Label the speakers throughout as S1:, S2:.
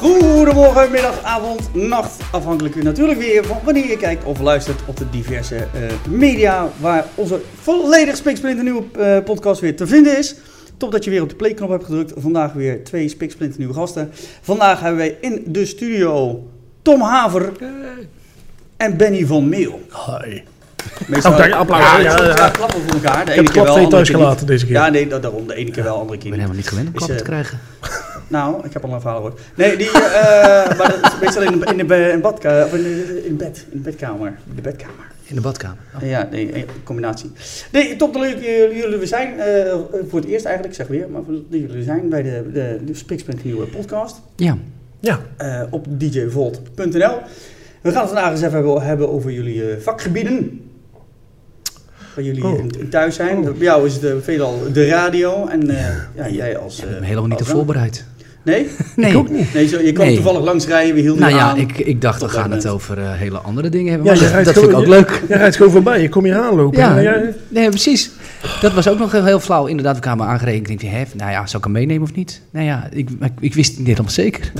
S1: Goedemorgen, middag, avond, nacht. Afhankelijk u natuurlijk weer van wanneer je kijkt of luistert op de diverse eh, media. Waar onze volledig spiksplinter nieuwe eh, podcast weer te vinden is. Top dat je weer op de playknop hebt gedrukt. Vandaag weer twee spiksplinter nieuwe gasten. Vandaag hebben wij in de studio Tom Haver en Benny van Meel.
S2: Hi.
S1: Meestal
S2: Oh, dank je, Oh, applaus.
S1: Ja,
S2: Ja,
S1: soms,
S2: ja.
S1: ja, klappen we voor elkaar. De
S2: Ik
S1: ene
S2: heb
S1: keer wel,
S2: klap twee
S1: andere
S2: thuis
S1: keer niet.
S2: gelaten deze keer.
S1: Ja, nee, da- daarom. De ene keer wel, andere
S3: Ik
S1: keer
S3: ben
S1: niet.
S3: helemaal niet gewend om
S1: Is,
S3: klappen
S1: eh,
S3: te krijgen.
S1: Nou, ik heb al een verhaal gehoord. Nee, die, eh, maar dat is meestal in, in de be- in badka- of in, de- in bed, in de bedkamer. De bedkamer.
S3: In de badkamer. Oh.
S1: Ja, nee, eh, combinatie. Nee, top dat jullie jullie weer zijn. eh, voor het eerst eigenlijk, zeg weer, maar dat jullie er zijn bij de, de, de Spikspunt Nieuwe podcast
S3: Ja,
S2: Ja,
S1: eh, op djvolt.nl. We gaan het vandaag eens even hebben- hebben over jullie eh, vakgebieden. Waar jullie
S2: Oh.
S1: in- in thuis zijn. Bij jou is het eh, veelal de radio en eh, ja, jij als...
S3: ik heb
S1: eh,
S3: me helemaal niet op
S1: als-
S3: voorbereid.
S1: Nee?
S3: Nee.
S2: ik ook niet.
S1: Nee, zo, je kwam
S3: Nee.
S1: toevallig langs rijden, we hielden
S3: Nou
S1: je
S3: ja,
S1: aan.
S3: ik, ik dacht, we
S1: Tot dat
S3: gaan het
S1: moment.
S3: over eh, hele andere dingen hebben.
S2: Ja,
S3: maar
S2: je
S3: dat-
S2: rijdt
S3: dat vind ik ook
S2: gewoon-
S3: leuk.
S2: jij rijdt gewoon voorbij. Ik kom hier aanlopen.
S3: Ja,
S2: En jij-
S3: nee, precies. Dat was ook nog heel, heel flauw. Inderdaad, we kwamen aangereden. Ik denk, hè, nou ja, zal ik hem meenemen of niet? Nou ja, ik, ik, ik wist het niet helemaal zeker.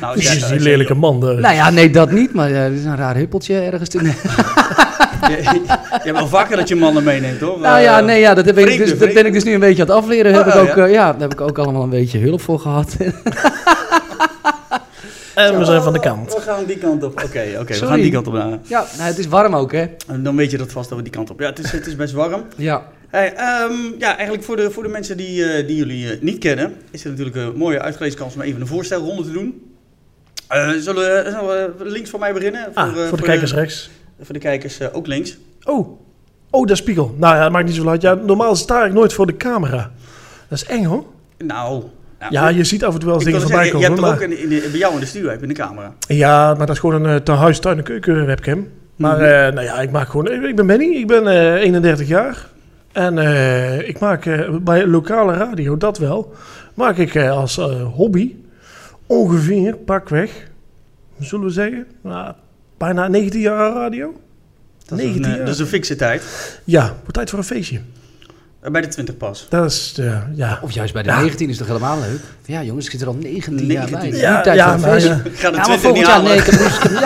S1: Nou,
S2: Jezus,
S1: zeg,
S2: die
S1: eh,
S2: lelijke man. eh.
S3: Nou ja, nee, dat niet. Maar eh, het is een raar huppeltje ergens. te- Nee.
S1: Je, je hebt wel vaker dat je mannen meeneemt, hoor.
S3: Nou ja, nee, ja, dat, heb ik
S1: vreemde,
S3: dus, dat
S1: vreemde.
S3: ben ik dus nu een beetje aan het afleren. Daar heb
S1: Oh,
S3: ik
S1: oh,
S3: ook, eh, ja, daar heb ik ook allemaal een beetje hulp voor gehad.
S2: en we zijn van de
S1: We
S2: kant.
S1: gaan die kant op. Oké, oké, we
S3: Sorry.
S1: gaan die kant op. Nou,
S3: ja, nou, het is warm ook, hè?
S1: Dan weet je dat vast dat we die kant op. Ja, het is, het is best warm.
S3: Ja.
S1: Hey, ehm, ja, eigenlijk voor de, voor de mensen die, eh, die jullie eh, niet kennen, is er natuurlijk een mooie uitgelezen kans om even een voorstelronde te doen. Eh, zullen, we, zullen we links van mij beginnen?
S2: Ah,
S1: eh,
S2: voor de kijkers rechts.
S1: voor de kijkers eh, ook links.
S2: Oh, oh, dat spiegel. Nou ja, dat maakt niet zoveel uit. Ja, normaal sta ik nooit voor de camera. Dat is eng hoor.
S1: Nou, nou,
S2: Ja, je ziet af en toe wel
S1: ik
S2: eens
S1: wil
S2: dingen
S1: zeggen,
S2: voorbij
S1: je-
S2: komen.
S1: je hebt er
S2: maar...
S1: ook een, in de- bij jou in de studio heb je een camera.
S2: Ja, maar dat is gewoon een uh, huis, tuin en keuken webcam. Maar
S1: Mhm.
S2: eh, nou ja, ik maak gewoon. Ik ben Benny, ik ben eh, 31 jaar. En eh, ik maak eh, bij lokale radio, dat wel. Maak ik eh, als eh, hobby ongeveer pakweg, zullen we zeggen, nou, bijna 19 jaar radio.
S1: Dat is, een,
S2: 19
S1: eh,
S2: jaar.
S1: dat is een fikse tijd.
S2: Ja, wordt tijd voor een feestje.
S1: Eh, Bij de 20 pas.
S2: Dat is, eh, ja.
S3: Of juist bij de
S2: Ja.
S3: 19 is toch helemaal leuk? Ja, jongens, ik zit er al 19, jaar bij.
S1: 19.
S3: Nu
S2: Ja,
S3: tijd
S2: ja,
S3: voor een
S2: maar, eh,
S3: feestje.
S2: ja.
S1: Ik ga de
S3: Ja, maar
S1: 20 niet
S3: volgend jaar,
S1: halen.
S3: nee, ik heb dus-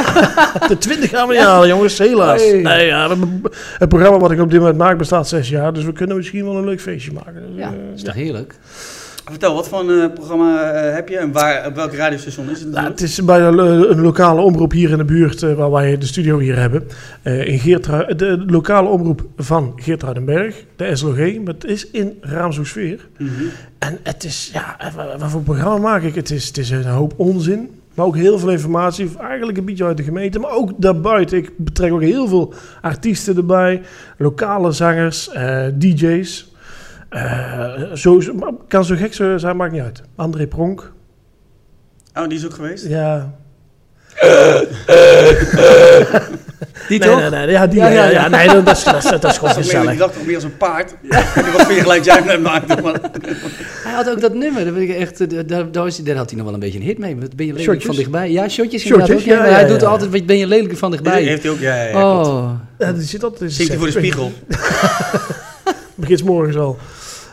S3: ja.
S2: De 20 gaan we niet halen, jongens, helaas.
S3: Nee.
S2: Nee, ja, het- het programma wat ik op dit moment maak bestaat 6 jaar, dus we kunnen misschien wel een leuk feestje maken. Dus,
S3: Ja,
S2: eh,
S3: is toch heerlijk?
S1: Vertel, wat voor een eh, programma eh, heb je en waar, op welk radiostation is het?
S2: Nou, het is bij een lo- een lokale omroep hier in de buurt, eh, waar wij de studio hier hebben. Eh, in Geertru- de lokale omroep van Geertruidenberg, de SLOG. Maar het is in Raamshoeksfeer.
S1: Mhm.
S2: En het is, ja, eh, wa- wat voor programma maak ik? Het is, het is een hoop onzin, maar ook heel veel informatie. Eigenlijk een beetje uit de gemeente, maar ook daarbuiten. Ik betrek ook heel veel artiesten erbij, lokale zangers, eh, DJ's. Eh, zo, zo- maar kan zo gek zo zijn, maakt niet uit. André Pronk,
S1: Oh, die is ook geweest?
S2: ja,
S3: Die
S2: nee,
S3: toch?
S2: Nee, nee, ja, die,
S3: Ja,
S2: ja,
S3: ja,
S2: ja,
S3: ja.
S2: nee, dat, dat is, dat, is- dat is gewoon
S1: Dat is ook meer,
S2: gezellig.
S1: ik dacht nog meer als een paard. En die was meer gelijk jij met maakte. Maar...
S3: Hij had ook dat nummer. Daar, ben ik echt, eh, daar, daar, was hij- daar had hij nog wel een beetje een hit mee. Wat ben je lelijk
S2: Shotjes?
S3: van dichtbij? Ja, shotjes.
S2: Shotjes,
S3: inderdaad ook, ja,
S2: ja,
S3: maar
S2: ja,
S3: hij
S2: ja,
S3: doet
S2: ja.
S3: altijd, wat ben je lelijk van dichtbij?
S1: Heeft hij ook? Ja, ja, ja, klopt.
S3: oh,
S2: Ja, die zit altijd in
S1: Zingt hij voor de
S2: set.
S1: spiegel?
S2: Begint 's morgens al.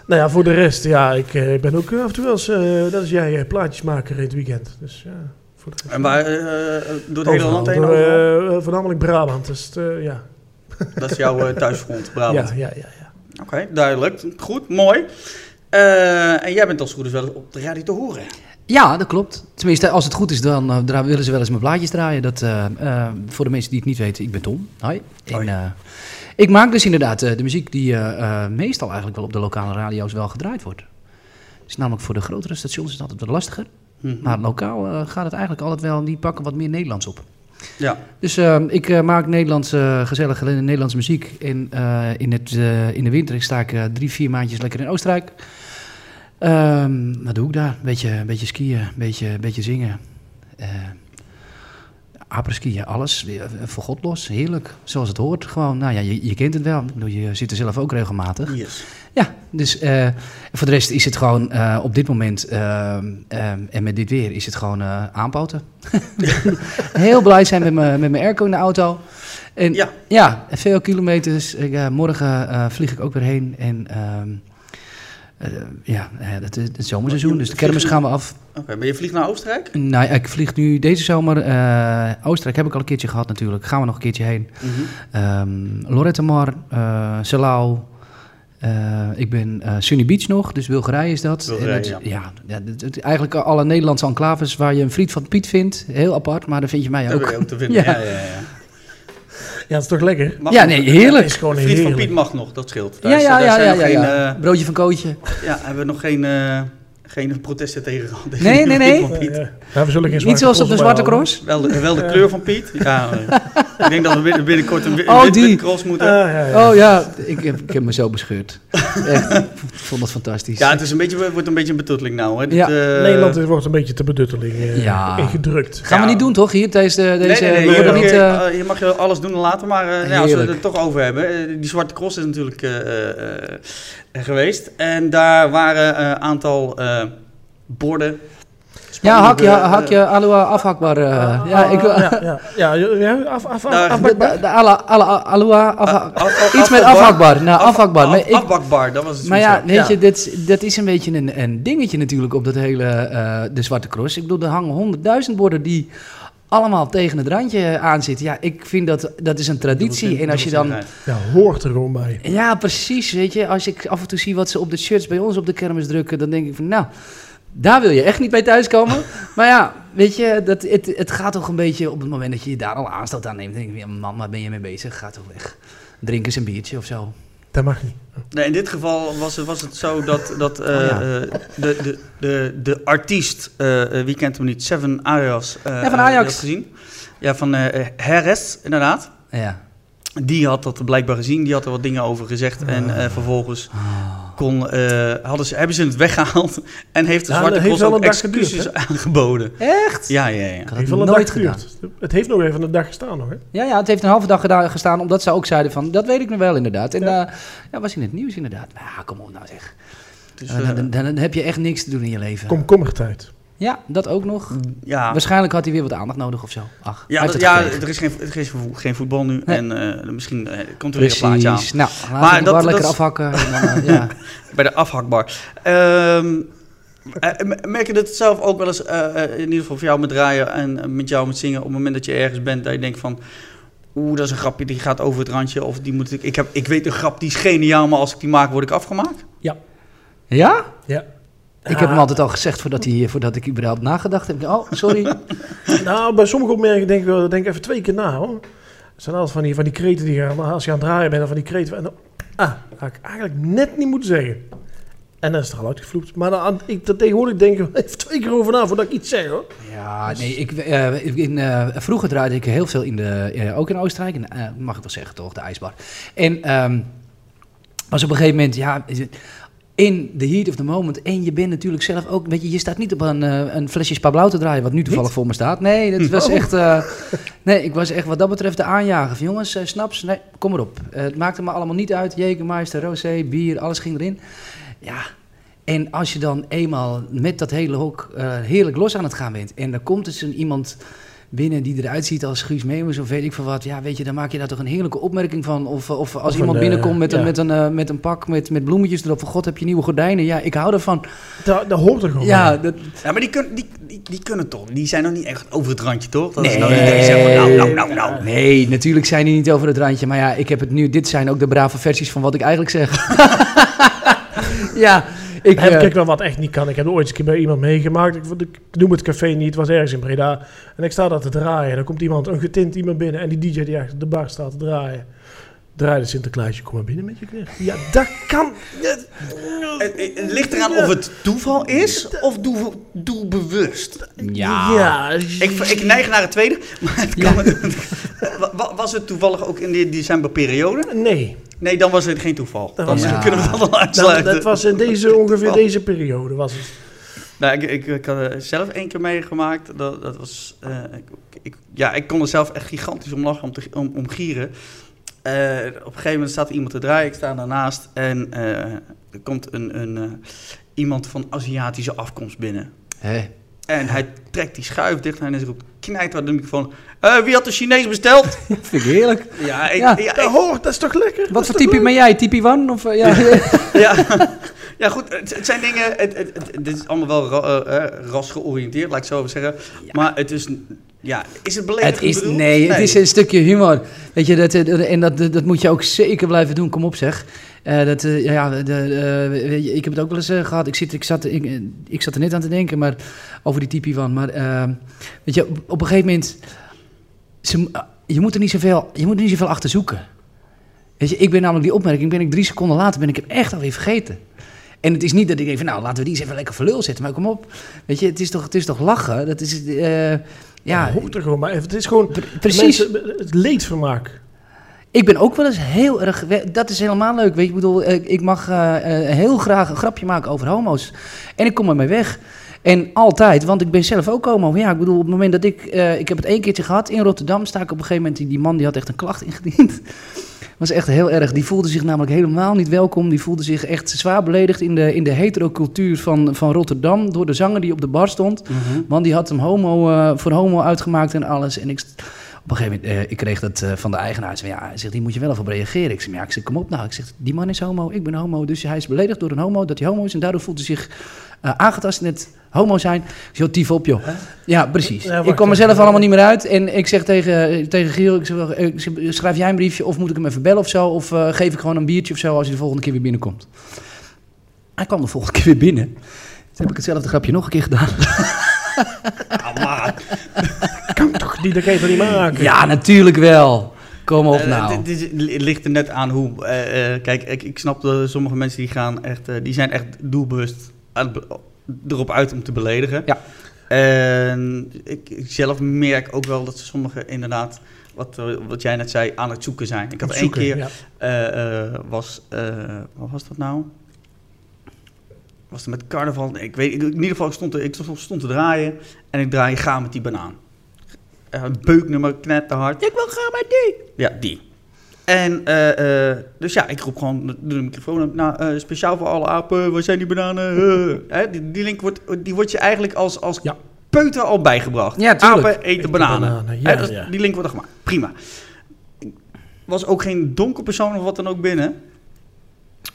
S2: Nou ja, voor de rest, ja, ik eh, ben ook eh, af en toe wel eens, eh, dat is jij, eh, plaatjesmaker in het weekend. Dus ja, voor de rest.
S1: En waar, eh, eh, door het hele
S2: Overal,
S1: land heen?
S2: door,
S1: overal?
S2: eh, voornamelijk Brabant, dus het, eh, ja.
S1: Dat is jouw eh, thuisgrond, Brabant.
S2: Ja, ja, ja, ja.
S1: Oké, duidelijk. Goed, mooi. Eh, en jij bent als het goed is wel eens op de radio te horen.
S3: Ja, dat klopt. Tenminste, als het goed is, dan eh, dra- willen ze wel eens mijn blaadjes draaien. Dat, eh, eh, voor de mensen die het niet weten, ik ben Tom. Hoi. En,
S1: Hoi.
S3: eh, ik maak dus inderdaad eh, de muziek die eh, eh, meestal eigenlijk wel op de lokale radio's wel gedraaid wordt. Dus namelijk voor de grotere stations is het altijd wat lastiger.
S1: Mhm.
S3: Maar lokaal eh, gaat het eigenlijk altijd wel, die pakken wat meer Nederlands op.
S1: Ja.
S3: Dus eh, ik eh, maak Nederlandse, gezellige Nederlandse muziek. En eh, in, het, eh, in de winter sta ik eh, drie, vier maandjes lekker in Oostenrijk. Ehm, wat doe ik daar? Beetje, beetje skiën, beetje, beetje zingen. Eh skiën, alles. Weer, eh, Voor God los, heerlijk. Zoals het hoort. Gewoon, nou ja, je, je kent het wel. Ik bedoel, je zit er zelf ook regelmatig.
S1: Yes.
S3: Ja, dus eh, voor de rest is het gewoon eh, op dit moment ehm, ehm, en met dit weer is het gewoon eh aanpoten. Heel blij zijn met mijn, met mijn airco in de auto. En ja,
S1: Ja.
S3: veel kilometers. Ik, eh, morgen eh, vlieg ik ook weer heen en ehm, eh, ja, eh, dat is het zomerseizoen, dus de kermis gaan we af.
S1: Oké, maar je vliegt naar Oostenrijk?
S3: Nou, ja, ik vlieg nu deze zomer. eh, Oostenrijk heb ik al een keertje gehad natuurlijk. Gaan we nog een keertje heen. Ehm Lorette Mar, eh Salau. Eh, ik ben eh Sunny Beach nog, dus Bulgarije is dat.
S1: Bulgarije,
S3: En dat- ja. ja, dat- dat- eigenlijk alle Nederlandse enclaves waar je een vriend van Piet vindt. Heel apart, maar daar vind je mij
S1: Dat
S3: ook.
S1: wil je ook te vinden. Ja,
S3: Ja.
S1: ja, ja. ja.
S2: Ja, dat is toch lekker?
S1: Mag
S3: ja,
S1: nog.
S3: nee,
S2: Dat
S3: heerlijk.
S2: is gewoon
S1: Vriend van Piet
S2: heerlijk.
S1: mag nog, dat scheelt. Daar
S3: Ja,
S1: is-
S3: ja,
S1: daar
S3: ja,
S1: zijn
S3: ja,
S1: nog
S3: ja,
S1: geen,
S3: ja.
S1: eh,
S3: Broodje van Kootje.
S1: ja, hebben we nog geen, eh, geen protesten tegen gehad. tegen
S3: Nee,
S1: de
S3: nee,
S1: vriend
S3: nee.
S1: van Piet.
S2: Ja, ja. Ja, we zullen geen
S3: Niet zoals op de Zwarte
S2: bijhouden.
S3: Cross.
S1: Wel de, wel de kleur van Piet. Ja, eh, ik denk dat we binnen- binnenkort een, wi- een
S3: Oh,
S1: wit,
S3: die.
S1: witte cross moeten.
S2: Ah, ja, ja.
S3: Oh ja, ik heb, ik heb me zo bescheurd. Echt, ik vond dat fantastisch.
S1: ja, het is een beetje, het wordt een beetje een betutteling nou. Hè. Dit,
S3: Ja.
S1: eh,
S2: Nederland wordt een beetje te bedutteling eh,
S3: Ja.
S2: ingedrukt.
S3: Gaan we
S1: Ja.
S3: niet doen, toch? Hier, deze...
S1: Nee,
S3: deze
S1: nee, nee,
S3: we
S1: je,
S2: worden
S1: mag,
S3: worden
S1: je,
S3: niet, eh,
S1: eh, je mag je alles doen en laten, maar eh, nou, als we het er
S3: Heerlijk.
S1: toch over hebben. eh, die zwarte cross is natuurlijk eh, eh, eh, geweest. En daar waren een aantal eh, borden.
S3: Ja, hak je,
S1: Spannende,
S3: hak
S1: eh,
S3: je aloha afhakbaar. eh, ja, ik wil...
S2: ja, ja, ja, ja, af, af, af,
S1: Daar-
S2: af-
S3: De, de, de ala- ala- aloha
S1: eh,
S3: afhak...
S1: af- af-
S3: Iets met afhakbaar. Nou,
S1: Af-
S3: afhakbaar. Maar,
S1: af-
S3: ik,
S1: afbakbar, dat was het.
S3: maar ja,
S1: zoiets,
S3: weet je, dit, is- dat is een beetje een, een dingetje natuurlijk op dat hele... eh, de Zwarte Cross. Ik bedoel, er hangen honderdduizend borden die allemaal tegen het randje aanzitten. Ja, ik vind dat, dat is een traditie. En als je dan...
S2: ja, hoort er gewoon bij.
S3: Ja, precies. Weet je, als ik af en toe zie wat ze op de shirts bij ons op de kermis drukken, dan denk ik van, nou, daar wil je echt niet bij thuiskomen. maar ja, weet je, dat, het, het gaat toch een beetje op het moment dat je je daar al aanstoot aan neemt. Dan denk ik, ja, man, waar ben je mee bezig? Ga toch weg. Drink eens een biertje of zo.
S2: Dat mag niet.
S1: Nee, in dit geval was het, was het zo dat, dat eh,
S3: Oh ja.
S1: eh, de, de, de, de artiest, eh, eh, wie kent hem niet, Seven Arias. eh,
S3: Ja, van
S1: eh,
S3: Ajax.
S1: die had gezien. Ja, van eh Heres, inderdaad.
S3: Ja.
S1: Die had dat blijkbaar gezien, die had er wat dingen over gezegd. En
S2: Ah.
S1: eh, vervolgens kon, eh, hadden ze, hebben ze het weggehaald en heeft de
S2: Ja,
S1: Zwarte
S2: dat heeft
S1: Cross
S2: wel
S1: ook
S2: een dag geduurd,
S1: excuses aangeboden.
S3: Echt?
S1: Ja, ja, ja.
S3: Ik had
S2: heeft
S3: het
S2: wel een
S3: nooit
S2: dag
S3: gedaan.
S2: geduurd. Het heeft nog even een dag gestaan hoor.
S3: Ja, ja, het heeft een halve dag gedaan, gestaan, omdat ze ook zeiden van, dat weet ik nog wel inderdaad. En ja. ja, was in het nieuws inderdaad. Maar ja, kom op nou zeg. Nou,
S1: Dus,
S2: nou,
S3: Dan-
S1: eh,
S3: dan, dan, dan heb je echt niks te doen in je leven.
S2: Komkommertijd.
S3: Ja, dat ook nog.
S1: ja.
S3: Waarschijnlijk had hij weer wat aandacht nodig of zo. Ach, hij
S1: Ja,
S3: heeft
S1: dat-
S3: het
S1: ja
S3: gekregen.
S1: er is, geen, er is vo- geen voetbal nu
S3: Nee.
S1: en eh, misschien eh, komt er weer een plaatje aan.
S3: Precies. Nou, laten
S1: Maar
S3: we de
S1: dat-
S3: bar
S1: dat
S3: lekker
S1: is-
S3: afhakken. En dan, eh, ja.
S1: Bij de afhakbar. Ehm, eh, m- merk je dat zelf ook wel eens, eh, eh, in ieder geval voor jou met draaien en eh, met jou met zingen, op het moment dat je ergens bent, dat je denkt van, oeh, dat is een grapje, die gaat over het randje, of die moet ik, ik, heb, ik weet een grap, die is geniaal, maar als ik die maak, word ik afgemaakt?
S3: ja?
S2: Ja.
S3: Ik heb hem altijd al gezegd voordat, hij, voordat ik überhaupt nagedacht heb. Oh, sorry.
S2: Nou, bij sommige opmerkingen denk ik wel, denk ik even twee keer na hoor. Er zijn altijd van die, van die kreten die gaan, als je aan het draaien bent, dan van die kreten. En dan, ah, dat had ik eigenlijk net niet moeten zeggen. En dan is het er al uitgevloept. Maar dan, ik, dat tegenwoordig denk ik wel even twee keer over na voordat ik iets zeg hoor.
S3: Ja, nee, ik, eh, ik- in, eh, vroeger draaide ik heel veel in de, eh, ook in Oostenrijk, in, eh, mag ik wel zeggen toch, de ijsbar. En ehm, was op een gegeven moment, ja, is het- in the heat of the moment. En je bent natuurlijk zelf ook, weet je, je staat niet op een, eh, een flesje spa blauw te draaien, wat nu toevallig voor me staat. Nee, dat was echt, eh, nee, ik was echt wat dat betreft de aanjager. Van, jongens, eh, snaps, nee, kom maar op. Eh, het maakte me allemaal niet uit, jekermeister, rosé, bier, alles ging erin. Ja, en als je dan eenmaal met dat hele hok eh, heerlijk los aan het gaan bent. En dan komt dus een iemand binnen die eruit ziet als Guus Meeuwis of weet ik veel wat. Ja, weet je, dan maak je daar toch een heerlijke opmerking van. Of, eh, of als
S2: een,
S3: iemand
S2: eh,
S3: binnenkomt met,
S2: ja.
S3: een, met, een, eh, met een pak met, met bloemetjes erop. Van god, heb je nieuwe gordijnen? Ja, ik hou ervan.
S2: Dat, dat hoort er gewoon
S3: Ja,
S2: bij.
S3: dat,
S1: Ja, maar die, kun, die, die, die kunnen toch, die zijn nog niet echt over het randje, toch? Dat is
S3: nee.
S1: nou niet dat je zegt van, nou, nou, nou, nou.
S3: Oh, Nee, natuurlijk zijn die niet over het randje. Maar ja, ik heb het nu. Dit zijn ook de brave versies van wat ik eigenlijk zeg. ja, ik...
S2: Ik heb
S3: eh,
S2: kijk wel wat echt niet kan. Ik heb ooit eens een keer bij iemand meegemaakt. Ik, vond- ik noem het café niet, het was ergens in Breda. En ik sta daar te draaien. En dan komt iemand, een getint iemand binnen. En die DJ die achter de bar staat te draaien. Draai de Sinterklaasje, kom maar binnen met je knecht. Ja, dat kan.
S1: Het, het ligt eraan of het toeval is of doe- doelbewust.
S3: ja.
S1: Ik, ik neig naar het tweede, maar het
S3: Ja.
S1: kan Wa- wa- Was het toevallig ook in die decemberperiode?
S2: Nee, Nou,
S1: Nee, dan was het geen toeval. Dan
S2: Dat was-
S1: eh, kunnen we dat wel
S2: nou,
S1: uitsluiten.
S2: dat was in deze, ongeveer deze periode was het.
S1: Nou, ik, ik, ik had er zelf één keer meegemaakt. Dat, dat was, eh, ik, ik- ja, ik kon er zelf echt gigantisch om lachen, om, te, om, om gieren. Eh, op een gegeven moment staat er iemand te draaien. Ik sta daarnaast en eh, er komt een, een, eh, iemand van Aziatische afkomst binnen.
S3: Hé.
S1: En hij trekt die schuif dicht en hij roept knijt uit de microfoon. "Eh, wie had de Chinees besteld?
S3: Vind ik heerlijk.
S1: ja, ik,
S3: Ja.
S1: ja,
S2: Dat
S1: ik-
S2: hoort, dat is toch lekker?
S1: Oh.
S3: Wat voor typie ben jij? Typie One? Of, eh, ja.
S1: Ja, Ja, goed, het, het zijn dingen. Het, het, het- dit is allemaal wel ra- eh, eh, rasgeoriënteerd, laat ik het zo zeggen. Maar het is. Ja, is het beledigend?
S3: Het is,
S1: bedoeld?
S3: nee, het is een stukje humor. Weet je, dat, eh, en dat, dat moet je ook zeker blijven doen. Kom op zeg. Eh, dat, eh, ja, de, eh, weet je, ik heb het ook wel eens eh, gehad. Ik, zit, ik, zat, ik, eh, ik zat er net aan te denken maar, over die typie van. Maar eh, weet je, op, op een gegeven moment... Ze, eh, je, moet er niet zoveel, je moet er niet zoveel achter zoeken. Weet je, ik ben namelijk die opmerking, ben ik drie seconden later, ben ik hem echt alweer vergeten. En het is niet dat ik denk van, nou, laten we die eens even lekker voor lul zetten. Maar kom op, weet je, het is toch, het is toch lachen? Dat is, eh, ja,
S2: Ja, hoort er gewoon bij. Het is gewoon...
S3: pre- precies.
S2: mensen- het leedvermaak.
S3: Ik ben ook wel eens heel erg. we- Dat is helemaal leuk. Weet je, ik bedoel, eh, ik mag eh, eh, heel graag een grapje maken over homo's. En ik kom ermee weg. En altijd, want ik ben zelf ook homo. Ja, ik bedoel, op het moment dat ik. eh, ik heb het één keertje gehad in Rotterdam. Sta ik op een gegeven moment. Die, die man die had echt een klacht ingediend. Was echt heel erg. Die voelde zich namelijk helemaal niet welkom. Die voelde zich echt zwaar beledigd in de, in de heterocultuur van, van Rotterdam. Door de zanger die op de bar stond.
S1: Mhm.
S3: Want die had hem homo, eh, voor homo uitgemaakt en alles. En ik, st- op een gegeven moment, eh, ik kreeg dat eh, van de eigenaar. Hij zei, ja, hij zegt, die moet je wel even op reageren. Ik zeg, ja, ik zeg, kom op nou. Ik zeg, die man is homo, ik ben homo. Dus hij is beledigd door een homo, dat hij homo is. En daardoor voelt hij zich eh, aangetast in het homo zijn. Ik zeg, joh, tief op, joh. Ja, precies.
S2: Ja, wacht
S3: ik kwam mezelf
S2: even.
S3: allemaal niet meer uit. En ik zeg tegen, tegen Giel, ik zeg, wel, eh, ik zeg, schrijf jij een briefje? Of moet ik hem even bellen of zo? Of eh, geef ik gewoon een biertje of zo als hij de volgende keer weer binnenkomt? Hij kwam de volgende keer weer binnen. Toen heb ik hetzelfde grapje nog een keer gedaan.
S1: Ah, maar,
S2: Kan toch niet, dat kan je toch niet maken?
S3: Ja, natuurlijk wel. Kom op
S1: eh,
S3: nou.
S1: dit- dit is- het ligt er net aan hoe. eh, eh, kijk, ik, ik snap dat sommige mensen die gaan echt. eh, die zijn echt doelbewust aan het be- erop uit om te beledigen.
S3: Ja.
S1: En ik, ik zelf merk ook wel dat sommigen inderdaad. Wat, eh, wat jij net zei, aan het zoeken zijn. Ik had één
S2: Zoeken,
S1: keer.
S2: ja.
S1: eh, eh, was, eh, wat was dat nou? Was het met carnaval? Nee, ik weet, ik- in ieder geval, ik stond, te, ik stond- stond te draaien en ik draai ga met die banaan. Eh, Een beuknummer, knetterhard. Ik wil gaan met die. Ja, die. En, eh, eh, dus ja, ik roep gewoon de- de microfoon op. Nou, eh, speciaal voor alle apen, waar zijn die bananen? Eh, hè, die, die link wordt, die wordt je eigenlijk als, als
S2: Ja.
S1: peuter al bijgebracht.
S3: Ja, tuurlijk.
S1: Apen eten
S2: Eten
S1: bananen.
S2: bananen, ja,
S1: Hè, dat is-
S2: ja.
S1: Die link wordt er gemaakt. Prima. Was ook geen donker persoon of wat dan ook binnen.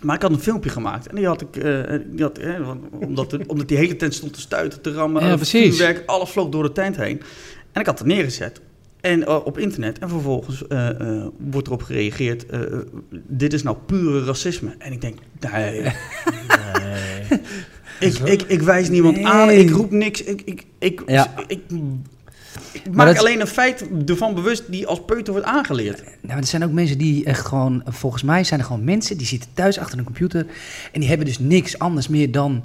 S1: Maar ik had een filmpje gemaakt. En die had ik... eh, die had, eh, want- omdat, de- omdat die hele tent stond te stuiten, te rammen.
S3: Ja,
S1: eh,
S3: precies.
S1: Vuurwerk, alles vloog door de tent heen. En ik had het neergezet. En eh, op internet. En vervolgens eh, eh, wordt erop gereageerd. eh, eh, dit is nou pure racisme. En ik denk, nee.
S2: Nee.
S1: Ik, ik, ik wijs niemand
S3: Nee.
S1: aan, ik roep niks. Ik, ik, ik,
S3: Ja.
S1: ik, ik
S3: Maar
S1: maak
S3: dat-
S1: alleen een feit ervan bewust die als peuter wordt aangeleerd.
S3: Nou, er zijn ook mensen die echt gewoon, volgens mij zijn er gewoon mensen die zitten thuis achter een computer en die hebben dus niks anders meer dan,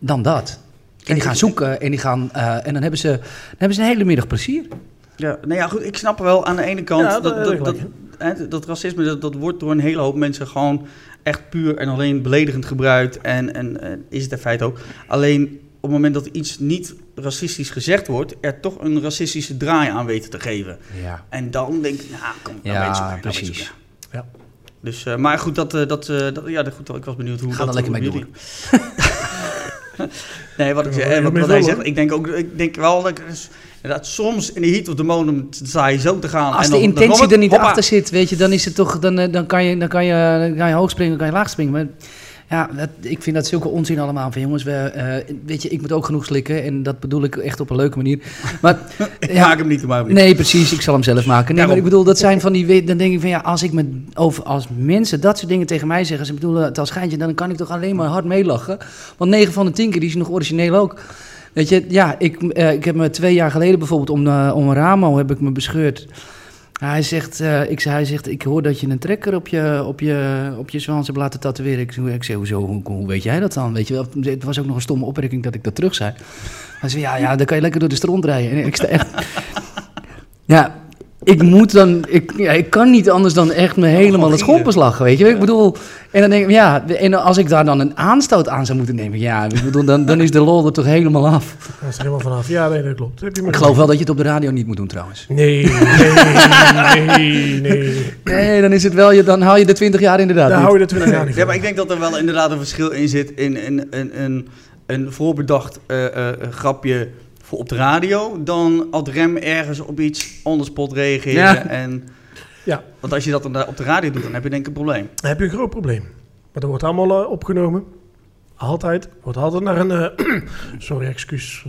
S3: dan dat. En die gaan zoeken en, die gaan, eh, en dan, hebben ze, dan hebben ze een hele middag plezier.
S1: Ja, nou ja, goed, ik snap wel aan de ene kant
S2: Ja,
S1: dat,
S2: dat-
S1: dat, dat,
S2: dat-
S1: hè, dat racisme, dat, dat wordt door een hele hoop mensen gewoon echt puur en alleen beledigend gebruikt. En, en, eh, is het in feite ook. Alleen op het moment dat iets niet racistisch gezegd wordt, er toch een racistische draai aan weten te geven.
S3: Ja.
S1: En dan denk ik, nou, kom, nou
S3: Ja,
S1: weet je het, nou
S3: precies.
S1: weet je het.
S2: Ja.
S1: Dus, eh, maar goed, dat, eh, dat, eh, dat, ja, dat- goed, ik was benieuwd hoe
S3: Ga
S1: dat...
S3: er lekker
S1: hoe
S3: mee
S1: jullie- nee, wat ik zeg,
S2: Kunnen we
S1: eh, wat,
S2: wel
S1: wat hij
S2: mee
S1: zegt,
S2: door,
S1: ik denk, ook, ik denk wel dat, ik- dus inderdaad, soms in de heat of the moment sta je zo te gaan.
S3: Als
S1: en
S3: de
S1: dan- dan
S3: intentie
S1: hoppa,
S3: er niet
S1: hoppa.
S3: achter zit, weet je, dan is het toch, dan, eh, dan, kan, je, dan, kan, je, dan kan je hoog springen, dan kan je laag springen. Maar ja, dat, ik vind dat zulke onzin allemaal. Van jongens, we, eh, weet je, ik moet ook genoeg slikken en dat bedoel ik echt op een leuke manier. Maar
S1: Ik maak hem niet, maar
S3: Nee, precies. Ik zal hem zelf maken. Nee, maar
S1: Daarom.
S3: ik bedoel, dat zijn van die... we- Dan denk ik van ja, als, ik me, over, als mensen dat soort dingen tegen mij zeggen... ze bedoelen het als geintje, dan kan ik toch alleen maar hard meelachen. Want 9 van de 10 keer, die is nog origineel ook. Weet je, ja, ik, eh, ik heb me twee jaar geleden bijvoorbeeld om, eh, om een ramo heb ik me bescheurd. Hij zegt, eh, ik, zei- hij zegt, ik hoor dat je een trekker op je, op je, op je zwans hebt laten tatoeëren. Ik, zei- ik zeg, hoezo, hoe, hoe weet jij dat dan? Weet je wel, het was ook nog een stomme opmerking dat ik dat terug zei. Hij zei, ja, ja, dan kan je lekker door de stront rijden. En ik sta echt... ja, ik moet dan... Ik, ja, ik kan niet anders dan echt me helemaal het schompers lachen, weet je wel. Ik bedoel... En dan denk ik, ja, en als ik daar dan een aanstoot aan zou moeten nemen... Ja, ik bedoel, dan, dan is de lol er toch helemaal af.
S2: Dat is er helemaal vanaf. Ja, nee, dat klopt. Heb je me
S3: Ik geloof wel dat je het op de radio niet moet doen, trouwens.
S2: Nee, nee, nee, nee.
S3: Nee, dan is het wel... je- Dan haal je de 20 jaar inderdaad
S2: Daar
S3: niet.
S2: hou je de 20 jaar niet
S1: Ja,
S2: van.
S1: maar ik denk dat er wel inderdaad een verschil in zit in een, een, een, een voorbedacht eh, eh, een grapje voor op de radio, dan ad rem ergens op iets on the spot reageren.
S3: Ja.
S1: En,
S2: Ja.
S1: Want als je dat dan op de radio doet, dan heb je denk ik een probleem.
S2: Dan heb je een groot probleem. Maar dat wordt allemaal eh, opgenomen. altijd, wordt altijd naar een, eh, sorry, excuus,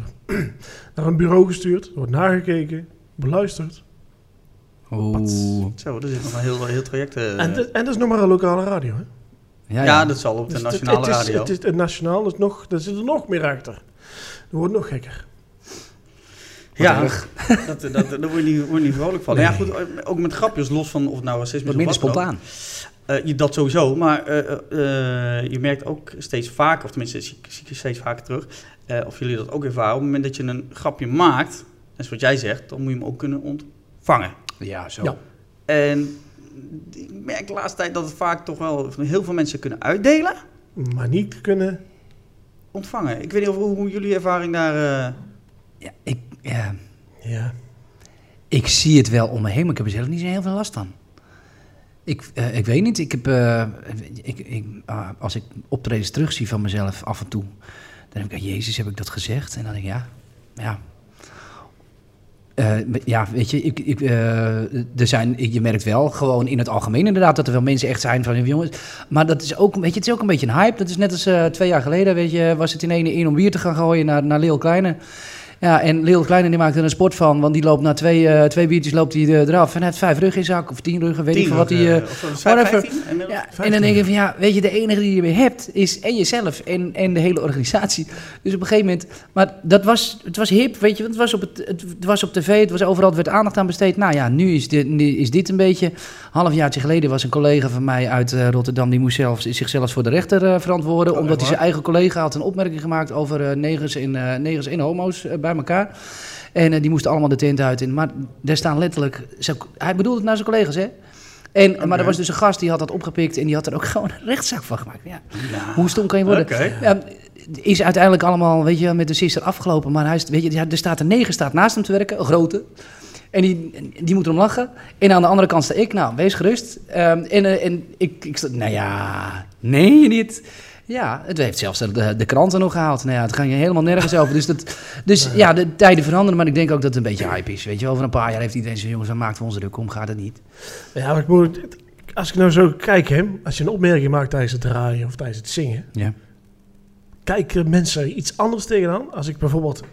S2: naar een bureau gestuurd, wordt nagekeken, beluisterd.
S3: Oeh.
S1: Zo, er zit nog een heel, heel traject. eh.
S2: En, dat- en dat is nog maar een lokale radio. Hè?
S1: ja,
S3: Ja, ja.
S1: dat zal op de
S2: Dus het-
S1: nationale
S2: het, is,
S1: radio.
S2: Het is het nationaal, dat is nog, daar zit er nog meer achter. Dat wordt nog gekker.
S1: ja,
S3: erg.
S1: dat, dat, dat, daar word je niet, word je niet vrolijk van. Nou Ja, goed, ook met grapjes, los van of het nou racisme
S3: wat
S1: is
S3: minder
S1: of wat dan ook.
S3: spontaan.
S1: Eh, je dat sowieso, maar eh, eh, eh, je merkt ook steeds vaker, of tenminste zie ik- zie ik steeds vaker terug, eh, of jullie dat ook ervaren, op het moment dat je een grapje maakt, en zoals jij zegt, dan moet je hem ook kunnen ontvangen.
S3: Ja, zo.
S2: Ja.
S1: En ik merk de laatste tijd dat het vaak toch wel heel veel mensen kunnen uitdelen,
S2: Maar niet kunnen...
S1: ontvangen. Ik weet niet of, hoe, hoe jullie ervaring daar... eh,
S3: Ja, ik, ja,
S2: Ja,
S3: ik zie het wel om me heen, maar ik heb er zelf niet zo heel veel last van. Ik, eh, ik weet niet, ik heb, eh, ik, ik, ah, als ik optredens terugzie van mezelf af en toe, dan denk ik, Jezus, heb ik dat gezegd? En dan denk ik, ja, ja. Eh, ja, weet je, ik, ik, eh, er zijn, je merkt wel gewoon in het algemeen inderdaad dat er wel mensen echt zijn van, jongens, maar dat is ook, weet je, het is ook een beetje een hype. Dat is net als eh, twee jaar geleden, weet je, was het in ene in om bier te gaan gooien naar, naar Leel Kleine. Ja, en Leel Kleine die maakt er een sport van, want die loopt na twee, eh, twee biertjes loopt hij eh, eraf. En hij heeft vijf rug in zak, of tien ruggen, weet ik
S1: tien
S3: veel wat
S1: ook,
S3: hij... eh,
S1: eh, of vijf-
S3: whatever.
S1: vijftien inmiddels.
S3: ja, en dan denk je
S2: jaar.
S3: van ja, weet je, de enige die je weer hebt is en jezelf en, en de hele organisatie. Dus op een gegeven moment, maar dat was, het was hip, weet je, want het was op, het, het, het was op tv, het was overal, er werd aandacht aan besteed. Nou ja, nu is dit, nu is dit een beetje. Half jaartje geleden was een collega van mij uit eh, Rotterdam, die moest zelfs, zichzelf voor de rechter eh, verantwoorden,
S2: Oh,
S3: omdat
S2: echt
S3: hij zijn eigen collega had een opmerking gemaakt over eh, negers, en, eh, negers en homo's eh, bij elkaar. En eh, die moesten allemaal de tent uit. En, maar daar staan letterlijk, zo- hij bedoelde het naar zijn collega's, hè? En, Maar
S1: Oké.
S3: er was dus een gast die had dat opgepikt en die had er ook gewoon een rechtszaak van gemaakt. Ja.
S1: Ja.
S3: Hoe stom kan je worden?
S1: Oké.
S3: Ja, is uiteindelijk allemaal, weet je, wel, met de sister afgelopen. Maar hij is, weet je, ja, er staat een neger staat naast hem te werken, een grote. En die, die moet erom lachen. En aan de andere kant sta ik, nou, wees gerust. Ehm, en eh, en ik, ik sta, nou ja, nee niet. Ja, het heeft zelfs de, de kranten nog gehaald. Nou ja, het ging helemaal nergens over. Dus, dat, dus ja, de tijden veranderen, maar ik denk ook dat het een beetje hype is. Weet je, wel. over een paar jaar heeft iedereen zo'n jongens, waar maakt we ons druk om? Gaat het niet?
S2: ja maar ik moet, als ik nou zo kijk, hè, als je een opmerking maakt tijdens het draaien of tijdens het zingen,
S3: Ja.
S2: kijken mensen iets anders tegenaan. Als ik bijvoorbeeld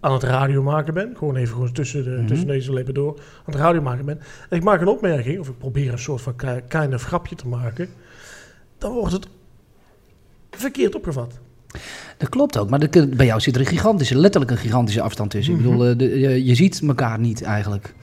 S2: aan het radio maken ben, gewoon even gewoon tussen, de,
S3: Mhm.
S2: tussen deze lippen door, aan het radio maken ben, en ik maak een opmerking, of ik probeer een soort van ki- kleine grapje te maken, dan wordt het verkeerd opgevat.
S3: Dat klopt ook, maar dat- bij jou zit er een gigantische, letterlijk een gigantische afstand tussen.
S2: Mhm.
S3: Ik bedoel, eh, de- je, je ziet elkaar niet eigenlijk.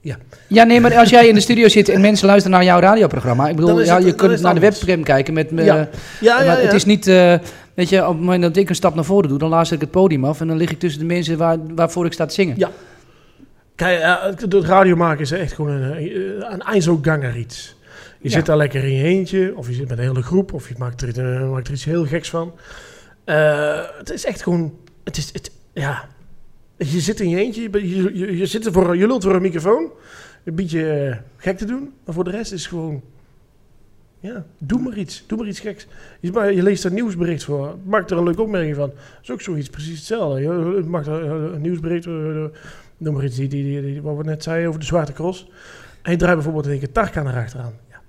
S2: Ja.
S3: Ja, nee, maar als jij in de studio zit en mensen luisteren naar jouw radioprogramma, ik bedoel,
S2: Dan is
S3: ja,
S2: het-
S3: je
S2: dan is
S3: kunt
S2: het
S3: naar de
S2: anders.
S3: webcam kijken met me. eh,
S2: Ja, Ja,
S3: maar het is niet, eh, weet je, op het moment dat ik een stap naar voren doe, dan luister ik het podium af en dan lig ik tussen de mensen waar, waarvoor ik sta te zingen.
S2: Ja. Kijk, eh, het- het radio maken is echt gewoon een, eh, een einzoganger iets. Je
S3: Ja.
S2: zit daar lekker in je eentje, of je zit met een hele groep, of je maakt er, iets- eh, maakt er iets heel geks van. Eh, het is echt gewoon, het is, het, ja, je zit in je eentje, je, bent- je, je, je zit er voor, je lult voor een microfoon, een beetje eh, gek te doen, maar voor de rest is het gewoon, ja, doe maar iets, doe maar iets geks. Je, ma- je leest een nieuwsbericht voor, maak er een leuke opmerking van. Dat is ook zoiets precies hetzelfde. Je maakt er eh, een nieuwsbericht, eh, eh, noem maar iets, die, die, die, die- wat we net zeiden over de Zwarte Cross. En je draait bijvoorbeeld in één keer Tarkan erachteraan. Ja,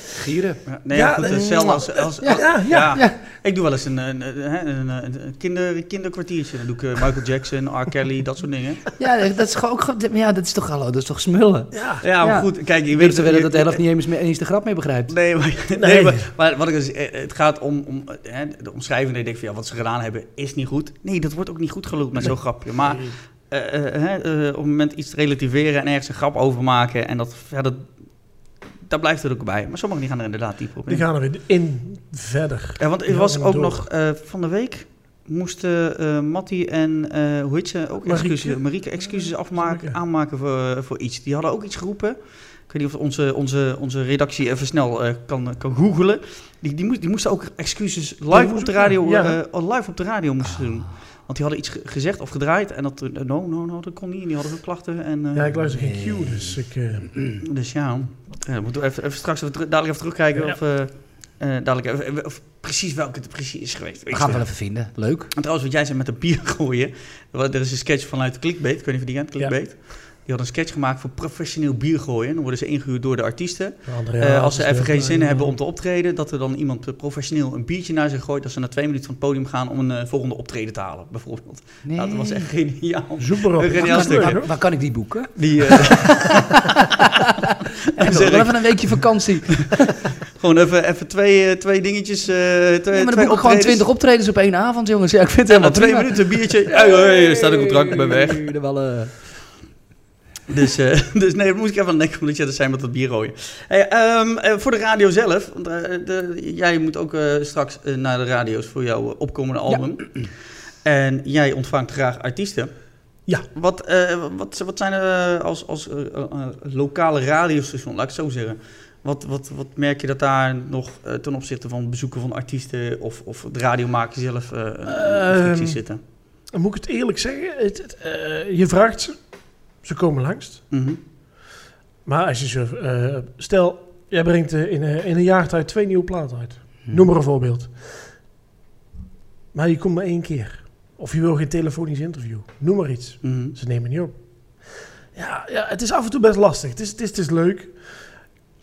S3: Gieren.
S1: Ja, nee, ja,
S2: Ja,
S1: goed,
S2: eh,
S1: hetzelfde als... als,
S2: ja,
S1: als-
S2: ja, ja,
S3: ja.
S1: Ik doe wel eens een, een, een, een, een- een kinder, kinderkwartiertje. Dan doe ik eh, Michael Jackson, R. Kelly, dat soort dingen.
S3: Ja, dat is gewoon ook, gewoon- ja, dat is toch hallo, dat is toch smullen.
S2: ja.
S1: Ja, maar
S3: Ja.
S1: goed, kijk, je
S3: Ik
S1: weet
S3: weet wel dat de helft niet eens, meer- eens de grap mee begrijpt.
S1: Nee, maar, nee.
S2: Nee.
S1: maar, maar wat ik dus, eh, het gaat om, om eh, hè, de omschrijving. Ik denk van ja, wat ze gedaan hebben is niet goed. Nee, dat wordt ook niet goed gelopen met zo'n grapje. Maar eh, eh, hè, eh, op het moment iets te relativeren en ergens een grap over maken en dat verder, daar blijft het ook bij. Maar sommigen die gaan er inderdaad dieper op in.
S2: Die gaan er weer in verder.
S1: Ja, want er
S2: Die
S1: was
S2: gaan er
S1: ook
S2: door.
S1: nog eh, van de week moesten eh Matty en eh hoe heet ze ook
S2: Marieke.
S1: excuses, Marieke excuses afmaken,
S2: Marieke.
S1: aanmaken voor, eh, voor iets. Die hadden ook iets geroepen. Ik weet niet of onze, onze, onze redactie even snel eh, kan, kan googelen. Die, die, moest, die moesten ook excuses live
S2: moesten
S1: op de
S2: ook,
S1: radio,
S2: ja. Ah.
S1: eh, eh, live op de radio moesten doen. Want die hadden iets ge- gezegd of gedraaid en dat, eh, no, no, no, dat kon niet. En die hadden veel klachten. En, eh,
S2: Ja, ik luister geen Q, dus ik... eh,
S1: dus ja, eh, dan moeten we even, even straks even, teru- dadelijk even terugkijken
S2: Ja.
S1: of, eh, eh, dadelijk even, of precies welke het precies is geweest. Weet
S3: We
S1: je
S3: gaan we
S1: wel.
S3: wel even vinden. Leuk.
S1: En trouwens, wat jij zei met de bier gooien. Er is een sketch vanuit Clickbait. Ik weet niet of je die kent, Clickbait. Die had een sketch gemaakt voor professioneel biergooien. Dan worden ze ingehuurd door de artiesten.
S2: André
S1: Eh,
S2: Hazes,
S1: als ze even
S2: ja,
S1: geen zin
S2: ja.
S1: hebben om te optreden, dat er dan iemand eh, professioneel een biertje naar ze gooit. Dat ze na twee minuten van het podium gaan om een eh, volgende optreden te halen, bijvoorbeeld.
S3: Nee.
S1: Nou, dat was echt geniaal.
S2: Zoek maar op.
S1: Een geniaal
S3: Waar
S1: stuk,
S3: kan,
S1: hè?
S3: waar, waar kan ik die boeken?
S1: Die, eh,
S3: En
S1: zeg
S3: wel
S1: ik-
S3: even een weekje vakantie.
S1: gewoon even, even twee, eh, twee dingetjes. eh, twee,
S3: Ja, maar dan
S1: twee
S3: boek ik gewoon
S1: optredens.
S3: 20 optredens op één avond, jongens. Ja, ik vind het
S1: Na
S3: helemaal
S1: twee
S3: prima.
S1: minuten een biertje. Hey, hey, er staat een contract, ik ben weg.
S3: Hey, de wallen.
S1: Dus, eh, dus nee, daar moest ik even aan denken, omdat jij dat zijn met dat bier rooien. Hey, ehm, eh, voor de radio zelf, want, eh, de- jij moet ook eh, straks eh, naar de radio's voor jouw eh, opkomende album. En jij ontvangt graag artiesten.
S2: Ja.
S1: Wat, eh, wat, wat zijn er eh, als, als eh, eh, lokale radiostation, laat ik het zo zeggen. Wat, wat, wat merk je dat daar nog eh, ten opzichte van bezoeken van artiesten of, of het radiomaken zelf eh een
S2: Ehm,
S1: frictie zitten?
S2: Dan Moet ik het eerlijk zeggen? Het, het, eh, je vraagt ze. Ze komen langs.
S1: Mhm.
S2: Maar als je zo, eh, stel, jij brengt eh, in, eh, in een jaar tijd twee nieuwe platen uit. Noem maar een voorbeeld. Maar je komt maar één keer. Of je wil geen telefonisch interview. Noem maar iets.
S1: Mhm.
S2: Ze nemen niet op. Ja, ja het is af en toe best lastig. Het is, het is, het is leuk.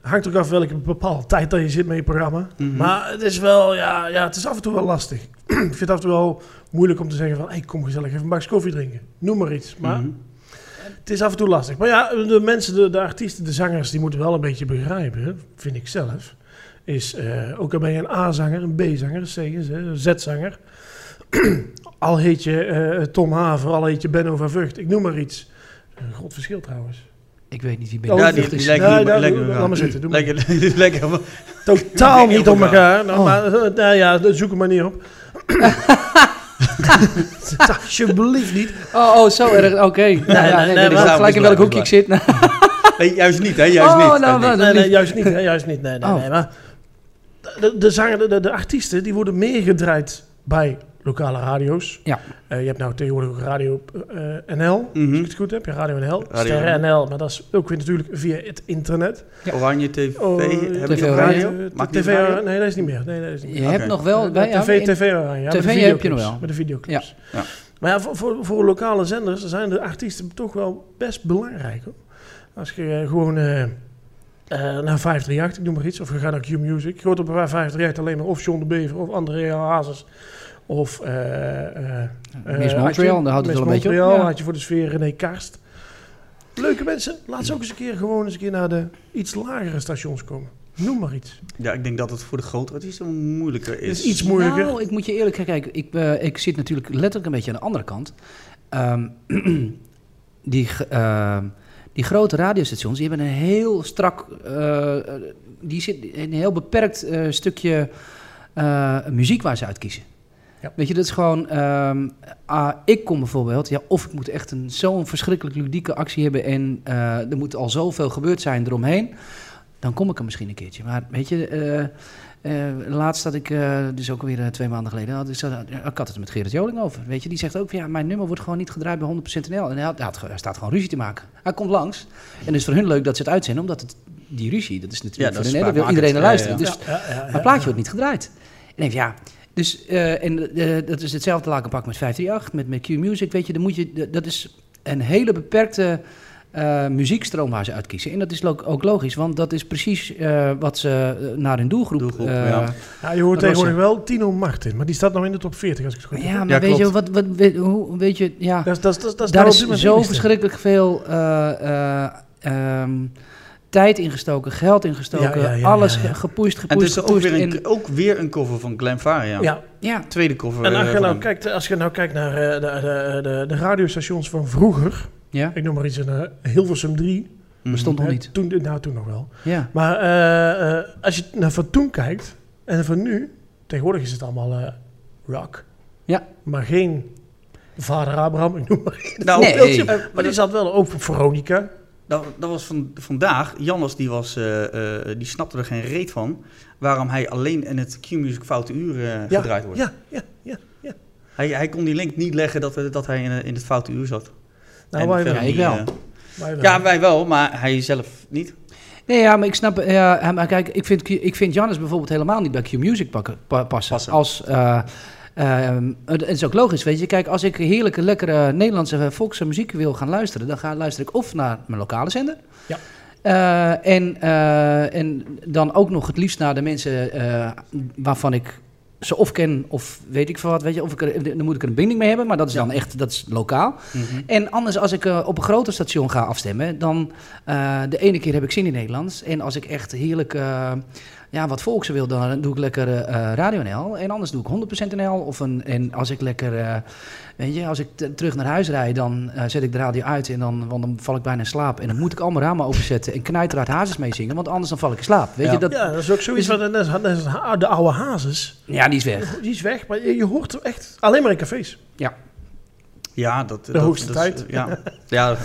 S2: Hangt ook af welke bepaalde tijd dat je zit met je programma.
S1: Mhm.
S2: Maar het is wel, ja, ja, het is af en toe wel lastig. ik vind het af en toe wel moeilijk om te zeggen van... Hey, kom gezellig even een bakje koffie drinken. Noem maar iets. Maar
S1: Mhm.
S2: het is af en toe lastig. Maar ja, de mensen, de, de artiesten, de zangers, die moeten wel een beetje begrijpen, vind ik zelf. Is eh, ook al ben je een A-zanger, een B-zanger, een C, een Z-zanger. al heet je eh, Tom Haver, al heet je Benno van Vught, ik noem maar iets. Een groot verschil trouwens.
S3: Ik weet niet wie
S2: Oh,
S3: ben
S1: Ja,
S2: dat
S1: die,
S2: is-
S1: die
S2: Nee,
S1: lijken niet-
S2: daar-
S1: lijken
S2: laat
S1: wel.
S2: maar zitten, doe maar.
S1: Lekker, lekker.
S2: Totaal
S1: Heel
S2: niet op
S1: elkaar.
S2: elkaar. Nou,
S3: Oh.
S2: maar, eh, nou ja, zoek er maar niet op. Alsjeblieft niet.
S3: Oh, oh, zo erg. Oké. Nou, ja,
S1: nee,
S3: nee,
S1: nee,
S3: weet ik
S1: daarom is
S3: gelijk in
S1: het
S3: welk hoekje ik
S1: waar.
S3: zit. Nou,
S1: Nee, juist niet, hè? Juist
S3: Oh,
S1: niet.
S3: nou,
S1: Juist niet.
S2: Nee, nee,
S3: lief.
S2: juist niet. nee, Juist niet. Nee, nee,
S3: Oh.
S2: nee. Maar de, de, zanger, de, de artiesten die worden meer gedraaid bij lokale radio's.
S3: Ja.
S2: Eh, je hebt nou tegenwoordig ook Radio eh, NL. Als
S1: Mhm.
S2: ik het goed heb, ja, Radio NL.
S1: Radio
S2: Sterren NL. Maar dat is ook weer natuurlijk via het internet.
S3: Ja.
S1: Oranje TV,
S2: Oh,
S1: hebben
S3: TV
S1: we nog
S3: Oranje.
S1: radio?
S2: Eh,
S1: Maakt
S2: TV,
S1: niet uit radio?
S2: nee, dat is niet meer. Nee, dat is niet
S3: Nou, je
S2: meer.
S1: Oké.
S3: hebt nog wel... Bij,
S2: Eh,
S3: ja,
S2: TV,
S3: in-
S2: TV, Oranje, ja,
S3: TV
S2: met de
S3: heb je nog
S2: videoclips,
S3: wel.
S2: Met de videoclips.
S1: Ja. Ja.
S2: Maar ja, voor, voor, voor lokale zenders zijn de artiesten toch wel best belangrijk. Hoor. Als je eh, gewoon eh, eh, naar 538, ik noem maar iets, of je gaat naar Q-Music. Je hoort op 538 alleen maar of John de Bever, of Andrea Hazes, of... eh eh, eh,
S3: Miss Montreal,
S2: had je-
S3: daar houdt het
S2: Miss
S3: wel een beetje op,
S2: Montreal
S3: ja.
S2: had je voor de sfeer René Karst. Leuke mensen, laat ze ook eens een keer gewoon eens een keer naar de iets lagere stations komen. Noem maar iets.
S1: Ja, ik denk dat het voor de grote artiesten moeilijker
S2: Het
S1: is.
S2: is iets moeilijker.
S3: Nou, ik moet je eerlijk zeggen, kijk, ik, eh, ik zit natuurlijk letterlijk een beetje aan de andere kant. Ehm, die, ge- ehm, die grote radiostations, die hebben een heel strak, eh, eh, die zit in een heel beperkt eh, stukje eh, muziek waar ze uit kiezen.
S2: Ja.
S3: Weet je, dat is gewoon, ehm, ah, ik kom bijvoorbeeld, ja, of ik moet echt een, zo'n verschrikkelijk ludieke actie hebben en eh, er moet al zoveel gebeurd zijn eromheen, dan kom ik er misschien een keertje. Maar weet je, eh, eh, laatst had ik, eh, dus ook alweer eh, twee maanden geleden, had, ik zat- ik had het er met Gerrit Joling over. Weet je, die zegt ook van ja, mijn nummer wordt gewoon niet gedraaid bij 100% NL. En hij, had, hij, had ge- hij staat gewoon ruzie te maken. Hij komt langs. En het is voor hun leuk dat ze het uitzenden, omdat het, die ruzie, dat is natuurlijk
S1: Ja, dat
S3: voor
S1: is
S3: hun, hè, daar wil
S1: spraakmakend.
S3: iedereen naar
S1: Ja,
S3: luisteren.
S1: ja,
S3: Dus
S2: Ja, ja, ja.
S3: mijn plaatje wordt niet gedraaid. En ik denk, ja. Dus, eh, en eh, dat is hetzelfde lakenpak met 538, met, met Q-Music. Weet je, dan moet je, dat- dat is een hele beperkte eh, muziekstroom waar ze uitkiezen. En dat is lo- ook logisch, want dat is precies eh, wat ze eh, naar hun doelgroep...
S1: Doelgroep,
S3: eh,
S1: ja.
S2: Ja, je hoort
S3: Dat was
S2: tegenwoordig wel Tino Martin, maar die staat nou in de top 40 als ik het goed
S3: Maar
S2: heb.
S3: ja, maar
S1: Ja,
S3: weet
S1: klopt.
S3: je, wat, wat, weet, hoe, weet je, ja...
S2: Dat is, dat is, dat is, dat is
S3: daar
S2: nou
S3: is
S2: op dit
S3: zo
S2: moment de eerste.
S3: verschrikkelijk veel eh, eh, ehm, tijd ingestoken, geld ingestoken,
S2: Ja, ja, ja,
S3: alles
S2: ja, ja.
S3: ge- gepusht,
S1: En het
S3: gepusht,
S1: is ook
S3: gepusht.
S1: weer, een,
S3: en-
S1: ook weer een cover van Glenfaria.
S2: Ja,
S3: ja,
S1: Tweede cover.
S2: en
S1: eh,
S2: als je,
S1: van
S2: nou
S1: hem.
S2: kijkt, als je nou kijkt naar eh, de, de, de, de radiostations van vroeger,
S3: ja,
S2: ik noem maar iets, een, eh, Hilversum 3.
S1: Mhm.
S3: bestond nog
S2: hè,
S3: niet.
S2: Toen, nou, toen nog wel.
S3: Ja.
S2: Maar eh, eh, als je naar van toen kijkt en van nu, tegenwoordig is het allemaal eh, rock.
S3: Ja.
S2: Maar geen vader Abraham, ik noem maar iets.
S1: Nou,
S3: Nee.
S1: beeldje-
S2: Eh, maar die zat wel ook voor Veronica.
S1: dat, dat was van, vandaag. Jannes, die, was, eh, eh, die snapte er geen reet van. Waarom hij alleen in het Q-music foute uur eh,
S2: Ja,
S1: gedraaid wordt.
S2: ja, ja, ja.
S1: Hij, hij kon die link niet leggen dat, eh, dat hij in, eh, in het foute uur zat.
S2: Nou,
S1: En
S2: wij
S1: verder
S2: wel.
S3: Ja, ik
S1: niet,
S3: wel.
S1: eh,
S2: Wij wel.
S1: ja, wij wel, maar hij zelf niet.
S3: Nee, ja, maar ik snap... Ja, maar kijk, ik vind, Q- ik vind Jannes bijvoorbeeld helemaal niet bij Q-Music pakken, pa- passen.
S1: Passen.
S3: Als, eh, Ehm, het is ook logisch, weet je. Kijk, als ik heerlijke, lekkere Nederlandse volksmuziek wil gaan luisteren, dan ga, luister ik of naar mijn lokale zender.
S2: Ja.
S3: Eh, en, eh, en dan ook nog het liefst naar de mensen eh, waarvan ik ze of ken of weet ik veel wat, weet je. Of ik er, dan moet ik er een binding mee hebben, maar dat is dan echt, dat is lokaal.
S2: Mhm.
S3: En anders, als ik eh, op een groter station ga afstemmen, dan eh, de ene keer heb ik zin in Nederlands. En als ik echt heerlijk eh, ja, wat volksen wil, dan doe ik lekker eh, Radio NL. En anders doe ik 100% NL. Of een, en als ik lekker, eh, weet je, als ik t- terug naar huis rijd, dan eh, zet ik de radio uit. En dan, want dan val ik bijna in slaap. En dan moet ik allemaal ramen openzetten en knijteraard hazes meezingen. Want anders dan val ik in slaap. Weet
S1: Ja.
S3: je, dat, Dus
S2: Ja, dat is ook zoiets.
S3: Is-
S2: Wat, net als- net als ha- de oude hazes,
S3: ja, die is weg.
S2: die is weg. Maar je, je hoort hem echt alleen maar in cafés.
S1: Ja, dat, de
S2: hoogste tijd.
S1: ja. dus ja,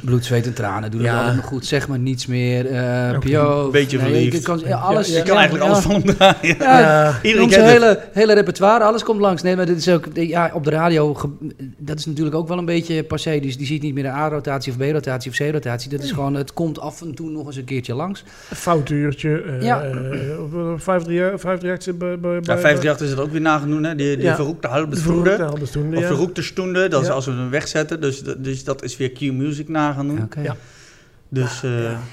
S3: Bloed, zweet en tranen doen
S2: Ja.
S3: het allemaal goed. Zeg maar niets meer. eh
S2: Ook
S3: Pio.
S1: een beetje verliefd.
S3: ik kan, ja, alles,
S1: je kan eigenlijk alles
S3: alles
S1: van hem draaien.
S3: Ja,
S2: Ja.
S1: Iedereen
S3: Ons
S1: kent het.
S3: hele, hele repertoire, alles komt langs. Nee, maar dit is ook, ja, op de radio, ge- dat is natuurlijk ook wel een beetje passé. Dus die ziet niet meer de A-rotatie of B-rotatie of C-rotatie. Dat is gewoon, het komt af en toe nog eens een keertje langs.
S2: Een Fout uurtje. eh
S3: Ja.
S2: ja. 538 zit bij... bij,
S1: Ja,
S2: bij
S1: 538 is het ook weer nagenoemd, hè? Die, die
S2: Ja.
S1: verroekte
S2: de vroegte
S1: halbestroede.
S2: hadden ze toen.
S1: Of
S2: ja.
S1: verroekte stoende, dat is
S2: Ja.
S1: als we hem wegzetten. Dus, dat- dus dat is weer Q-music nagenoemd.
S3: Oké.
S2: Ja.
S1: Dus eh,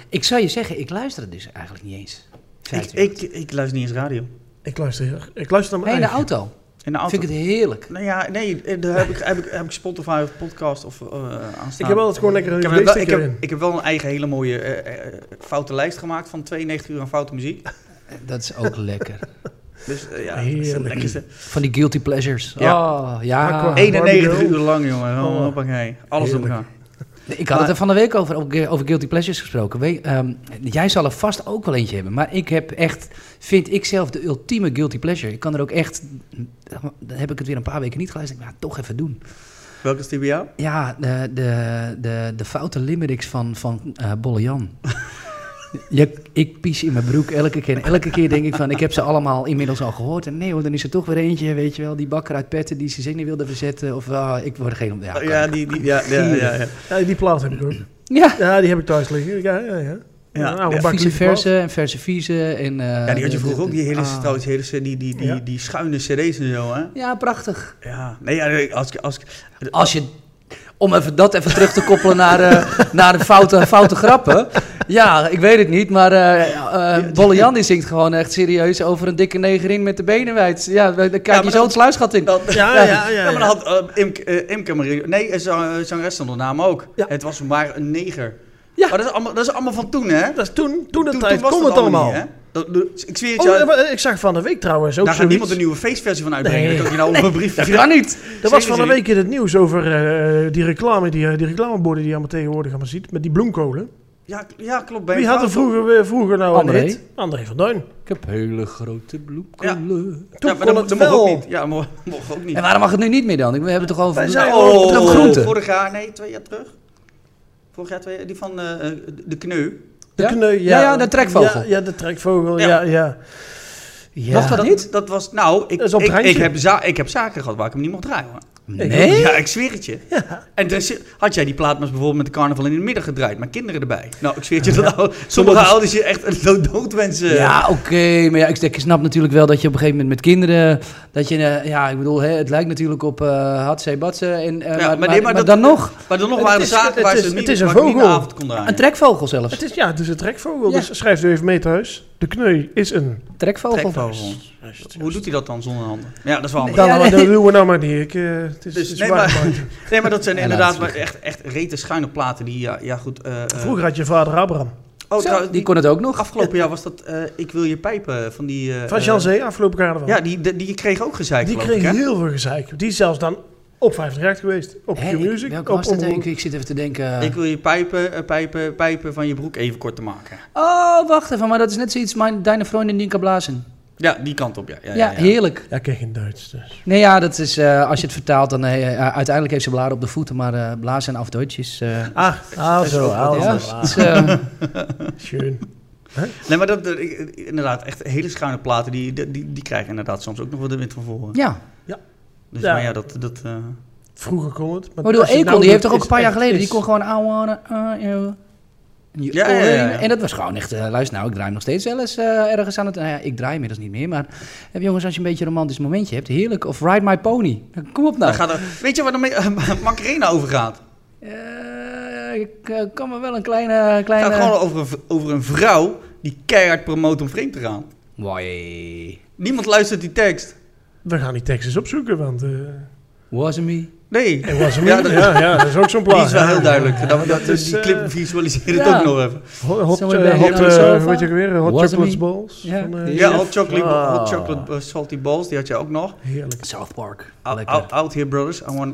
S3: Ik zou je zeggen, ik luister het dus eigenlijk niet eens.
S1: ik, ik, ik luister niet eens radio.
S2: Ik luister, heel erg- ik luister naar
S3: nee, in
S2: mijn
S3: de
S2: eigen.
S3: auto.
S1: In de auto.
S3: Vind ik het heerlijk.
S1: Nou ja, nee, eh, daar heb ik, heb ik, heb ik Spotify of podcast of eh aanstaan.
S2: Ik heb altijd gewoon lekker een
S1: Ik heb, wel,
S2: USB-stick
S1: ik,
S2: erin.
S1: heb, ik heb wel een eigen hele mooie eh, eh, foute lijst gemaakt van 92 uur aan foute muziek.
S3: Eh, Dat is ook lekker.
S1: Dus eh, ja, dat is het
S2: Heerlijk.
S1: lekkerste.
S3: Van die guilty pleasures. Oh, ja.
S2: Aqua.
S3: Nee,
S1: 91
S2: Barbie
S1: uur lang, jongen. Oh,
S2: Oh.
S1: hoppakee. Alles door
S2: Heerlijk.
S1: elkaar.
S3: Ik had het er van de week over, over over guilty pleasures gesproken. We- ehm, jij zal er vast ook wel eentje hebben. Maar ik heb echt, vind ik zelf, de ultieme guilty pleasure. Ik kan er ook echt, dan heb ik het weer een paar weken niet geluisterd. Ik denk, nou, toch even doen.
S1: Welke is die bij jou?
S3: Ja, de, de, de, de foute limericks van, van eh Bolle Jan. Je, ik pies in mijn broek elke keer. En elke keer denk ik van, ik heb ze allemaal inmiddels al gehoord. En nee hoor, dan is er toch weer eentje, weet je wel. Die bakker uit Petten die zijn zin niet wilde verzetten. Of ah, ik word er geen... Ja,
S1: Oh,
S3: kan
S1: Ja,
S3: ik-
S1: die, die, ja, ja, ja, ja.
S2: Ja, die plaat heb ik ook.
S3: ja.
S2: Ja, die heb ik thuis liggen. Ja, ja, ja.
S1: Ja,
S2: Een oude
S1: ja.
S2: bak
S3: Vieze
S2: lieve plaat.
S3: verse en verse vieze. En, eh,
S1: Ja, die had je
S3: de-
S1: vroeger
S3: de-
S1: ook, die hele,
S3: ah.
S1: trouwens, die hele cd- die, die, die,
S2: Ja.
S1: die schuine cd's en zo, hè?
S3: Ja, prachtig.
S1: Ja, nee, ja, nee, als, ik- als, ik-
S3: Als je, om even dat even terug te koppelen naar, eh, naar de foute, foute grappen. Ja, ik weet het niet, maar eh eh Bolle Jan die zingt gewoon echt serieus over een dikke negerin met de benen wijd. Ja, dan kijk
S1: maar
S3: je
S1: dat-
S3: zo het sluisgat in.
S1: dat-
S2: Ja, ja, ja. ja,
S1: Ja, maar dan had eh, Imke, eh, Imke Marie... Nee, eh, zang- eh, zangeres stond de naam ook.
S2: Ja.
S1: Het was maar een neger.
S3: Ja.
S1: Maar dat is allemaal, dat is allemaal van toen, hè?
S2: Dat is toen, toen de
S1: Toen-
S2: tijd
S1: toen was
S2: kon
S1: dat
S2: het allemaal.
S1: niet, hè? Dat- dat- ik zweer het
S2: Oh,
S1: je,
S2: maar ik zag van de week trouwens ook
S1: daar gaat niemand
S2: zoiets.
S1: een nieuwe feestversie van uitbrengen.
S2: Nee.
S1: Dat kan je nou op een brief...
S3: Dat kan niet.
S2: Er was van
S1: Zeker
S2: de week in het nieuws over eh, die reclame, die, eh, die reclameborden die je allemaal tegenwoordig allemaal ziet, met die bloemkolen.
S1: Ja, k- ja, klopt. Ben je
S2: Wie had er
S1: fout?
S2: vroeger, weer- vroeger nou
S3: André.
S2: een hit? André van Duin.
S3: Ik heb hele grote bloemkolen.
S2: Toen
S1: ja, maar
S2: kon
S1: dat,
S2: het
S1: dat mocht ook
S2: wel.
S1: niet. Ja, mo- mocht ook niet.
S3: En waarom mag het nu niet meer dan? Ik- We hebben het toch over
S2: Wij zijn-
S3: oh, het gaat om groenten.
S1: vorig jaar, nee, twee jaar terug. Vorig jaar, twee jaar, die van eh, eh, de kneu.
S2: De
S3: Ja?
S2: kneu, ja.
S3: Ja, ja, de trekvogel.
S2: Ja, ja, de trekvogel,
S1: Ja.
S2: ja, ja. ja.
S3: Mag dat niet?
S1: Dat was, nou, ik,
S2: Dat is op het
S1: ik,
S2: randje.
S1: ik, heb za- ik heb zaken gehad waar ik hem niet mocht draaien. hoor.
S3: Nee?
S1: Ja, ik zweer het je. En er is- had jij die plaat maar eens bijvoorbeeld met de carnaval in de middag gedraaid, met kinderen erbij. Nou, ik zweer het je, dat ou- sommige ouders je echt een dood, dood wensen.
S3: Ja, oké. maar ja, ik, ik snap natuurlijk wel dat je op een gegeven moment met kinderen... Dat je, eh, ja, ik bedoel, hè, het lijkt natuurlijk op eh Hatse Batse. En, eh, maar,
S1: maar nee,
S3: maar,
S1: maar
S3: maar
S1: dat-
S3: dan nog,
S1: Maar dan nog
S2: Het
S1: waren er
S2: is-
S1: zaken
S2: het
S1: waar
S2: is-
S1: ze het niet,
S2: het is een
S1: waar ik hem niet in de
S2: vogel.
S1: avond kon
S3: een
S1: draaien.
S3: trekvogel zelfs.
S2: Het is, ja, het is een trekvogel,
S3: Ja.
S2: dus schrijf het even mee thuis. De kneu is een...
S3: trekvogel.
S1: Trekvogel. Hoe doet hij dat dan zonder handen? Ja, dat is wel
S3: Nee.
S1: handig.
S2: Dan,
S3: Ja,
S2: maar dat doen we nou maar niet. Ik, eh, het is,
S1: Dus,
S2: het is
S1: nee,
S2: waar,
S1: maar-
S2: maar-
S1: Nee, maar dat zijn
S3: Ja,
S1: inderdaad
S3: laat
S1: maar
S3: het
S1: echt, echt rete schuine platen die, ja, ja goed. eh, eh,
S2: Vroeger had je vader Abraham.
S1: oh,
S3: Zo,
S1: trouwens,
S3: die
S1: die
S3: kon het ook nog.
S1: afgelopen jaar was dat eh, Ik wil je pijpen van die... eh,
S2: Van
S1: eh,
S2: Jean Zee, afgelopen carnaval.
S1: Ja, die, die, die kreeg ook gezeik,
S2: die
S1: geloof
S2: kreeg
S1: ik, hè?
S2: heel veel gezeik. Die is zelfs dan op 58 geweest. Op
S3: Hè,
S2: Q
S3: ik-
S2: Music.
S3: welke
S2: op
S3: was dat?
S2: Omroep.
S3: Ik, ik zit even te denken...
S1: Ik wil je pijpen, eh, pijpen, pijpen van je broek even kort te maken.
S3: Oh, wacht even. Maar dat is net zoiets. Mijn deine vriendin die kan blazen.
S1: Ja, die kant op, ja. Ja,
S3: Ja,
S1: ja, ja.
S3: heerlijk.
S2: Ja, ik ken geen Duits. Dus.
S3: Nee, ja, dat is... eh, als je het vertaalt, dan... eh, eh, uiteindelijk heeft ze blaren op de voeten. Maar eh, blazen en afdeutjes... eh
S2: Ah, ah
S1: Oh, is ook
S2: zo.
S1: wat
S2: Ah,
S3: ja,
S2: zo,
S3: het
S2: ah,
S3: is, eh,
S2: Schön.
S1: Nee, maar dat, eh, ik- inderdaad, echt hele schuine platen, die, die, die die krijgen inderdaad soms ook nog wel de wind van voren.
S3: ja. Nou.
S1: Dus,
S2: Ja.
S1: maar ja, dat... dat eh,
S2: Vroeger kon het.
S3: Maar ik bedoel,
S2: als je
S3: Ekon,
S2: nou
S3: die heeft
S2: doet,
S3: toch ook
S2: is
S3: een paar jaar
S2: echt
S3: geleden,
S2: iets.
S3: die kon gewoon I wanna, uh, you. En je
S1: Ja, ja, ja, ja.
S3: oren. En dat was gewoon echt, eh, luister nou, ik draai hem nog steeds wel eens eh, ergens aan het... Nou ja, ik draai inmiddels niet meer, maar eh, jongens, als je een beetje een romantisch momentje hebt, heerlijk. Of Ride My Pony. Nou, Kom op nou.
S1: Dan gaat er, weet je waar de me- Macarena over gaat?
S3: Eh, ik eh, kan me wel een kleine... kleine...
S1: Het gaat gewoon over een, v- over een vrouw die keihard promoot om vreemd te gaan.
S3: Why?
S1: Niemand luistert die tekst.
S2: We gaan die tekst eens opzoeken, want... eh
S3: Wasn't me.
S1: Nee.
S2: het was hem
S1: Ja,
S2: niet.
S1: dat-
S2: ja, ja, dat is ook zo'n plaat.
S1: Die is wel heel duidelijk.
S2: Ja,
S1: dat, dat-
S2: is,
S1: die
S2: eh,
S1: clip visualiseer het
S3: ja.
S1: ook nog even.
S2: Hot, hot,
S3: Somewhere
S2: eh,
S3: back
S2: hot,
S3: on the
S2: eh,
S3: sofa.
S2: hoe heet je ook weer? Hot
S3: Was
S2: chocolate
S3: me.
S2: balls.
S3: Ja.
S2: van, eh,
S1: Ja,
S2: Jeff.
S1: hot chocolate,
S3: Ah.
S1: hot chocolate eh, salty balls, die had je ook nog.
S2: Heerlijk.
S3: South Park.
S1: Out,
S3: Lekker.
S1: out, out here brothers, I want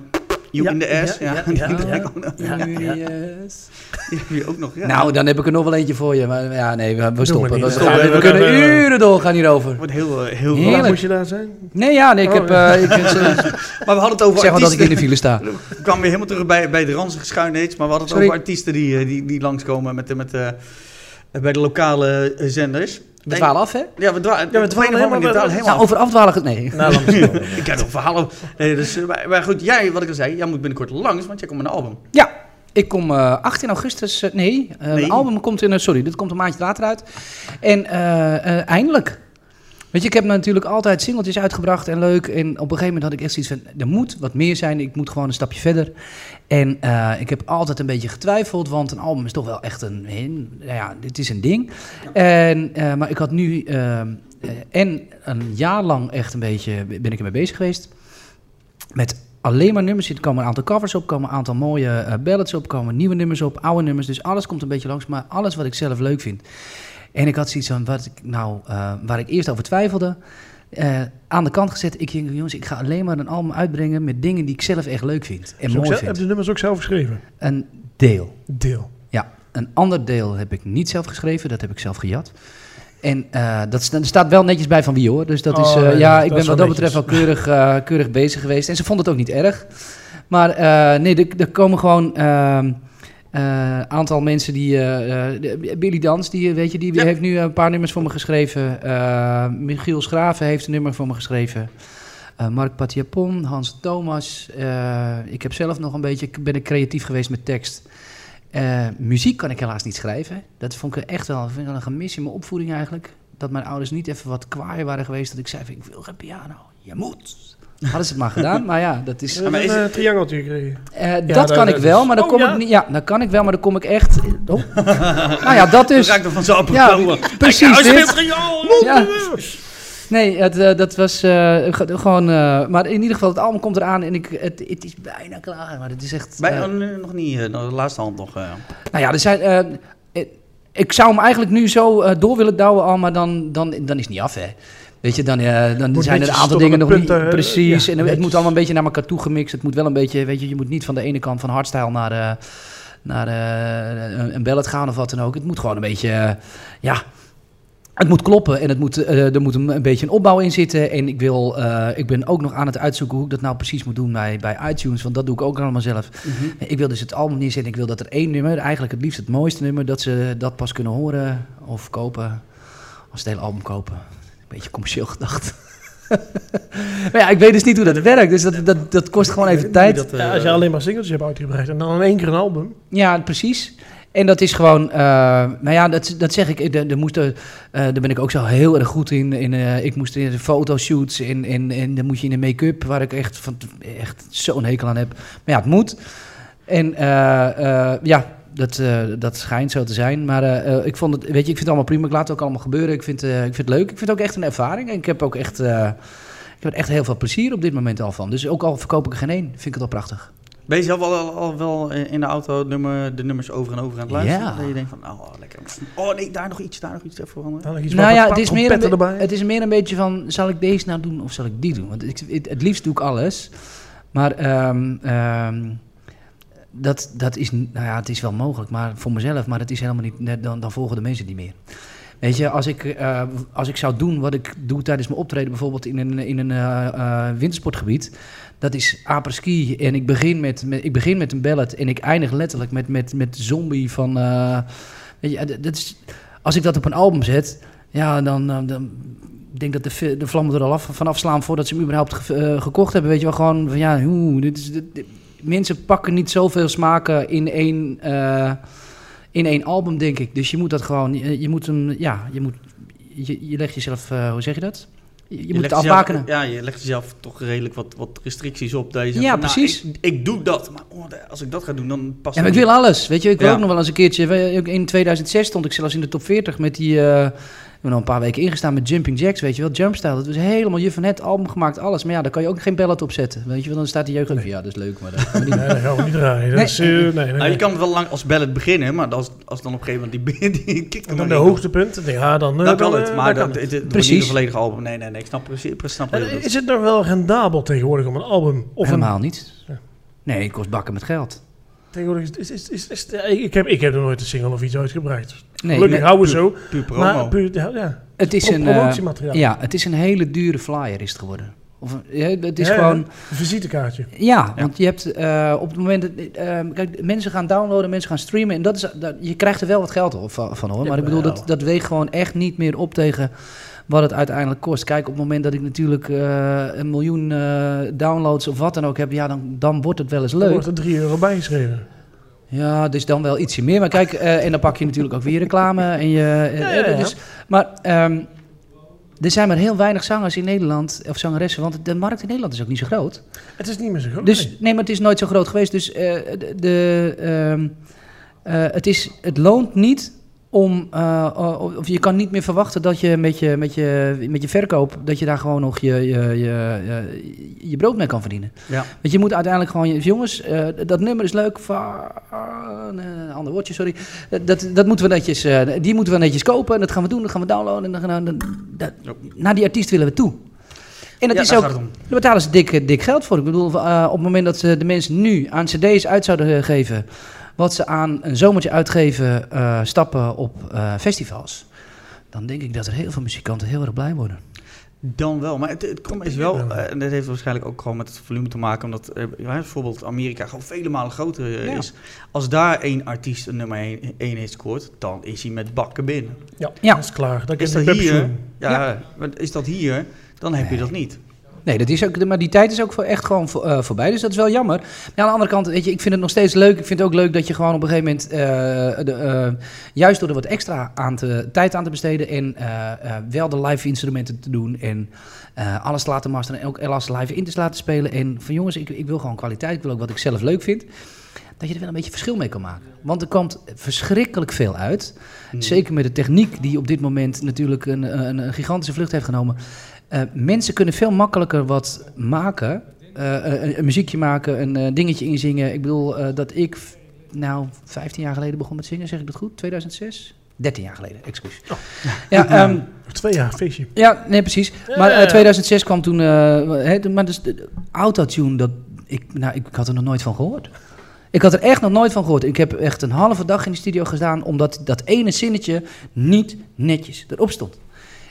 S1: you
S2: Ja,
S1: in the ass. oh, Ja,
S2: ja,
S1: die,
S2: ja,
S1: draai ik
S3: ja.
S1: ook nog.
S3: Ja, ja.
S1: Die heb je ook nog. Ja.
S3: Nou, dan heb ik er nog wel eentje voor je. Maar ja, nee, we, we stoppen.
S2: niet.
S3: We,
S2: We
S3: gaan-
S1: stoppen.
S3: we kunnen uren doorgaan hierover.
S1: wordt heel, eh, heel
S2: Hoe
S3: Heerlijk.
S2: lang moest je daar zijn?
S3: Nee, ja, nee, ik
S2: Oh,
S3: heb...
S2: ja.
S3: eh, ik, ik
S1: Maar we hadden het over
S3: zeg wel dat ik in
S1: artiesten.
S3: de file sta.
S1: Ik kwam weer helemaal terug bij, bij de ranzige schuinheads. Maar we hadden het
S3: Sorry.
S1: over artiesten die, eh, die, die langskomen met, de- met, eh, bij de lokale eh, zenders.
S3: We dwalen af, hè?
S1: Ja, we dwalen
S2: Ja, we dwalen
S1: helemaal,
S2: helemaal- we- we-
S1: helemaal
S3: Nou,
S1: af.
S3: over afdwalen... Nee.
S2: Nou,
S1: Ik heb nog verhalen. Nee, dus, eh, maar, maar goed, jij, wat ik al zei, jij moet binnenkort langs, want jij komt met een album.
S3: Ja, ik kom eh 18 augustus. eh, nee, eh,
S1: Nee.
S3: mijn album komt in. eh, sorry, dit komt een maandje later uit. En eh, eh, eindelijk. Weet je, ik heb natuurlijk altijd singeltjes uitgebracht en leuk. En op een gegeven moment had ik echt zoiets van: er moet wat meer zijn. Ik moet gewoon een stapje verder. En eh, ik heb altijd een beetje getwijfeld, want een album is toch wel echt een. een- nou ja, dit is een ding. En, eh, maar ik had nu. eh, eh, en een jaar lang echt een beetje. ben ik ermee bezig geweest. Met alleen maar nummers. Er komen een aantal covers op, komen een aantal mooie eh, ballads op, komen nieuwe nummers op, oude nummers. Dus alles komt een beetje langs, maar alles wat ik zelf leuk vind. En ik had zoiets van, wat ik nou, eh, waar ik eerst over twijfelde, eh, aan de kant gezet. Ik denk, jongens, ik ga alleen maar een album uitbrengen met dingen die ik zelf echt leuk vind en mooi
S2: Heb
S3: vind.
S2: je de nummers ook zelf geschreven?
S3: Een deel.
S2: Deel.
S3: Ja, een ander deel heb ik niet zelf geschreven, dat heb ik zelf gejat. En eh, dat sta- er staat wel netjes bij van wie hoor. Dus dat
S2: Oh,
S3: is, eh,
S2: ja,
S3: ja,
S2: dat
S3: ik
S2: is
S3: ben
S2: wel
S3: wat
S2: netjes.
S3: dat betreft wel keurig, eh, keurig bezig geweest. En ze vonden het ook niet erg. Maar eh, nee, er, er komen gewoon een aantal mensen die... eh, eh, de- Billy Dans, die, eh, weet je, die
S1: Ja.
S3: heeft nu een paar nummers voor me geschreven. Eh, Michiel Schraven heeft een nummer voor me geschreven. Eh, Mark Patiapon, Hans Thomas. eh, ik heb zelf nog een beetje, ben ik creatief geweest met tekst. Eh, muziek kan ik helaas niet schrijven. Dat vond ik echt wel, vind ik wel een gemis in mijn opvoeding eigenlijk. Dat mijn ouders niet even wat kwaaier waren geweest. Dat ik zei: van, Ik wil geen piano. Je moet. Hadden ze het maar gedaan. Maar ja, dat is.
S2: We hebben
S1: is
S2: een
S1: het-
S2: eh, triangeltje gekregen.
S3: eh, dat,
S2: dat-
S3: kan ik
S2: dat
S3: wel,
S2: is-
S3: maar dan
S2: Oh,
S3: kom
S2: ja?
S3: ik niet. Ja, dat kan ik wel, maar dan kom ik echt. Oh. nou ja, dat
S1: Dus
S3: is.
S1: raakt er van zo'n
S3: Ja,
S1: blauwe.
S3: precies. dit. Ja.
S2: nummers.
S3: Nee, het, eh, dat was eh, ge- gewoon. eh, maar in ieder geval, het album komt eraan en ik, het, het is bijna klaar. Maar het is echt.
S1: Bij,
S3: eh,
S1: oh, nee, nog niet, eh, de laatste hand nog. eh.
S3: Nou ja, er zijn, eh, eh, ik zou hem eigenlijk nu zo eh, door willen douwen al, maar dan, dan, dan is het niet af, hè. Weet je, dan, eh, dan
S2: Moet
S3: zijn er een
S2: netjes
S3: aantal
S2: tot aan
S3: dingen
S2: de
S3: nog niet...
S2: punten, eh,
S3: precies,
S2: ja,
S3: en het
S2: netjes.
S3: moet allemaal een beetje naar elkaar toe gemixt. Het moet wel een beetje, weet je, je moet niet van de ene kant van hardstyle naar, eh, naar eh, een- een ballad gaan of wat dan ook. Het moet gewoon een beetje, eh, ja... Het moet kloppen en het moet, eh, er moet een, een beetje een opbouw in zitten. En ik, wil, eh, ik ben ook nog aan het uitzoeken hoe ik dat nou precies moet doen bij, bij iTunes. Want dat doe ik ook allemaal zelf.
S1: Mhm.
S3: Ik wil dus het album neerzetten. Ik wil dat er één nummer, eigenlijk het liefst het mooiste nummer, dat ze dat pas kunnen horen of kopen. Als ze het hele album kopen. Een beetje commercieel gedacht. maar ja, ik weet dus niet hoe dat werkt. Dus dat, dat, dat kost gewoon even tijd.
S1: Dat, eh,
S2: Ja, als je alleen maar singeltjes hebt uitgebracht en dan in één keer een album.
S3: Ja, precies. En dat is gewoon, eh nou ja, dat, dat zeg ik, er, er moesten, eh, daar ben ik ook zo heel erg goed in. in eh, ik moest in de fotoshoots en, en, en dan moet je in de make-up, waar ik echt, van, echt zo'n hekel aan heb. Maar ja, het moet. En eh, eh, ja, dat, eh, dat schijnt zo te zijn. Maar eh, eh, ik vond het, weet je, ik vind het allemaal prima. Ik laat het ook allemaal gebeuren. Ik vind, eh, ik vind het leuk. Ik vind het ook echt een ervaring. En ik heb ook echt, eh, ik heb er echt heel veel plezier op dit moment al van. Dus ook al verkoop ik er geen één, vind ik het al prachtig.
S1: Ben je zelf al, al, al wel eh, in de auto het nummer, de nummers over en over aan het luisteren?
S3: Ja.
S1: Dat je denkt van, oh lekker. Oh nee, daar nog iets, daar nog iets even veranderen.
S2: Dan nog iets
S3: Nou
S2: wat-
S3: ja,
S2: wat
S3: het is, meer een,
S2: trompetten
S3: be-
S2: erbij.
S3: het is meer een beetje van, zal ik deze nou doen of zal ik die doen? Want ik, het, het liefst doe ik alles. Maar ehm, ehm, dat, dat is, n- nou ja, het is wel mogelijk maar voor mezelf, maar het is helemaal niet, net, dan, dan volgen de mensen niet meer. Weet je, als ik, eh, als ik zou doen wat ik doe tijdens mijn optreden, bijvoorbeeld in een, in een eh, eh, wintersportgebied, dat is apres-ski. En ik begin met, met, ik begin met een ballet en ik eindig letterlijk met, met, met zombie van. eh, weet je, eh, dat- dat is, als ik dat op een album zet, ja, dan. eh, dan ik denk dat de, vi- de vlammen er al af, van afslaan voordat ze hem überhaupt ge- eh, gekocht hebben. Weet je wel, gewoon van ja, oeh, dit is, dit- dit- mensen pakken niet zoveel smaken in één, eh, in één album, denk ik. Dus je moet dat gewoon, eh, je moet hem, ja, je moet, je, je legt jezelf, eh, hoe zeg je dat? Je, je moet
S1: legt
S3: het
S1: jezelf-
S3: afbakenen.
S1: Ja, je legt jezelf toch redelijk wat, wat restricties op. Dat je zegt
S3: Ja,
S1: van, nou,
S3: precies.
S1: ik, ik doe dat, maar oh, da- als ik dat ga doen, dan past
S3: Ja, maar
S1: het
S3: ik wil alles. Weet je, ik wil
S1: Ja.
S3: ook nog wel eens een keertje. we- ook In 2006 stond ik zelfs in de top 40 met die. eh ik ben al een paar weken ingestaan met Jumping Jacks, weet je wel. Jumpstyle, dat was helemaal je van het album gemaakt, alles. Maar ja, daar kan je ook geen ballad op zetten. Weet je wel, dan staat die jeugd ook. Ja, dat is leuk, maar dat gaan we niet doen.
S2: Nee, dat gaan we niet draaien. Dat
S3: Nee.
S2: is, eh, nee, nee,
S1: Nou,
S2: nee.
S1: je kan het wel lang als ballet beginnen, maar als, als dan op een gegeven moment die, die kick er
S2: En dan
S1: maar
S2: de
S1: in komt,
S2: hoogtepunt. Ja, dan, eh,
S1: Dan kan
S2: dan,
S1: het,
S2: eh,
S1: maar
S2: dan
S1: dat,
S2: kan
S1: het,
S2: het.
S1: het wordt
S3: Precies.
S1: niet een volledige album. Nee, nee, nee, ik snap precies. Ik snap heel
S2: En
S1: goed.
S2: Is het nou wel rendabel tegenwoordig om een album? Of een,
S3: Helemaal niet.
S2: Ja.
S3: Nee, het kost bakken met geld.
S2: tegenwoordig is, is, is, is, is- ik, heb, ik heb nog nooit een single of iets uitgebracht.
S3: Nee,
S2: Gelukkig
S3: nee,
S2: houden we zo.
S1: Puur promo.
S2: Maar puur, ja, ja.
S3: het is
S2: Pro-
S3: een... eh,
S2: promotiemateriaal.
S3: ja, het is een hele dure flyer is het geworden. Of, een- ja, het is
S2: Ja, ja.
S3: gewoon...
S2: Een visitekaartje.
S3: Ja, want je hebt eh, op het moment dat eh, kijk, mensen gaan downloaden, mensen gaan streamen en dat is dat, je krijgt er wel wat geld op- van, van hoor. Maar ik bedoel dat dat weegt gewoon echt niet meer op tegen wat het uiteindelijk kost. Kijk, op het moment dat ik natuurlijk eh, een miljoen eh, downloads of wat dan ook heb, ja, dan, dan wordt het wel eens
S2: Er
S3: leuk.
S2: wordt er 3 euro bijgeschreven.
S3: Ja, dus dan wel ietsje meer. Maar kijk, eh, en dan pak je natuurlijk ook weer reclame. En je, eh,
S2: Ja, ja, ja.
S3: Dus, maar ehm, er zijn maar heel weinig zangers in Nederland, of zangeressen, want de markt in Nederland is ook niet zo groot.
S2: Het is niet meer zo groot.
S3: Dus
S2: nee.
S3: nee, maar het is nooit zo groot geweest. Dus eh, de, de, ehm, eh, het, is, het loont niet om. eh, o- of, je kan niet meer verwachten dat je met je, met je, met je verkoop. dat je daar gewoon nog je, je, je, eh, je, je brood mee kan verdienen.
S1: Ja.
S3: Want je moet uiteindelijk gewoon. je- Jongens, eh, dat nummer is leuk. Van, een eh, ander woordje, sorry. Eh, Dat, dat moeten we netjes, eh, die moeten we netjes kopen. En dat gaan we doen. Dat gaan we downloaden. En dan, gaan we- dan- dat- naar die artiest willen we toe. En dat
S1: Ja,
S3: is
S1: daar
S3: ook.
S1: gaat het om.
S3: Daar betalen ze dik, dik geld voor. Ik bedoel, eh, op het moment dat ze de mensen nu aan cd's uit zouden eh, geven... wat ze aan een zomertje uitgeven, eh, stappen op eh, festivals... dan denk ik dat er heel veel muzikanten heel erg blij worden.
S1: Dan wel, maar het, het krom is wel, eh, en dat heeft waarschijnlijk ook gewoon met het volume te maken, omdat eh, ja, bijvoorbeeld Amerika gewoon vele malen groter eh,
S3: Ja.
S1: is. Als daar één artiest een nummer 1 hit scoort, dan is hij met bakken binnen.
S2: Ja,
S3: Ja.
S2: dat is klaar. Dat
S1: Is
S2: kan
S1: dat
S2: de Pepsi
S1: hier,
S2: doen.
S1: ja, want is dat hier, dan heb je dat niet.
S3: Nee, dat is ook, maar die tijd is ook voor, echt gewoon voor- eh, voorbij. Dus dat is wel jammer. Maar aan de andere kant, weet je, ik vind het nog steeds leuk. Ik vind het ook leuk dat je gewoon op een gegeven moment... eh, de, eh, juist door er wat extra aan te, tijd aan te besteden... en eh, eh, wel de live instrumenten te doen... en eh, alles te laten masteren en ook alles live in te laten spelen. En van jongens, ik, ik wil gewoon kwaliteit. Ik wil ook wat ik zelf leuk vind. Dat je er wel een beetje verschil mee kan maken. Want er komt verschrikkelijk veel uit. Zeker met de techniek die op dit moment natuurlijk een, een, een gigantische vlucht heeft genomen. Eh, mensen kunnen veel makkelijker wat maken. Eh, een, een muziekje maken, een eh, dingetje inzingen. Ik bedoel eh, dat ik, f- nou, 15 jaar geleden begon met zingen, zeg ik dat goed? 2006? 13 jaar geleden, excuus. Ja, ehm,
S2: Nog twee jaar, feestje.
S3: ja, nee, precies. Maar eh, 2006 kwam toen... eh, hè, de- maar dus de- de autotune, dat, ik, nou, ik, ik had er nog nooit van gehoord. Ik had er echt nog nooit van gehoord. Ik heb echt een halve dag in de studio gestaan... omdat dat ene zinnetje niet netjes erop stond.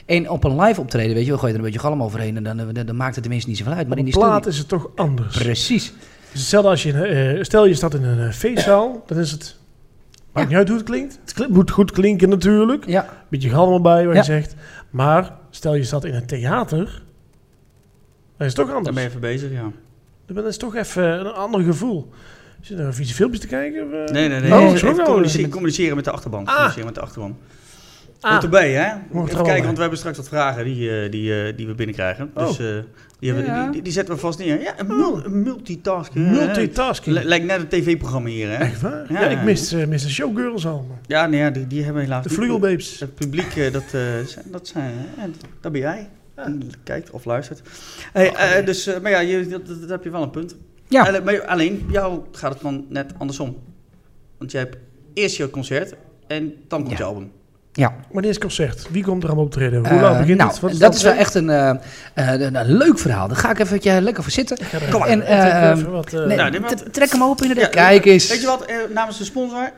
S3: En op een live optreden, weet je wel, gooi je er een beetje galm overheen... en dan, eh, dan, dan maakt het tenminste niet zoveel uit. Maar
S2: Maar in
S3: in die
S2: plaat
S3: studio...
S2: is het toch anders.
S3: Precies.
S2: Dus hetzelfde als je, eh, stel je staat in een eh, feestzaal, dan is het, maakt
S3: Ja.
S2: niet uit hoe het klinkt. Het kli- moet goed klinken natuurlijk.
S3: Ja,
S2: Beetje galm bij wat
S3: Ja.
S2: je zegt. Maar stel je staat in een theater, dan is het toch
S1: Daar
S2: anders.
S1: ben je even bezig, ja.
S2: Dan is het toch even een ander gevoel. Zit er vieze filmpjes te kijken? Of, eh?
S1: Nee, nee, nee.
S2: Oh,
S1: Even
S2: is ook wel- Ah.
S1: communiceren, communiceren met de achterban. Communiceren met de achterban. Hoort erbij, hè?
S2: er
S1: Even
S2: allemaal bij.
S1: kijken, want we hebben straks wat vragen die, eh, die, eh, die we binnenkrijgen.
S2: Oh.
S1: Dus eh, die, hebben,
S3: Ja.
S1: die, die, die zetten we vast neer. Ja, een mul- een multitasking. hè?
S2: Multitasking.
S1: L- Lijkt net een tv-programma hier, hè?
S2: Echt waar?
S1: Ja,
S2: Ja,
S1: ja.
S2: ik mis, eh, mis de showgirls al. man.
S1: Ja, nee, ja, die, die hebben helaas
S2: De
S1: niet-
S2: vlugelbeeps.
S1: Het publiek, eh, dat, eh, zijn, dat zijn... eh, en dat ben jij. En Kijkt of luistert. Hey, eh, dus, eh, maar ja, je, dat, dat- dat heb je wel een punt.
S3: ja.
S1: Alleen, maar alleen, jou gaat het dan net andersom. Want jij hebt eerst je concert en dan komt
S3: Ja.
S1: je album.
S3: ja.
S2: Wanneer is het concert? Wie komt er allemaal optreden? Hoe laat
S3: Eh,
S2: begint
S3: nou,
S2: het? Wat
S3: dat is wel
S2: tijd?
S3: echt een, eh, eh, een, een leuk verhaal. Daar ga ik even eh, lekker voor zitten.
S2: Ik ga er
S1: Kom maar.
S2: even-
S3: En, eh,
S2: even wat, eh,
S3: Nee,
S1: nou, dit maakt-
S3: t- trek hem open inderdaad.
S1: Ja,
S3: Kijk eens.
S1: Weet je wat, eh, namens de sponsor,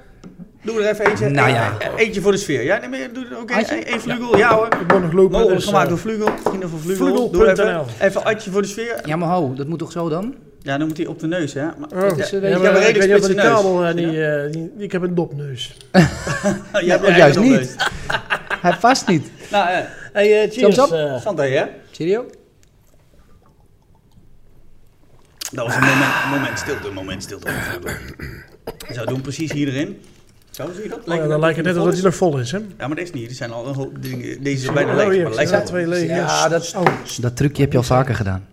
S1: doe er even eentje.
S3: Nou
S1: Eh,
S3: ja.
S1: eh, Eentje voor de sfeer. Ja, nee, maar je doet er ook
S3: Adje?
S1: één. Eén vlugel, ja hoor.
S2: Ik word nog lopen.
S1: Mogelijk
S2: dus,
S1: Oh,
S2: eh,
S1: gemaakt door Vlugel, vrienden van Vlugel.
S2: Vlugel.nl.
S1: Doe even, even Adje voor de sfeer.
S3: Ja, maar ho, dat moet toch zo dan?
S1: Ja, dan moet hij op de neus, hè. Maar,
S2: Oh.
S1: ja,
S3: is een
S1: ja,
S3: beetje-
S1: maar
S2: ik
S1: redelijk
S2: weet niet of
S1: spitse
S2: die
S1: neus.
S2: kabel, eh, die, eh, die- ik heb een dopneus.
S1: Ja, jij hebt
S3: of
S1: je
S3: juist
S1: eigen
S3: niet. Hij vast niet.
S1: opneus. Nou, eh,
S2: Hey, eh, cheers.
S3: Thumbs up.
S2: eh.
S1: Santé, hè.
S3: Cheerio.
S1: Dat was een moment, moment stilte, moment stilte. Zo doen precies hierin. Zo zie je dat?
S2: Oh ja, dan lijkt het net alsof hij nog vol is, hè?
S1: Ja, maar dat is niet. Er zijn al een hoop dingen. Deze zijn
S2: Oh,
S1: bijna leeg.
S2: hier,
S1: Maar
S2: ik
S1: lijkt
S2: zie
S1: wel.
S2: twee lege.
S4: Ja, dat is...
S2: Oh,
S3: Dat trucje heb je al vaker gedaan.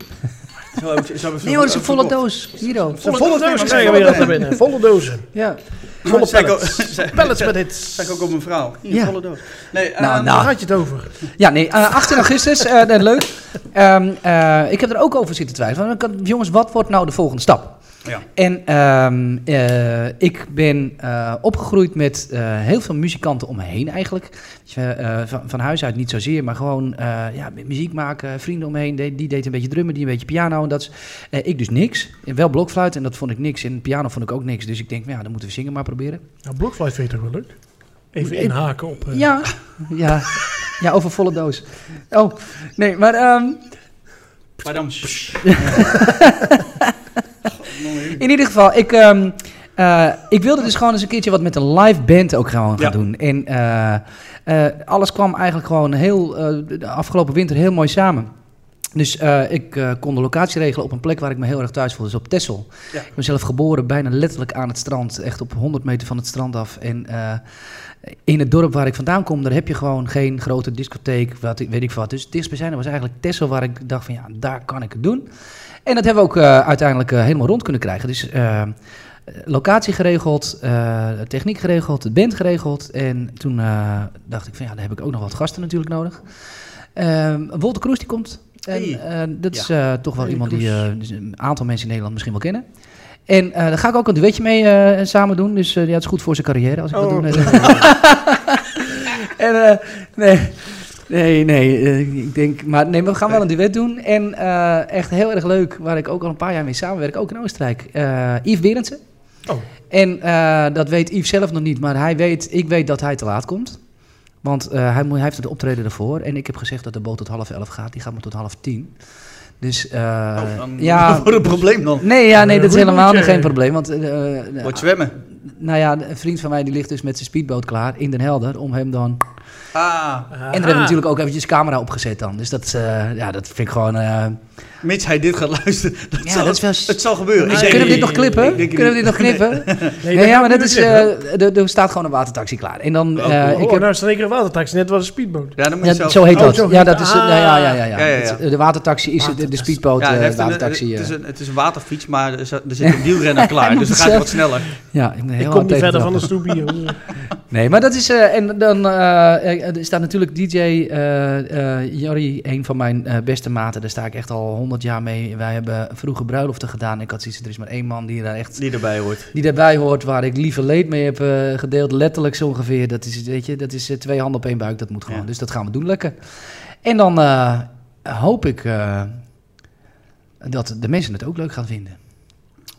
S1: Zo hebben ze- zo hebben ze-
S3: Nee hoor, dat is een volle
S1: verkocht.
S3: doos. Hiro.
S1: Volle
S2: volle
S1: doos, nee,
S2: doos
S1: maar
S2: krijgen we
S1: volle
S2: hier altijd
S1: doos.
S2: binnen. Volle dozen.
S3: Ja.
S2: Volle
S1: Zeg ik ook-
S2: pallets.
S1: zeg-
S2: Pallets met
S1: Zeg
S2: hits.
S1: ik ook op een vrouw. Hier,
S3: Ja.
S1: volle doos. Nee,
S3: Nou,
S1: eh,
S2: Daar
S3: nou.
S2: had je het over.
S3: Ja, nee, eh, 18 augustus, eh, nee, leuk. Ehm, eh, ik heb er ook over zitten twijfelen. Want ik had- jongens, wat wordt nou de volgende stap?
S1: Ja.
S3: En ehm, eh, ik ben eh, opgegroeid met eh, heel veel muzikanten om me heen eigenlijk. Weet je, eh, van, van huis uit niet zozeer, maar gewoon eh, ja, met muziek maken, vrienden omheen. Die, die deed een beetje drummen, die een beetje piano. En dat is, eh, ik dus niks. En wel blokfluit en dat vond ik niks. En piano vond ik ook niks. Dus ik denk, nou ja, dan moeten we zingen maar proberen.
S2: Nou, Blokflight vind je toch wel leuk? Even
S3: Ik-
S2: inhaken op... eh,
S3: Ja, ja, ja, over volle doos. Oh, nee, maar ehm,
S1: Maar dan...
S3: in ieder geval, ik, ehm, eh, ik wilde dus gewoon eens een keertje wat met een live band ook gewoon gaan
S1: Ja.
S3: doen. En eh, eh, alles kwam eigenlijk gewoon heel, eh, de afgelopen winter heel mooi samen. Dus eh, ik eh, kon de locatie regelen op een plek waar ik me heel erg thuis voelde, dus op Texel.
S1: Ja.
S3: Ik ben zelf geboren, bijna letterlijk aan het strand, echt op 100 meter van het strand af. En eh, in het dorp waar ik vandaan kom, daar heb je gewoon geen grote discotheek, wat, ik- weet ik wat. Dus het dichtstbijzijnde was eigenlijk Texel, waar ik dacht van ja, daar kan ik het doen. En dat hebben we ook eh, uiteindelijk eh, helemaal rond kunnen krijgen. Dus eh, locatie geregeld, eh, techniek geregeld, de band geregeld. En toen eh, dacht ik van ja, daar heb ik ook nog wat gasten natuurlijk nodig. Ehm Wolter Kroes die komt. En
S1: Hey.
S3: eh, dat is eh, toch wel
S2: Hey,
S3: iemand die
S2: Kroes.
S3: eh, dus een aantal mensen in Nederland misschien wel kennen. En eh, daar ga ik ook een duetje mee eh, samen doen. Dus eh, ja, het is goed voor zijn carrière als ik dat
S2: Oh.
S3: doe. eh. Nee, en eh, nee, nee, nee. eh, ik denk, maar nee, maar we gaan wel een duet doen. En eh, echt heel erg leuk, waar ik ook al een paar jaar mee samenwerk, ook in Oostenrijk. Eh Yves Berendsen.
S2: Oh.
S3: En eh, dat weet Yves zelf nog niet, maar hij weet, ik weet dat hij te laat komt. Want eh, hij, moet, hij heeft het optreden ervoor. En ik heb gezegd dat de boot tot half elf gaat. Die gaat maar tot half tien. Dus eh,
S1: Oh,
S3: ja,
S1: Voor een probleem dan.
S3: nee, ja, nee,
S2: Eh,
S3: dat is
S2: hoe
S3: helemaal
S2: moet je-
S3: geen probleem. Want eh, eh,
S1: Wordt zwemmen.
S3: nou ja, een vriend van mij die ligt dus met zijn speedboot klaar in Den Helder om hem dan
S1: Ah,
S2: aha.
S3: en er hebben we natuurlijk ook eventjes camera opgezet dan. Dus dat, eh, ja, dat vind ik gewoon... eh,
S1: mits hij dit gaat luisteren. Dat
S3: Ja,
S1: zal,
S3: dat is wel-
S1: Het zal gebeuren. Ik
S2: Nee.
S1: denk-
S3: kunnen we dit nog
S1: Ik
S3: knippen?
S1: denk het
S3: Kunnen we dit
S1: niet.
S3: nog knippen?
S2: Nee,
S3: Nee, ja,
S2: gaan
S3: maar
S2: we
S3: dat
S2: niet
S3: is,
S2: zeggen.
S3: eh, er, er staat gewoon een watertaxi klaar. En
S1: Oh,
S3: dan... eh,
S2: oh,
S3: ik
S2: oh,
S3: heb,
S2: nou is er één keer een watertaxi, net was een speedboot.
S1: Ja, dan moet
S3: ja,
S1: je zelf...
S3: zo heet
S2: Oh,
S3: dat.
S2: zo heet
S3: ja,
S2: dat.
S3: dat is, eh, ja, ja, ja, ja.
S1: Ah. Ja, ja, ja.
S3: Het- De watertaxi is het- de, Oh, de speedboot,
S1: Ja,
S3: ja,
S1: hij heeft een-
S3: watertaxi.
S1: het, is
S3: eh.
S1: een, het is een waterfiets, maar er zit, er zit een wielrenner klaar.
S3: moet
S1: dus het gaat
S3: zelf-
S1: wat sneller.
S3: ja, ik ben heel
S2: Ik
S3: hard
S2: kom niet
S3: tegen
S2: verder
S3: dat.
S2: van de stoepie. joh.
S3: Nee, maar dat is. eh, en dan eh, er staat natuurlijk DJ eh eh Jarry, een van mijn eh, beste maten. Daar sta ik echt al 100 jaar mee. Wij hebben vroeger bruiloften gedaan. Ik had zoiets, er is maar één man die daar echt.
S1: Die erbij hoort.
S3: Die daarbij hoort, waar ik liever leed mee heb eh, gedeeld, letterlijk zo ongeveer. Dat is, weet je, dat is eh, twee handen op één buik, dat moet gewoon.
S1: Ja.
S3: Dus dat gaan we doen, lekker. En dan eh, hoop ik eh, dat de mensen het ook leuk gaan vinden.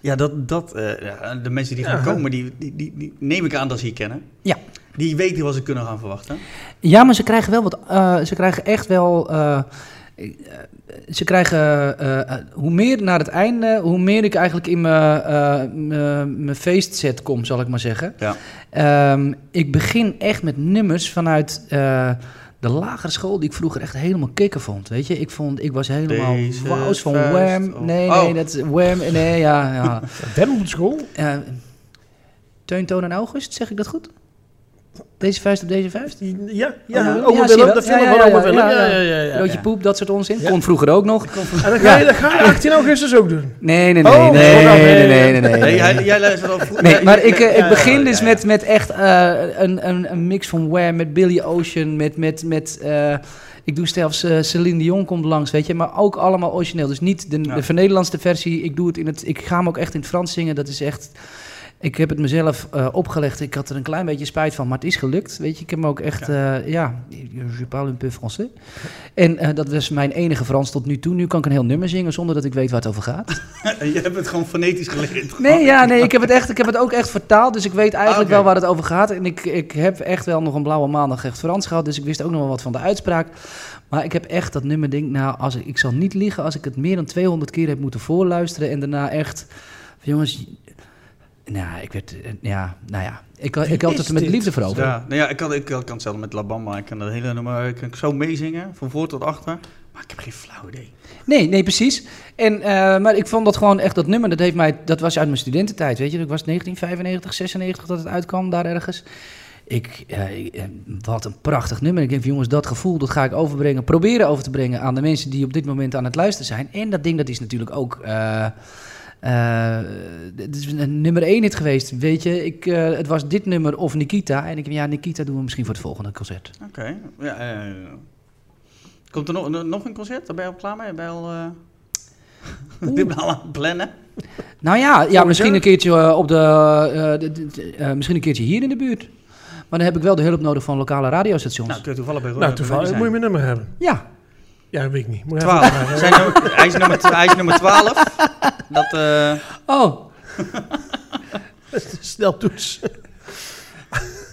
S1: Ja, dat, dat, eh, ja, de mensen die gaan
S2: Ja.
S1: komen, die, die, die, die neem ik aan dat ze je kennen.
S3: Ja. Eh,
S1: Die weten wat ze kunnen gaan verwachten.
S3: Ja, maar ze krijgen wel wat. eh, ze krijgen echt wel. eh, eh, ze krijgen. eh, eh, hoe meer naar het einde, hoe meer ik eigenlijk in mijn eh, mijn- mijn feestset kom, zal ik maar zeggen.
S1: Ja.
S3: Ehm, ik begin echt met nummers vanuit. eh, de lagere school die ik vroeger echt helemaal kikker vond, weet je. Ik vond, ik was helemaal
S1: Deze
S3: wauw van
S1: vuist
S3: Wham.
S1: op-
S3: Nee,
S1: Oh.
S3: nee, dat is Wham. Nee, ja, ja.
S2: Dem op school?
S3: Eh, Teun, Toon en August, zeg ik dat goed? Deze vuist op deze vuist?
S2: Ja,
S3: Oma
S2: ja.
S3: Willem.
S2: Oma
S3: Ja, zie
S2: Willem,
S3: je wel.
S2: de
S3: Ja,
S2: film
S3: ja,
S2: van
S3: ja,
S2: Oma
S3: ja,
S2: Willem.
S3: ja,
S2: Ja,
S3: ja.
S2: ja, ja, ja.
S3: Broodje
S1: ja.
S3: poep, dat soort onzin.
S2: Ja.
S3: Kon vroeger ook nog.
S2: En dat ga je, dat ga je 18 augustus ook doen.
S3: Nee, nee, nee,
S2: Oh,
S3: nee,
S2: oh, nou,
S3: nee,
S2: nee,
S3: nee, nee,
S2: nee.
S3: nee,
S1: Nee,
S3: nee.
S1: jij- jij luistert al vroeg.
S3: eh, Nee, maar
S1: jij-
S3: ik, eh,
S1: ja,
S3: ik begin
S1: ja,
S3: dus
S1: ja,
S3: met, met echt eh, een, een, een mix van Wham, met Billy Ocean, met, met, met eh, ik doe zelfs eh, Celine Dion komt langs, weet je, maar ook allemaal origineel. Dus niet de,
S1: Ja.
S3: de vernederlandste versie, ik doe het in het, ik ga hem ook echt in het Frans zingen, dat is echt, ik heb het mezelf eh, opgelegd, ik had er een klein beetje spijt van, maar het is gelukt, weet je, ik heb hem ook echt, ja, ja je parle un peu français. En eh, dat was mijn enige Frans tot nu toe, nu kan ik een heel nummer zingen zonder dat ik weet waar het over gaat.
S1: Je hebt het gewoon fonetisch geleerd.
S3: Nee, ja, nee, ik heb, het echt, ik heb het ook echt vertaald, dus ik weet eigenlijk
S1: Ah, oké.
S3: wel waar het over gaat. En ik, ik heb echt wel nog een blauwe maandag echt Frans gehad, dus ik wist ook nog wel wat van de uitspraak. Maar ik heb echt dat nummer, denk nou, als ik, ik zal niet liegen als ik het meer dan 200 keer heb moeten voorluisteren en daarna echt, van, jongens, nou, ik werd, eh, ja, nou ja, ik, ik had
S2: is
S3: het er met
S2: dit?
S3: liefde voor over.
S1: Ja, nou ja, ik kan, ik kan het zelf met La Bamba. Ik kan dat hele nummer ik kan ik zo meezingen, van voor tot achter. Maar Maar ik heb geen flauw idee.
S3: Nee, nee, precies. En, eh, maar ik vond dat gewoon echt, dat nummer, dat, heeft mij, dat was uit mijn studententijd, weet je. Ik was 1995, 96 dat het uitkwam, daar ergens. Ik, eh, ik- eh, wat een prachtig nummer. Ik denk van, jongens, dat gevoel, dat ga ik overbrengen, proberen over te brengen aan de mensen die op dit moment aan het luisteren zijn. En dat ding, dat is natuurlijk ook, eh, eh, het is een nummer één hit geweest, weet je. Ik, eh, het was dit nummer of Nikita. En ik denk, ja, Nikita doen we misschien voor het volgende concert.
S1: Oké. Ja, eh, Komt er nog, nog een concert? Daar ben je al klaar mee? Ben je al, eh, dit ben je al aan het plannen?
S3: Nou ja, ja
S1: jaar?
S3: misschien een keertje eh, op de, eh, de- de- de- eh, misschien een keertje hier in de buurt. Maar dan heb ik wel de hulp nodig van lokale radiostations.
S1: Nou, kun je toevallig bij Roda
S2: Nou, toevallig moet je mijn nummer hebben.
S3: ja,
S2: Ja, dat weet ik niet. Moet je even vragen.
S1: 12. We zijn nummer- hij, is nummer, twa- hij is nummer 12. Dat, eh,
S3: oh,
S2: Snel toets.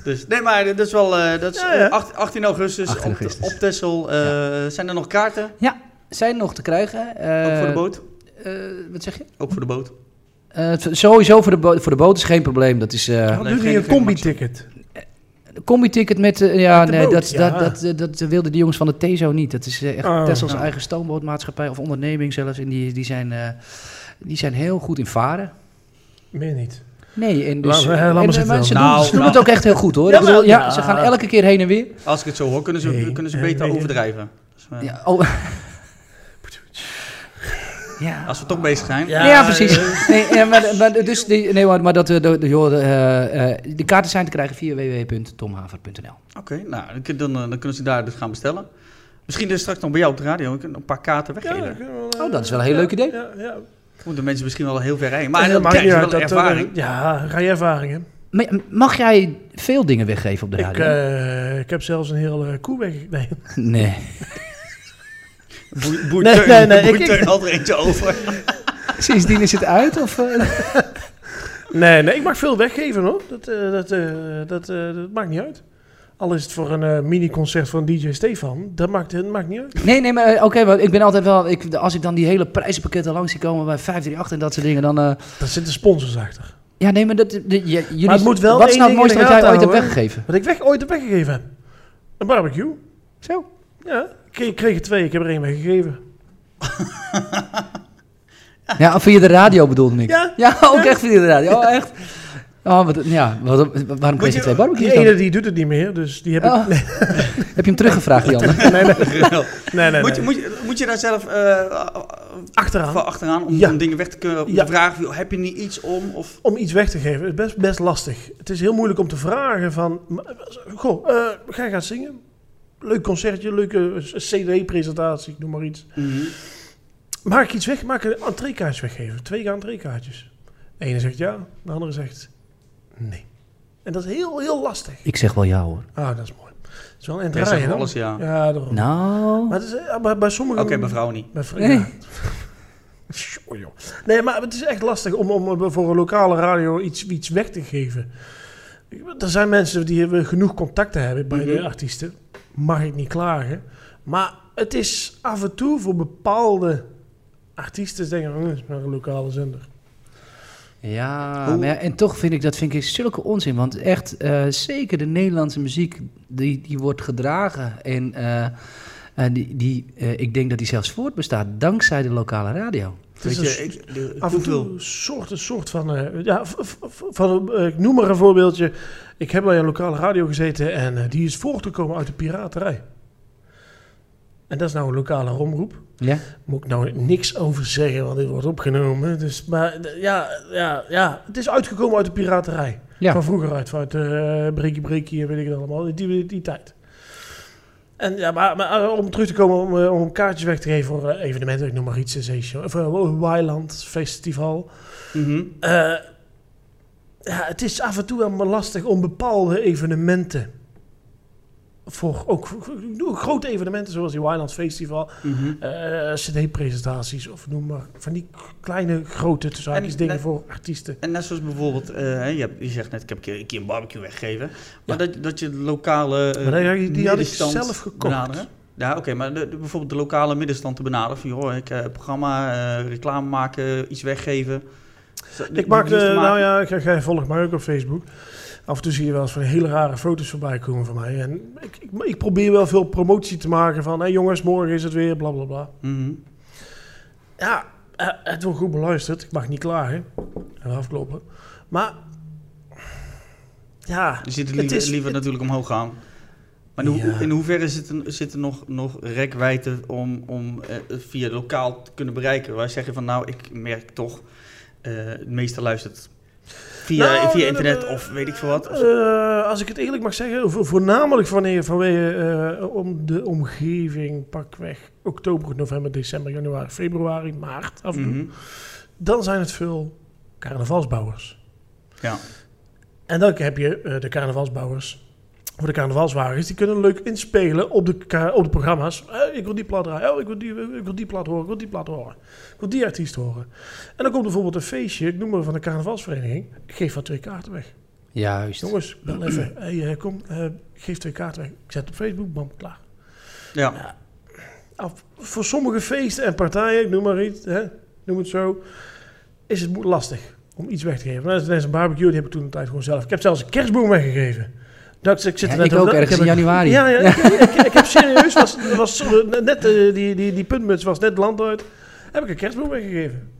S1: dus, nee, maar dat is wel eh, dat is,
S2: Ja, ja.
S1: eh, 8 18 augustus,
S3: 18
S1: op-
S3: augustus.
S1: Op, Texel. Eh, Zijn er nog kaarten?
S3: zijn nog te krijgen. eh,
S1: Ook voor de boot?
S3: eh, wat zeg je?
S1: Ook voor de boot.
S3: Eh, het- sowieso voor de, bo- voor de boot is geen probleem. Dat is eh,
S2: Wat
S1: nee,
S2: doe
S1: geen-
S2: je een
S1: geen
S2: combi-ticket?
S3: een combi-ticket met... eh, ja,
S2: Met de
S3: nee,
S2: boot,
S3: dat,
S2: ja.
S3: Dat, dat, eh, dat wilden de jongens van de TESO niet. Dat is eh, echt
S2: Oh.
S3: Tessels
S1: Oh.
S3: eigen stoombootmaatschappij of onderneming zelfs. En die, die, zijn, eh, die zijn heel goed in varen.
S2: Meer niet.
S3: Nee, en dus...
S2: Laat maar- laat maar
S3: en, eh,
S2: zitten
S3: maar
S2: dan.
S3: ze,
S1: Nou,
S3: doen, ze doen
S1: nou.
S3: het ook echt heel goed, hoor.
S2: Ja,
S3: Ik bedoel,
S2: wel,
S3: ja,
S2: ja.
S3: ze gaan elke keer heen en weer.
S1: Als ik het zo hoor, kunnen ze,
S2: Nee, eh,
S1: kunnen ze
S2: nee,
S1: beter
S2: nee,
S1: overdrijven. Dus, eh,
S3: Ja, oh. ja.
S1: Als we toch bezig zijn.
S3: Ja, precies. Nee, ja, maar, maar, dus die, nee, maar, maar dat, eh, de, de, joh, de, eh, eh, de kaarten zijn te krijgen via www.tomhaver.nl.
S1: Oké, nou, dan, kun- dan, eh, dan kunnen ze daar dus gaan bestellen. Misschien dus straks nog bij jou op de radio. We kunnen een paar kaarten
S2: Ja,
S1: weggeven.
S2: dat kunnen we wel, eh,
S3: Oh, dat is wel een heel leuk idee.
S2: Ja, ja.
S1: Moeten mensen misschien wel heel ver rijden. Maar
S2: dat
S1: dan
S2: maakt
S1: krijg
S2: niet
S1: je
S2: uit.
S1: wel
S2: Dat, eh,
S1: ervaring.
S2: ja, ga je ervaringen.
S3: Maar, eh, Mag jij veel dingen weggeven op de
S2: Ik,
S3: radio?
S2: eh, ik heb zelfs een hele koe weg. Nee.
S3: nee.
S1: Boer, boer
S2: Nee,
S1: Teun-
S2: nee, nee,
S1: boer
S2: ik- ik-
S1: Teun had er eentje over.
S3: Sindsdien is het uit? Of, eh?
S2: nee, nee, ik mag veel weggeven hoor. Dat, eh, dat, eh, dat, eh, dat maakt niet uit. Al is het voor een eh, mini-concert van DJ Stefan, dat maakt, dat maakt niet uit.
S3: Nee, nee, maar eh, oké, maar ik ben altijd wel... Ik, als ik dan die hele prijzenpakketten langs zie komen bij 538 en dat soort dingen, dan... eh,
S2: Daar zitten sponsors achter.
S3: ja, nee, maar dat, de, je- jullie,
S2: het moet wel
S3: wat is
S2: één ding
S3: nou het
S2: in
S3: mooiste
S2: de
S3: wat jij
S2: gaten
S3: ooit hebt
S2: houden, hè?
S3: weggegeven?
S2: Wat ik weg, ooit heb weggegeven heb. Een barbecue.
S3: Zo.
S2: Ja, ik kreeg- ik kreeg er twee, ik heb er één weggegeven.
S3: Ja, via de radio bedoelde ik.
S2: Ja?
S3: ook echt via de radio. Oh, echt. Oh, wat, ja, wat, waarom kreeg je
S1: je-
S3: twee
S2: Die
S3: barbecues dan?
S2: ene die doet het niet meer, dus die heb ik...
S3: Oh. Heb je hem teruggevraagd, Jan?
S2: Nee, nee, nee. nee, nee.
S1: Moet, je, moet, je, moet je daar zelf eh,
S2: Achteraan.
S1: van achteraan om,
S2: Ja.
S1: om dingen weg te kunnen? Om
S2: Ja.
S1: te vragen, joh, heb je niet iets om? Of,
S2: om iets weg te geven is best, best lastig. Het is heel moeilijk om te vragen van... maar, Goh, eh, ga je gaan zingen? Leuk concertje, leuke eh, cd-presentatie, ik noem maar iets.
S1: Mhm.
S2: Maak iets weg, maak een entreekaartje weggeven. Twee entreekaartjes. De ene zegt ja, de andere zegt nee. En dat is heel, heel lastig.
S3: Ik zeg wel ja, hoor.
S2: Ah, dat is mooi. Het is wel een
S1: Ja, zeg
S2: entree,
S1: maar
S2: hè?
S1: alles, ja.
S2: Ja, daarom.
S3: Nou,
S2: Maar het is, eh, bij, bij
S1: Oké,
S2: sommigen...
S1: bij vrouwen niet.
S2: Bij vri-
S3: Nee.
S2: ja. Sjoe, joh. Nee, maar het is echt lastig om, om voor een lokale radio iets, iets weg te geven. Er zijn mensen die hebben genoeg contacten hebben bij
S1: Mhm.
S2: de artiesten. Mag ik niet klagen. Maar het is af en toe voor bepaalde artiesten denken, "Hm, is maar een lokale zender.
S3: ja,
S1: Hoe-
S3: maar ja, en toch vind ik dat vind ik zulke onzin. Want echt, eh, zeker de Nederlandse muziek, die, die wordt gedragen. En eh, eh, die, die, eh, ik denk dat die zelfs voortbestaat dankzij de lokale radio.
S2: Het is
S1: Weet
S2: een
S1: je, ik, de-
S2: af en toe
S1: hoeveel-
S2: een soort, een soort van... eh, ja, v- v- v- van eh, ik noem maar een voorbeeldje. Ik heb bij een lokale radio gezeten en eh, die is voortgekomen uit de piraterij. En dat is nou een lokale omroep.
S3: Ja?
S2: Moet ik nou niks over zeggen, want dit wordt opgenomen. Dus, maar d- ja, ja, ja, het is uitgekomen uit de piraterij.
S3: Ja.
S2: Van vroeger uit, vanuit eh Breaky Breaky en weet ik het allemaal. Die, die, die tijd. En ja, maar, maar eh, om terug te komen, om, eh, om kaartjes weg te geven voor eh, evenementen, ik noem maar iets, Sensation. Of uh, Wyland Festival.
S1: Mhm.
S2: Eh, ja, het is af en toe wel maar lastig om bepaalde evenementen. Voor ook, ook grote evenementen zoals die Wyland Festival
S1: Mhm.
S2: eh, CD-presentaties of noem maar. Van die k- kleine, grote zaakjes
S1: En-
S2: dingen
S1: en-
S2: voor artiesten.
S1: En net zoals bijvoorbeeld, eh, hè, je, hebt, je zegt net, ik heb een keer, een keer een barbecue weggegeven. Maar dat, dat je de lokale eh,
S2: Maar die- die had ik
S1: middenstand
S2: zelf gekocht.
S1: benaderen. Ja, oké, maar de, de- bijvoorbeeld de lokale middenstand te benaderen. Van, joh, ik heb programma, eh, reclame maken, iets weggeven. Zo, die-
S2: Ik
S1: die
S2: maak, eh,
S1: diensten maken.
S2: nou ja, ik ga, ga volg mij ook op Facebook. Af en toe zie je wel eens van hele rare foto's voorbij komen van mij. En ik, ik, ik probeer wel veel promotie te maken van... hé jongens, morgen is het weer, bla bla bla.
S1: Mhm.
S2: Ja, eh, het wordt goed beluisterd. Ik mag niet klagen. En afkloppen. Maar... Ja,
S1: Je ziet het
S2: Het
S1: liever,
S2: is-
S1: liever natuurlijk omhoog gaan. Maar in, hoe-
S2: Ja.
S1: in hoeverre zit er, zit er nog, nog rekwijte om, om eh, via lokaal te kunnen bereiken? Waar zeg je van, nou, ik merk toch, eh, het meeste luistert via,
S2: Nou,
S1: via
S2: eh,
S1: internet
S2: eh,
S1: of weet ik veel wat. Of-
S2: eh, als ik het eerlijk mag zeggen, vo- voornamelijk wanneer, vanwege eh, om de omgeving, pakweg oktober, november, december, januari, februari, maart, af en toe,
S1: Mhm.
S2: dan zijn het veel carnavalsbouwers.
S1: Ja.
S2: En dan heb je eh, de carnavalsbouwers. Voor de carnavalswagens, die kunnen leuk inspelen op de, ka- op de programma's. Eh, ik wil die plaat draaien, oh, ik, wil die, ik wil die plaat horen, ik wil die plaat horen. Ik wil die artiest horen. En dan komt bijvoorbeeld een feestje, ik noem maar van de carnavalsvereniging. Ik geef wat twee kaarten weg.
S3: Juist.
S2: Jongens, bel even. Hey, eh, kom, eh, geef twee kaarten weg. Ik zet op Facebook, bam, klaar. eh,
S1: ja.
S2: Af- voor sommige feesten en partijen, ik noem maar iets, hè, noem het zo, is het mo- lastig om iets weg te geven. Nou, dat is net een barbecue, die heb ik toen een tijd gewoon zelf. Ik heb zelfs een kerstboom weggegeven. Dat, ik- ik zit
S3: Ja,
S2: er net
S3: ik ook
S2: over na-
S3: ergens in
S2: heb een-
S3: januari.
S2: Ja, ja, Ik, ik, ik heb serieus, was, was eh, net, eh, die, die, die puntmuts was net land uit, heb ik een kerstboom weggegeven.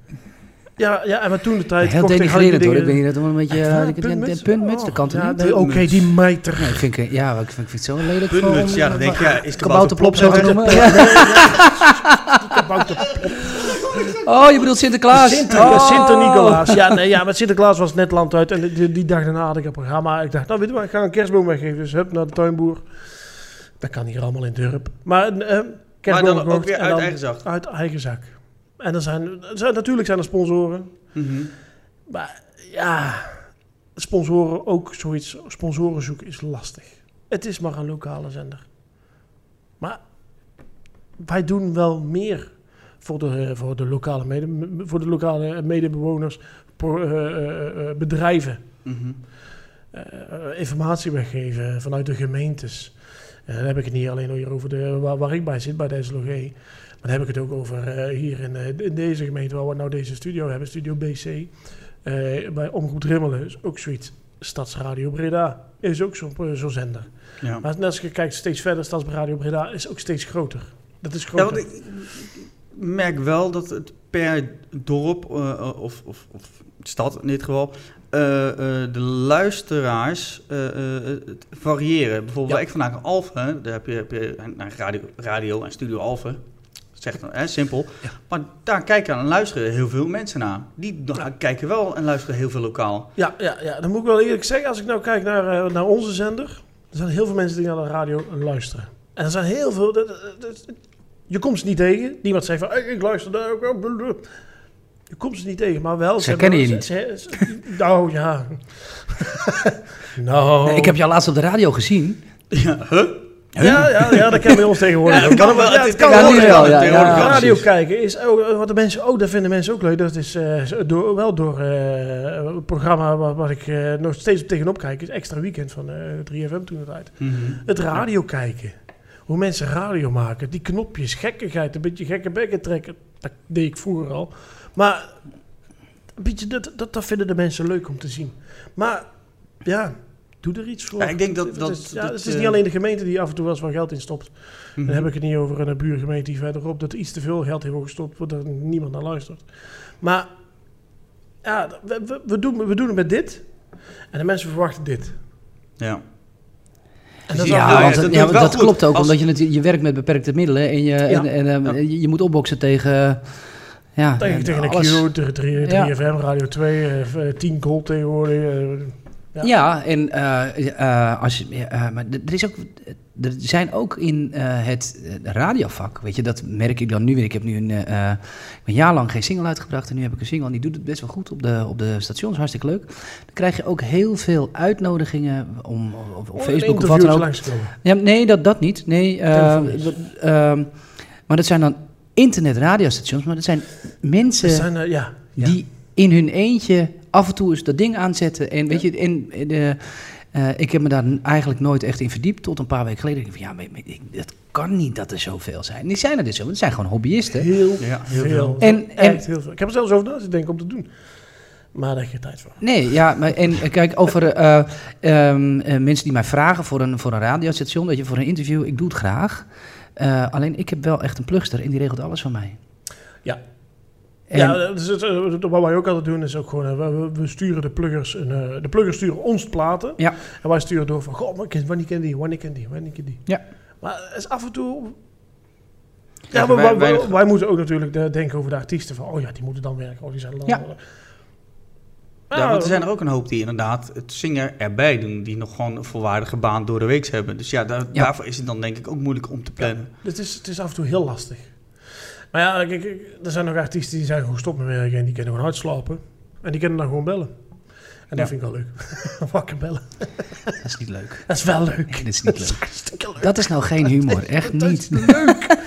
S2: Ja, ja, en maar toen de tijd...
S3: Heel
S2: kocht ik- had ik die
S3: denigrerend hoor. Ik
S2: dingen-
S3: ben hier net om een beetje...
S2: Echt
S3: eh,
S2: waar,
S3: ik- een- een
S2: puntmuts?
S3: Puntmuts,
S2: Oh,
S3: dat kan toch
S2: ja,
S3: niet? oh,
S2: nee, Oké,
S1: Puntmuts.
S2: die mijter.
S3: Nee, vind ik, ja, ik vind, ik vind het zo lelijk. eh,
S1: Puntmuts,
S3: van-
S1: ja, dan denk ik, ja,
S2: eh,
S1: is
S3: Kabouterplop zo te
S1: kabouterplop-
S3: noemen. Ja. Oh, je bedoelt Sinterklaas.
S2: Sinter,
S3: oh.
S2: Sinter-Nicolaas. Ja, nee, ja, met Sinterklaas was het net land uit. En die, die dag daarna had ik een programma. Ik dacht, nou weet je wat, ik ga een kerstboom weggeven. Dus hup, naar de tuinboer. Dat kan hier allemaal in Durp. Maar, eh, kerstboom
S1: Maar dan
S2: gekocht
S1: ook weer
S2: en
S1: uit
S2: dan
S1: eigen zak.
S2: Uit eigen zak. En dan zijn, zijn, natuurlijk zijn er sponsoren.
S1: Mhm.
S2: Maar ja, sponsoren ook zoiets. Sponsoren zoeken is lastig. Het is maar een lokale zender. Maar wij doen wel meer voor de, voor de, lokale, mede, voor de lokale medebewoners, pro- eh, eh, eh, bedrijven.
S1: Mhm.
S2: eh, eh, informatie weggeven vanuit de gemeentes. Eh, dan heb ik het niet alleen hier over de, waar, waar ik bij zit, bij deze logie. Maar dan heb ik het ook over eh, hier in, eh, in deze gemeente waar we nou deze studio hebben, Studio BC. Eh, bij Omroep Drimmelen is ook zoiets. Stadsradio Breda is ook zo'n eh, zo'n zender.
S1: ja.
S2: Maar net als je kijkt steeds verder, Stadsradio Breda is ook steeds groter. Dat is
S1: Ja, want
S2: groter.
S1: ik merk wel dat het per dorp eh, of, of, of stad in dit geval. eh, eh, de luisteraars eh, eh, het variëren. Bijvoorbeeld,
S2: Ja.
S1: waar ik vandaag in Alphen, daar heb je, heb je een- een radio, radio en studio Alphen. Zegt dan, hè, simpel. Maar daar kijken en luisteren heel veel mensen naar. Die da- kijken wel en luisteren heel veel lokaal.
S2: Ja, ja, ja, dan moet ik wel eerlijk zeggen, als ik nou kijk naar, eh, naar onze zender, er zijn heel veel mensen die naar de radio luisteren. En er zijn heel veel. dat- dat- dat- je komt ze niet tegen. Niemand zegt van "Hey, ik luister daar ook. wel, blah, blah." Je komt ze niet tegen, maar wel.
S3: Ze kennen je
S2: ze-
S3: niet.
S2: ze- ze- nou ja. nou.
S3: Nee, ik heb jou laatst op de radio gezien.
S1: Ja, huh?
S2: ja, ja, ja, dat kennen we ons tegenwoordig.
S1: Ja,
S2: ook.
S1: kan
S2: Maar
S1: wel.
S2: ja,
S1: Het
S2: het
S1: kan
S2: kan
S3: ja,
S1: wel.
S3: nu wel, ja,
S1: Tegenwoordig
S3: ja.
S1: wel,
S2: radio
S1: precies.
S2: kijken is ook, wat de mensen ook, dat vinden mensen ook leuk. Dat is eh, zo- door, wel door eh, een programma wat, wat ik eh, nog steeds tegenop kijk, is extra weekend van eh 3FM toen het uit.
S1: Mhm.
S2: Het radio kijken. Hoe mensen radio maken, die knopjes, gekkigheid, een beetje gekke bekken trekken. Dat deed ik vroeger al. Maar een beetje, dat, dat, dat vinden de mensen leuk om te zien. Maar ja, doe er iets voor.
S1: Ja, ik denk dat-
S2: Het
S1: dat-
S2: is, ja,
S1: dat,
S2: het is
S1: eh,
S2: niet alleen de gemeente die af en toe wel eens wat geld in stopt.
S1: Mhm.
S2: Dan heb ik het niet over een buurgemeente die verderop dat iets te veel geld heeft gestopt, waar er niemand naar luistert. Maar ja, we, we, we doen, we doen het met dit. En de mensen verwachten dit.
S1: Ja.
S2: En dat is
S1: Ja,
S2: wel-
S3: Ja, want,
S1: dat
S3: dat,
S1: doet
S3: ja, want
S1: wel
S3: dat
S1: goed.
S3: klopt ook,
S1: Als-
S3: omdat je, natuurlijk- je werkt met beperkte middelen en je, en, en, ehm,
S1: Ja.
S3: je, je moet opboksen tegen, eh, ja,
S2: Tegen,
S3: en
S2: tegen de
S3: alles.
S2: Q, tegen 3,
S3: Ja.
S2: fm Radio 2, eh, eh, 10 Gold tegenwoordig. eh,
S3: Ja.
S2: Ja.
S3: en eh, eh, als je, ja, eh, maar d- er, is ook, er zijn ook in eh, het eh, radiovak, weet je, dat merk ik dan nu weer. Ik heb nu een, eh, eh, ik heb een jaar lang geen single uitgebracht en nu heb ik een single en die doet het best wel goed op de, op de stations, hartstikke leuk. Dan krijg je ook heel veel uitnodigingen om, op, op Facebook of wat dan
S2: interviews
S3: ook.
S2: langskomen.
S3: Ja, nee, dat, dat niet. Nee, eh,
S2: Telefonisch.
S3: dat, ehm, maar dat zijn dan internetradiostations. Maar dat zijn mensen
S2: Ze zijn, eh, ja, ja.
S3: die in hun eentje af en toe eens dat ding aanzetten. En weet je, en, en, eh, eh, ik heb me daar eigenlijk nooit echt in verdiept. Tot een paar weken geleden. Ik dacht van, ja, maar, maar ik, dat kan niet dat er zoveel zijn. Die zijn er dus zo. Het zijn gewoon hobbyisten.
S2: heel
S1: Ja, heel
S2: veel.
S1: veel.
S3: En-
S2: En,
S3: en-
S2: heel veel. Ik heb er zelfs over na te denken om te doen. Maar daar heb je tijd voor.
S3: Nee, ja, maar en eh, kijk, over eh, ehm, eh, mensen die mij vragen voor een, voor een radiostation, weet je, voor een interview, ik doe het graag. Eh, alleen ik heb wel echt een plugster en die regelt alles van mij.
S2: Ja.
S3: En,
S2: ja, dat is het, eh, wat wij ook altijd doen is ook gewoon, eh, we- we, we sturen de pluggers, een, eh, de pluggers sturen ons platen.
S3: Ja.
S2: En wij sturen door van, goh, maar ik ken- wanneer ken die, wanneer ken die, wanneer ken die.
S3: Ja.
S2: Maar het is af en toe... Ja,
S1: Krijgen
S2: maar
S1: wij
S2: wij, wij,
S1: weinig-
S2: wij moeten ook natuurlijk eh, denken over de artiesten van, oh ja, die moeten dan werken, oh die zijn dan...
S3: Ja. Nou,
S1: Ja, want er zijn
S2: er
S1: er ook een hoop die inderdaad het zingen erbij doen. Die nog gewoon een volwaardige baan door de week hebben. Dus ja, daar-
S3: Ja.
S1: daarvoor is het dan denk ik ook moeilijk om te plannen.
S2: Het is, het is af en toe heel lastig. Maar ja, kijk, kijk, er zijn nog artiesten die zijn gewoon stop met werken en die kunnen gewoon uitslapen. En die kunnen dan gewoon bellen. En
S1: Ja.
S2: dat vind ik wel leuk. Wakker bellen.
S3: Dat is niet leuk.
S2: Dat is wel leuk.
S3: Nee, dat is niet leuk.
S2: Hartstikke leuk.
S3: Dat is nou geen humor, echt
S2: Dat
S3: niet.
S2: is leuk.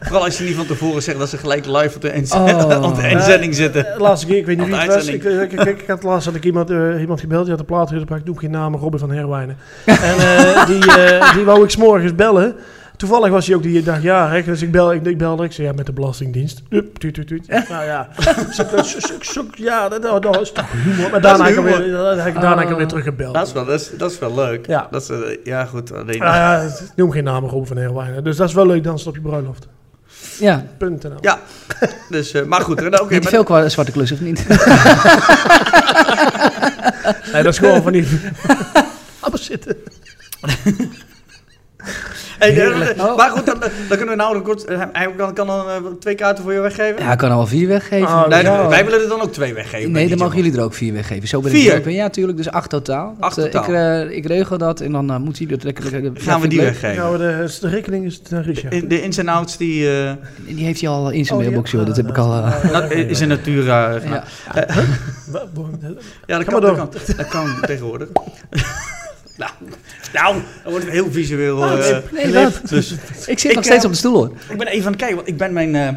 S1: Vooral als je niet van tevoren zegt dat ze gelijk live op de, inz-
S3: Oh.
S1: op de inzending zitten.
S2: Eh, Laatste keer, ik weet niet
S1: Op de
S2: wie het was. Ik,
S1: uitzending.
S2: ik, ik, ik had laatst had ik iemand, eh, iemand gebeld, die had een plaat gebracht. Ik noem geen naam, Robin van Herwijnen. En eh, die, eh, die wou ik s'morgens bellen. Toevallig was hij ook die dag jarig, dus ik bel, ik, ik belde. Ik zei, ja, met de Belastingdienst. Hup, tuut, tuut, tuut. Nou ja, zoek, zoek, zoek, zoek, ja, dat, dat, dat is toch humor. Maar
S1: Dat
S2: daarna
S1: is
S2: heb ik hem
S1: humor.
S2: weer, daarna heb ik- daarna heb ik hem weer
S3: Ah.
S2: teruggebeld.
S1: Dat is wel, dat is, dat is wel leuk.
S2: Ja.
S1: dat is, eh, ja goed. Alleen,
S3: Ah.
S2: Nou ja, noem geen namen, Robin van Herwijnen. Dus dat is wel leuk, dansen op je bruiloft.
S3: Ja,
S2: Punt NL.
S1: Ja, dus, eh, maar goed. eh, nou, oké,
S3: niet te
S1: maar-
S3: veel qua zwarte klus of niet?
S2: Nee, dat is gewoon van die... Appels zitten.
S1: Hey, eh,
S3: Heerlijk. Oh.
S1: eh, maar goed, dan, dan kunnen we nou een kort. eh, Hij kan, kan dan eh, twee kaarten voor je weggeven.
S3: Ja, ik kan er al vier weggeven.
S2: Ah,
S1: Nee,
S2: ja.
S1: Wij willen er dan ook twee weggeven. bij
S3: nee,
S1: die
S3: dan mogen
S1: jongen.
S3: jullie er ook vier weggeven. Zo ben ik
S1: Vier?
S3: er ook bij. Ja, tuurlijk, dus acht totaal.
S1: Acht
S3: Dat, eh,
S1: totaal.
S3: Ik, eh, ik regel dat en dan eh, moet hij dat lekker... lekker- ja,
S1: Gaan we
S3: vind
S1: die
S3: ik leuk.
S1: weggeven?
S2: Nou, de, de rekening is naar Richard.
S1: In- de ins en outs die. eh,
S3: Die heeft hij al in zijn
S2: Oh, ja.
S3: mailbox, joh. Dat
S2: Ah,
S3: heb ik al... eh,
S1: dat is een natura. eh,
S3: ja.
S2: Wa- wa-
S1: Ja, dat
S2: Ga
S1: kan,
S2: maar
S1: dat kan, dat kan tegenwoordig. nou, nou, dan wordt het heel visueel.
S2: Oh,
S1: eh,
S3: Nee, wat?
S1: dus,
S3: Ik zit
S1: Ik,
S3: nog steeds
S1: eh,
S3: op de stoel, hoor.
S1: ik ben even aan het kijken, want ik ben mijn eh,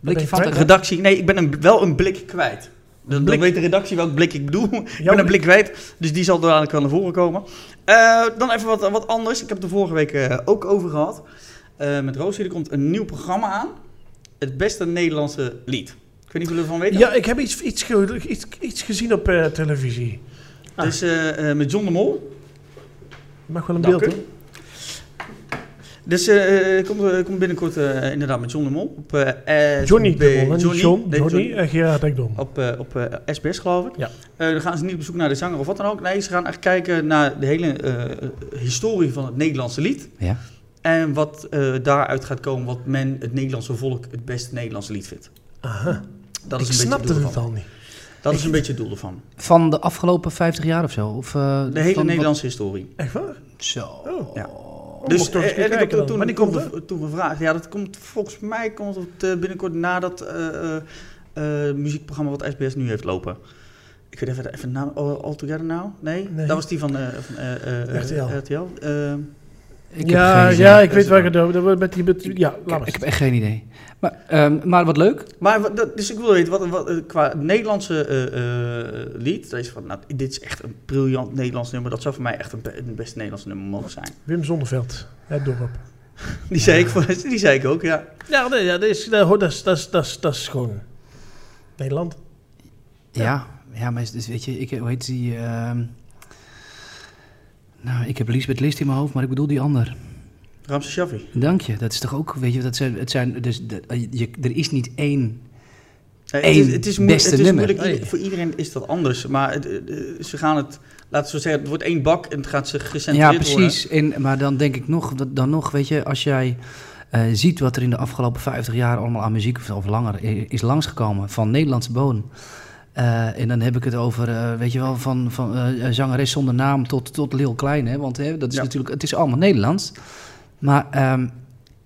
S3: Blikje van
S2: kwijt?
S1: redactie... Nee, ik ben een, wel een blik kwijt. Dan, dan
S2: Blik.
S1: weet de redactie welk blik ik bedoel. ik ben
S2: blik.
S1: een blik kwijt, dus die zal dadelijk wel naar voren komen. Eh, dan even wat, wat anders. Ik heb het er vorige week eh, ook over gehad. Eh, met Roosje, er komt een nieuw programma aan. Het beste Nederlandse lied. Ik weet niet of jullie ervan weten.
S2: Ja, ik heb iets, iets, ge- iets, iets gezien op eh, televisie. ah.
S1: Dus eh, eh, met John de Mol.
S2: Mag wel een
S1: Dank
S2: beeld,
S1: u.
S2: hè?
S1: Dus eh eh, komt, eh, komt binnenkort eh, inderdaad met John de Mol. Op, eh, SB
S2: Johnny de Mol, hè?
S1: Johnny,
S2: Niet John,
S1: nee,
S2: Johnny Oh,
S1: Johnny.
S2: en Gerard Ekdom.
S1: Op, eh, op eh, SBS geloof ik.
S2: Ja.
S1: Eh, dan gaan ze niet op zoek naar de zanger of wat dan ook. Nee, ze gaan echt kijken naar de hele eh, historie van het Nederlandse lied.
S3: Ja.
S1: En wat eh, daaruit gaat komen wat men het Nederlandse volk het beste Nederlandse lied vindt.
S2: Aha,
S1: Dat is een
S2: ik
S1: beetje het
S2: snapte
S1: doel
S2: het
S1: ervan.
S2: al niet.
S1: Dat is een beetje het doel ervan.
S3: Van de afgelopen 50 jaar of zo? Of, eh,
S1: De hele
S3: van wat-
S1: Nederlandse historie.
S2: Echt waar?
S3: Zo.
S2: Oh.
S1: Ja.
S2: Oh,
S1: Dus
S2: mocht ik toch
S1: eh,
S2: eens
S1: eh,
S2: gaan
S1: ik heb
S2: kijken
S1: toen,
S2: dan.
S1: toen,
S2: Wanneer komt het?
S1: toen, toen gevraagd. Ja, dat komt volgens mij komt het eh, binnenkort nadat dat eh, eh, eh, muziekprogramma wat SBS nu heeft lopen. Ik weet even, even de naam. All, All Together Now? Nee?
S2: Nee.
S1: Dat was die van, eh, van eh, eh, eh,
S2: RTL.
S1: RTL. Eh,
S3: Ik heb
S2: ja,
S3: geen idee.
S2: ja,
S3: ik,
S2: ik weet waar ik het over dat we met die met die- Ja, laat maar.
S3: ik heb echt geen idee. Maar, ehm, maar wat leuk.
S1: maar wat- dat- dus ik wil weten, wat, wat, eh, qua Nederlandse eh, eh, lied, dat is van, nou, dit is echt een briljant Nederlands nummer. Dat zou voor mij echt een, be- een beste Nederlands nummer mogen zijn.
S2: Wim Zonneveld, het dorp.
S1: Die, zei, ik, voor- die zei ik ook, ja.
S2: Ja, nee, ja, dat, is, dat, hoort- dat, is, dat, is, dat, is, dat is gewoon Nederland.
S3: Ja. ja. maar is- dus weet je, ik, hoe heet die... ehm, nou, ik heb Lisbeth List in mijn hoofd, maar ik bedoel die ander.
S1: Ramse Shaffi.
S3: Dank je, dat is toch ook, weet je, dat zijn, het zijn, dus, dat- je, er is niet één.
S1: Nee,
S3: Eén
S1: Eh, het is, het is, moe-
S3: beste
S1: het is
S3: nummer. Oh,
S1: moeilijk. Ieder-
S2: Nee.
S1: Voor iedereen is dat anders. Maar het, eh, eh, ze gaan het, laten we zeggen, het wordt één bak en het gaat ze
S3: Ja,
S1: gecentreerd worden.
S3: precies. En, maar dan denk ik nog, dat- dan nog, weet je, als jij eh, ziet wat er in de afgelopen 50 jaar allemaal aan muziek, of, of langer, i- is langsgekomen van Nederlandse bodem. Eh, en dan heb ik het over, eh, weet je wel, van, van eh, zangeres zonder naam tot, tot Lil Klein. Hè? Want hè, dat is
S1: Ja.
S3: natuurlijk, het is allemaal Nederlands. Maar ehm,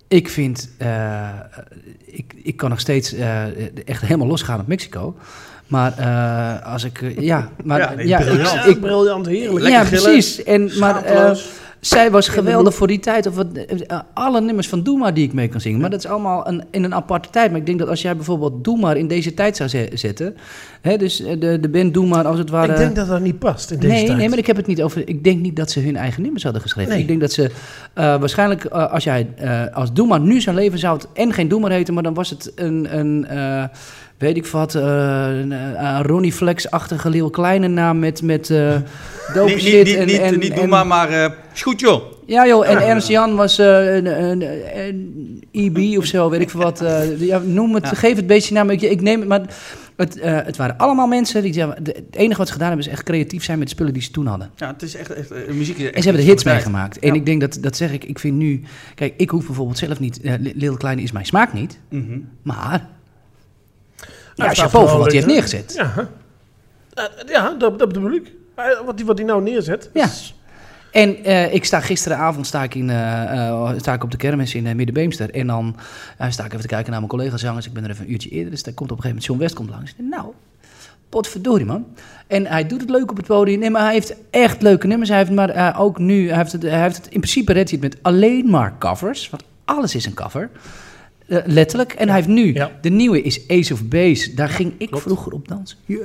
S3: ik vind, eh, ik, ik kan nog steeds eh, echt helemaal losgaan op Mexico. Maar eh, als ik, eh, ja, maar
S1: Ja,
S3: ja,
S1: nee,
S3: ik-
S1: briljant.
S3: ik,
S2: briljant, heerlijk.
S1: Lekker
S3: ja,
S1: gillen,
S3: precies. En, maar eh,
S1: Schaamteloos.
S3: zij was geweldig voor die tijd. Of wat, eh, alle nummers van Doe Maar die ik mee kan zingen. Maar dat is allemaal een, in een aparte tijd. Maar ik denk dat als jij bijvoorbeeld Doe Maar in deze tijd zou ze- zetten. Hè, dus eh, de, de band Doe Maar als het ware.
S2: Ik denk dat dat niet past in deze
S3: nee,
S2: tijd.
S3: nee, maar ik heb het niet over. Ik denk niet dat ze hun eigen nummers hadden geschreven.
S2: Nee.
S3: Ik denk dat ze eh, waarschijnlijk eh, als jij eh, als Doe Maar nu zou leven zou het en geen Doe Maar heten. Maar dan was het een. een eh, weet ik wat, eh, een eh, Ronnie Flex-achtige Leeuw Kleine naam met, met eh dope
S4: Niet,
S3: shit
S4: niet, niet,
S3: en-
S4: niet,
S3: en-
S4: niet
S3: en-
S4: doen maar, maar eh, is goed joh.
S3: Ja joh, en Ernst Jan was eh, een, een, een EB of zo, weet ik veel wat. eh, ja, noem het,
S4: Ja.
S3: geef het beestje naam. Ik, ik neem het, maar het, eh, het waren allemaal mensen. Die, zeiden, de- het enige wat ze gedaan hebben is echt creatief zijn met de spullen die ze toen hadden.
S4: Ja, het is echt, echt eh, muziek. Is echt
S3: En ze hebben er
S4: iets
S3: hits
S4: voor de tijd.
S3: meegemaakt. En ik denk dat, dat zeg ik, ik vind nu... Kijk, ik hoef bijvoorbeeld zelf niet... eh, Lil Lil Kleine is mijn smaak niet,
S1: Mhm.
S3: maar...
S2: Hij
S3: Ja,
S2: Nou, staat
S3: chapeau voor
S2: wel
S3: wat hij heeft
S2: leuk,
S3: neergezet.
S2: Ja, Eh, ja dat, dat bedoel ik. Eh, Wat hij wat die nou neerzet.
S3: Ja.
S2: is-
S3: En eh, ik sta gisteravond sta ik in, eh, eh, sta ik op de kermis in eh, Middenbeemster. En dan eh, sta ik even te kijken naar mijn collega-zangers. Ik ben er even een uurtje eerder. Dus daar komt op een gegeven moment John West komt langs. Ik denk, Nou, potverdorie man. En hij doet het leuk op het podium. Nee, maar hij heeft echt leuke nummers. Hij heeft maar eh, ook nu, hij heeft, het, hij heeft het in principe redt hij het met alleen maar covers. Want alles is een cover. Eh, letterlijk. En hij heeft nu,
S2: Ja.
S3: de nieuwe is Ace of Base. Daar ging ik
S2: klopt.
S3: vroeger op dansen. Ja.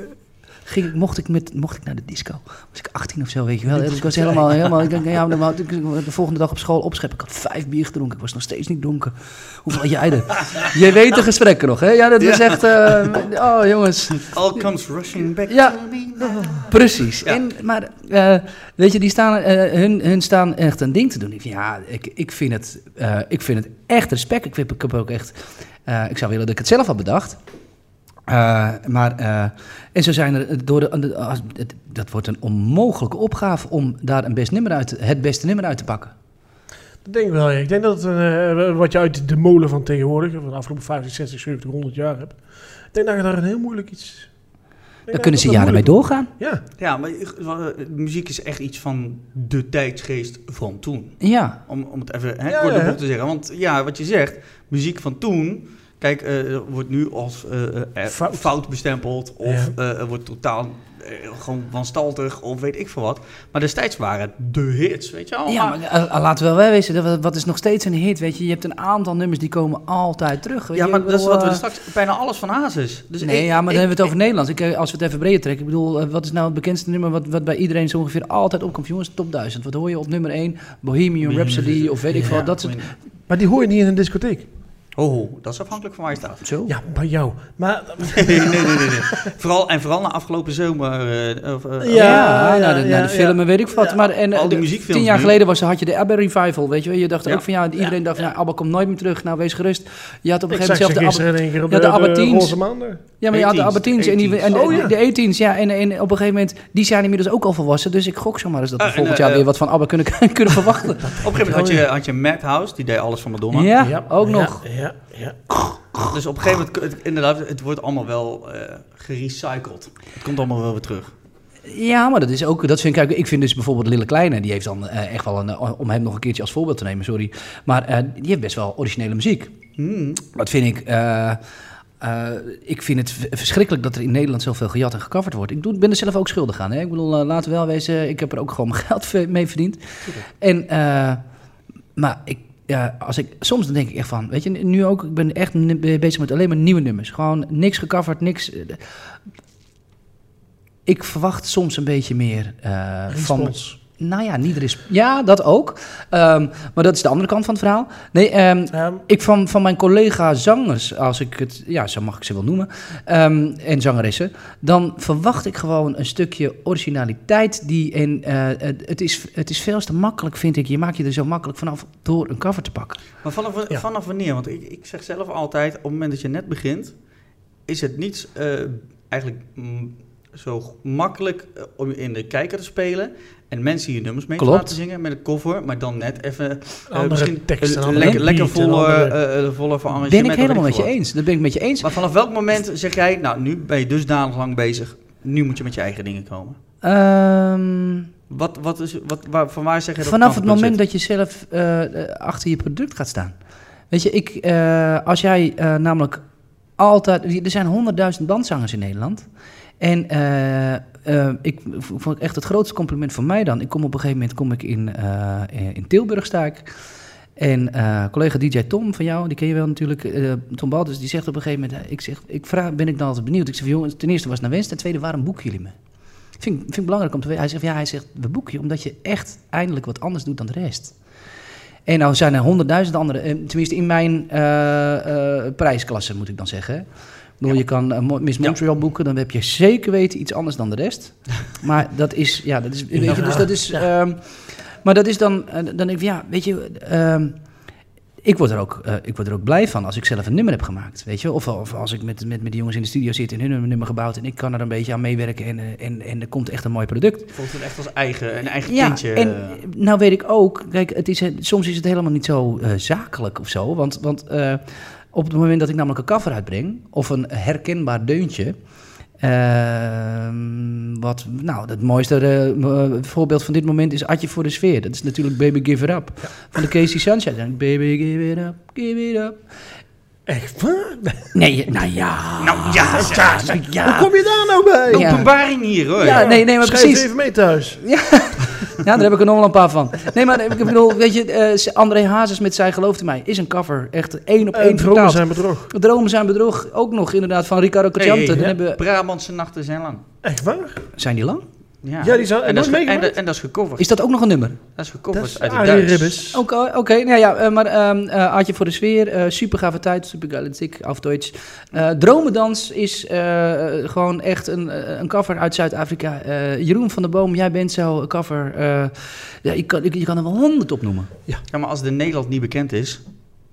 S3: Ging, ik- mocht, ik met, mocht ik naar de disco? Was ik 18 of zo, weet je wel. hè? Dus ik was helemaal, helemaal ik, denk, ja, maar ik- ik- de volgende dag op school opscheppen. Ik had vijf bier gedronken. Ik was nog steeds niet dronken. Hoeveel had jij er? Je weet de gesprekken nog, hè? Ja, dat was echt... eh, oh, jongens.
S1: All comes rushing back
S3: Ja.
S1: to me now.
S3: Precies.
S1: Ja.
S3: En, maar eh, weet je, die staan, eh, hun, hun staan echt een ding te doen. Ik vind, Ja, ik, ik, vind het, eh, ik vind het echt respect. Ik, vind, ik heb ook echt. eh, ik zou willen dat ik het zelf had bedacht. Eh, maar, eh, en zo zijn er eh, door de, de- als- het- dat wordt een onmogelijke opgave om daar een best nummer uit, het beste nummer uit te pakken.
S2: Dat denk ik wel. ja. Ik denk dat het een, eh, wat je uit de molen van tegenwoordig, van de afgelopen 50, 60, 70, 100 jaar hebt. Ik denk dat je daar een heel moeilijk iets...
S3: Daar kunnen ze jaren mee doorgaan.
S2: Ja,
S1: Ja, maar eh, muziek is echt iets van de tijdsgeest van toen.
S3: Ja,
S1: Om, om het even hè,
S2: Ja,
S1: kort op
S2: ja.
S1: te zeggen. Want ja, wat je zegt, muziek van toen. Kijk, eh, wordt nu als eh, eh,
S2: Fout.
S1: fout. bestempeld. Of eh, wordt totaal eh, gewoon wanstaltig. Of weet ik veel wat. Maar destijds waren het de hits, weet je wel. Ah,
S3: ja
S1: Oh, maar,
S3: maar eh, eh, laten we wel wezen, dat- wat is nog steeds een hit? Weet je, je hebt een aantal nummers die komen altijd terug. Weet
S1: ja,
S3: je,
S1: maar
S3: ik
S1: dat is
S3: bedoel,
S1: wat we
S3: eh,
S1: straks bijna alles van Hazes. Dus
S3: nee,
S1: ik-
S3: ja, maar dan
S1: ik-
S3: hebben we het over Nederlands. Ik, eh, als we het even breder trekken. Ik bedoel, eh, wat is nou het bekendste nummer wat, wat bij iedereen zo ongeveer altijd opkomt? Jongens, top 1000. Wat hoor je op nummer 1? Bohemian Rhapsody of weet ik
S1: Ja,
S3: wat. Dat soort...
S1: ik weet
S2: maar die hoor je niet in een discotheek.
S1: niet. Ho, ho, dat is afhankelijk van waar je staat.
S3: Zo.
S2: Ja, bij jou. Maar
S1: nee, nee, nee, nee. nee. Vooral, en vooral na afgelopen zomer. eh, of, eh,
S2: Ja,
S3: Ja,
S2: ja,
S3: naar de,
S2: ja,
S3: naar de film
S2: ja.
S3: en weet ik wat. Maar, en, eh,
S1: Al die
S3: de-
S1: muziekfilms
S3: Tien jaar
S1: nu.
S3: geleden was, had je de ABBA Revival, weet je wel. Je dacht
S1: Ja.
S3: ook van, ja, iedereen dacht van, ja, ABBA komt nooit meer terug. Nou, wees gerust. Je had op een
S2: ik
S3: gegeven
S2: zag ze
S3: moment zelf de ABBA...
S2: gisteren in één keer op
S3: Ja,
S2: de,
S3: de
S2: de,
S3: Abbateens.
S2: roze maanden.
S3: Ja, maar je had de
S1: 18's,
S3: Abbateens en, die, en de,
S1: 18's.
S2: Oh, ja.
S3: de 18's, ja. En, en op een gegeven moment, die zijn inmiddels ook al volwassen. Dus ik gok zomaar eens dat we
S1: Ah, en,
S3: volgend
S1: eh,
S3: jaar
S1: eh,
S3: weer wat van ABBA kunnen, kunnen verwachten.
S1: Op een gegeven moment had je, had je Madhouse, die deed alles van Madonna.
S3: Ja, ook nog.
S2: Ja, ja.
S1: Dus op een gegeven moment, het, inderdaad, het wordt allemaal wel eh, gerecycled. Het komt allemaal wel weer terug.
S3: Ja, maar dat is ook. Dat vind ik, kijk, ik vind dus bijvoorbeeld Lille Kleine, die heeft dan eh, echt wel een. eh, om hem nog een keertje als voorbeeld te nemen, sorry. Maar eh, die heeft best wel originele muziek.
S1: Hmm.
S3: Dat vind ik. eh, eh, ik vind het v- verschrikkelijk dat er in Nederland zoveel gejat en gecoverd wordt. Ik doe, ben er zelf ook schuldig aan. Hè? Ik bedoel, eh, laten we wel wezen, ik heb er ook gewoon mijn geld ve- mee verdiend. En, eh, maar ik, ja, als ik, soms dan denk ik echt van, weet je, nu ook, ik ben echt n- bezig met alleen maar nieuwe nummers. Gewoon niks gecoverd, niks... eh, ik verwacht soms een beetje meer eh, van, nou ja, niet res- Ja, dat ook. Ehm, maar dat is de andere kant van het verhaal. Nee, ehm,
S2: Ehm,
S3: ik van, van mijn collega zangers, als ik het, ja, zo mag ik ze wel noemen, ehm, en zangeressen, dan verwacht ik gewoon een stukje originaliteit. Die, en eh, het- het, is, het is veel te makkelijk, vind ik. Je maakt je er zo makkelijk vanaf door een cover te pakken.
S1: Maar vanaf,
S2: Ja.
S1: vanaf wanneer? Want ik, ik zeg zelf altijd, op het moment dat je net begint, is het niet eh, eigenlijk mm, zo makkelijk eh, om je in de kijker te spelen. En mensen je nummers mee
S3: Klopt.
S1: te laten zingen met een cover, maar dan net even... eh,
S2: Andere
S1: misschien
S2: tekst en
S1: een-
S2: andere
S1: Lekker,
S2: beat
S1: lekker
S2: en
S1: volle,
S2: andere-
S1: eh, eh, volle van
S3: ben ik
S1: arrangement.
S3: helemaal
S1: weet
S3: met je
S1: veel wat.
S3: eens. Dat ben ik met je eens.
S1: Maar vanaf welk moment zeg jij, nou nu ben je dusdanig lang bezig, nu moet je met je eigen dingen komen?
S3: Ehm,
S1: Wat, wat is, wat, waar, van waar zeg je dat
S3: Vanaf het
S1: kantelpunt
S3: moment dat je zelf eh, eh, achter je product gaat staan. Weet je, ik, eh, als jij eh, namelijk altijd... Er zijn honderdduizend bandzangers in Nederland. En eh, eh, ik v- vond het echt het grootste compliment van mij dan. Ik kom op een gegeven moment kom ik in, eh, eh, in Tilburg sta ik. En eh, collega DJ Tom van jou, die ken je wel natuurlijk, eh, Tom Baldus, die zegt op een gegeven moment, eh, ik, zeg, ik vraag, ben ik dan altijd benieuwd. Ik zeg, jongens, ten eerste was het naar wens, ten tweede, waarom boeken jullie me? Vind, ik- vind ik belangrijk om te weten. Hij zegt, ja, hij zegt, we boeken je omdat je echt eindelijk wat anders doet dan de rest. En nou zijn er honderdduizend andere, eh, tenminste in mijn eh, eh, prijsklasse moet ik dan zeggen. Ik bedoel, Je kan eh, Mo- Miss Montreal boeken, dan heb je zeker weten iets anders dan de rest. maar dat is, ja, dat is, weet je, dus dat is, ehm, maar dat is dan, eh, dan denk ik, van, ja, weet je, ehm, ik word, er ook, eh, ik word er ook blij van als ik zelf een nummer heb gemaakt, weet je. Of, of als ik met, met, met die jongens in de studio zit en hun hebben een nummer gebouwd en ik kan er een beetje aan meewerken en, eh, en, en er komt echt een mooi product.
S1: Voelt het echt als eigen, een eigen
S3: Ja,
S1: kindje.
S3: en
S1: eh.
S3: nou weet ik ook, kijk, het is, soms is het helemaal niet zo eh, zakelijk of zo. Want, want eh, op het moment dat ik namelijk een cover uitbreng, of een herkenbaar deuntje. ehm, wat, nou, het mooiste eh, voorbeeld van dit moment is Atje voor de Sfeer. Dat is natuurlijk Baby Give It Up van de Casey Sunshine. En Baby Give It Up, Give It Up.
S2: Echt waar?
S3: Nee, nou ja.
S1: Nou ja,
S3: ja,
S2: Hoe kom je daar nou bij?
S3: Ja.
S1: openbaring hier hoor.
S3: Ja, nee, nee, maar
S2: Schrijf
S3: precies.
S2: even mee thuis.
S3: Ja, daar heb ik er nog wel een paar van. Nee, maar ik bedoel, weet je, eh, André Hazes met Zij gelooft in mij is een cover. Echt één op
S2: En
S3: één
S2: Eh, dromen
S3: vertaald.
S2: zijn bedrog.
S3: Dromen zijn bedrog. Ook nog inderdaad van Ricardo Cacciante.
S1: Hey,
S3: Dan
S1: ja.
S3: hebben,
S1: Brabantse nachten zijn lang.
S2: Echt waar?
S3: zijn die lang?
S1: Ja,
S2: Ja, die zijn-
S1: en, dat is, ge-
S2: nooit
S1: en,
S2: meegemaakt?
S1: dat- en dat is gecoverd.
S3: Is dat ook nog een nummer?
S1: dat is
S2: Dat
S1: gecoverd
S2: is
S1: uit
S2: Arie
S1: het Duits.
S2: Ribbes.
S3: Oké, oké. nou ja, eh, maar ehm eh, Aartje voor de sfeer, eh super gave tijd, super galactic, auf Deutsch. Eh, Dromedans is eh, eh, gewoon echt een, eh, een cover uit Zuid-Afrika. Eh, Jeroen van der Boom, jij bent zo'n cover. eh, ja, ik kan, ik, je kan er wel honderd opnoemen.
S1: Ja, maar als de Nederland niet bekend is,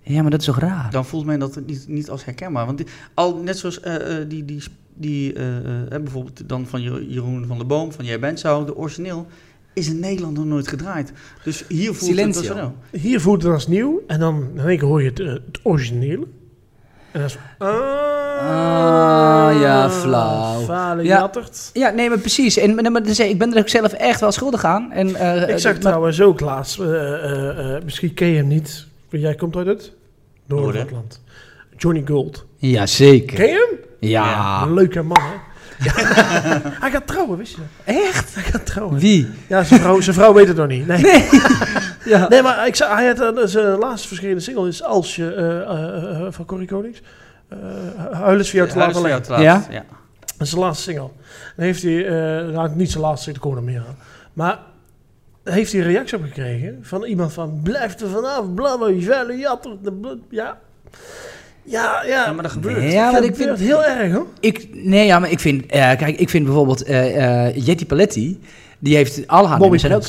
S3: Ja, maar dat is toch raar?
S1: dan voelt men dat niet, niet als herkenbaar. Want die- al net zoals eh, eh, die, die, die eh, eh, bijvoorbeeld dan van Jero- Jeroen van der Boom, van Jij bent zo, de origineel, is in Nederland nog nooit gedraaid. Dus hier voelt
S3: Silencio.
S1: het dat zo.
S2: Hier voelt het als nieuw. En dan in één keer hoor je het, eh, het origineel. En dan is
S3: Ah, ja, flauw.
S2: Falen
S3: Ja.
S2: jattert.
S3: Ja, nee, maar precies. En, maar- maar dus, ik ben er ook zelf echt wel schuldig aan. En, eh,
S2: Ik zag
S3: eh,
S2: trouwens ook laatst, eh, eh, eh, misschien ken je hem niet. Jij komt uit het Noord-Atlant. Johnny Gold.
S3: Ja, zeker.
S2: Ken je hem?
S3: Ja.
S2: Een leuke man, hè? Hij gaat trouwen, wist je dat?
S3: Echt?
S2: Hij gaat trouwen.
S3: Wie?
S2: Ja, zijn vrouw, zijn vrouw weet het nog niet. Nee, nee.
S3: Ja.
S2: maar ik zei, hij had, eh, zijn laatste verschenen single is Als je, eh, eh, eh, van Corrie Konings. Eh huilen is voor jou te laat
S1: Huis van
S2: alleen.
S1: jou te laat,
S3: Ja?
S1: ja.
S2: Dat is zijn laatste single. Dan heeft hij, eh, nou niet zijn laatste, ik kom er meer aan. Maar heeft hij een reactie op gekregen van iemand van blijf er vanaf, bla bla, vuile jatter. de bla- Ja. Ja, ja.
S1: Ja, maar dat gebeurt.
S3: Ja, maar ik
S2: vind het
S3: vind...
S2: heel erg hoor.
S3: Ik, nee, ja, maar ik vind... eh, kijk, ik vind bijvoorbeeld eh, eh, Jetty Paletti... Ah, Die heeft al haar nummers zijn ook...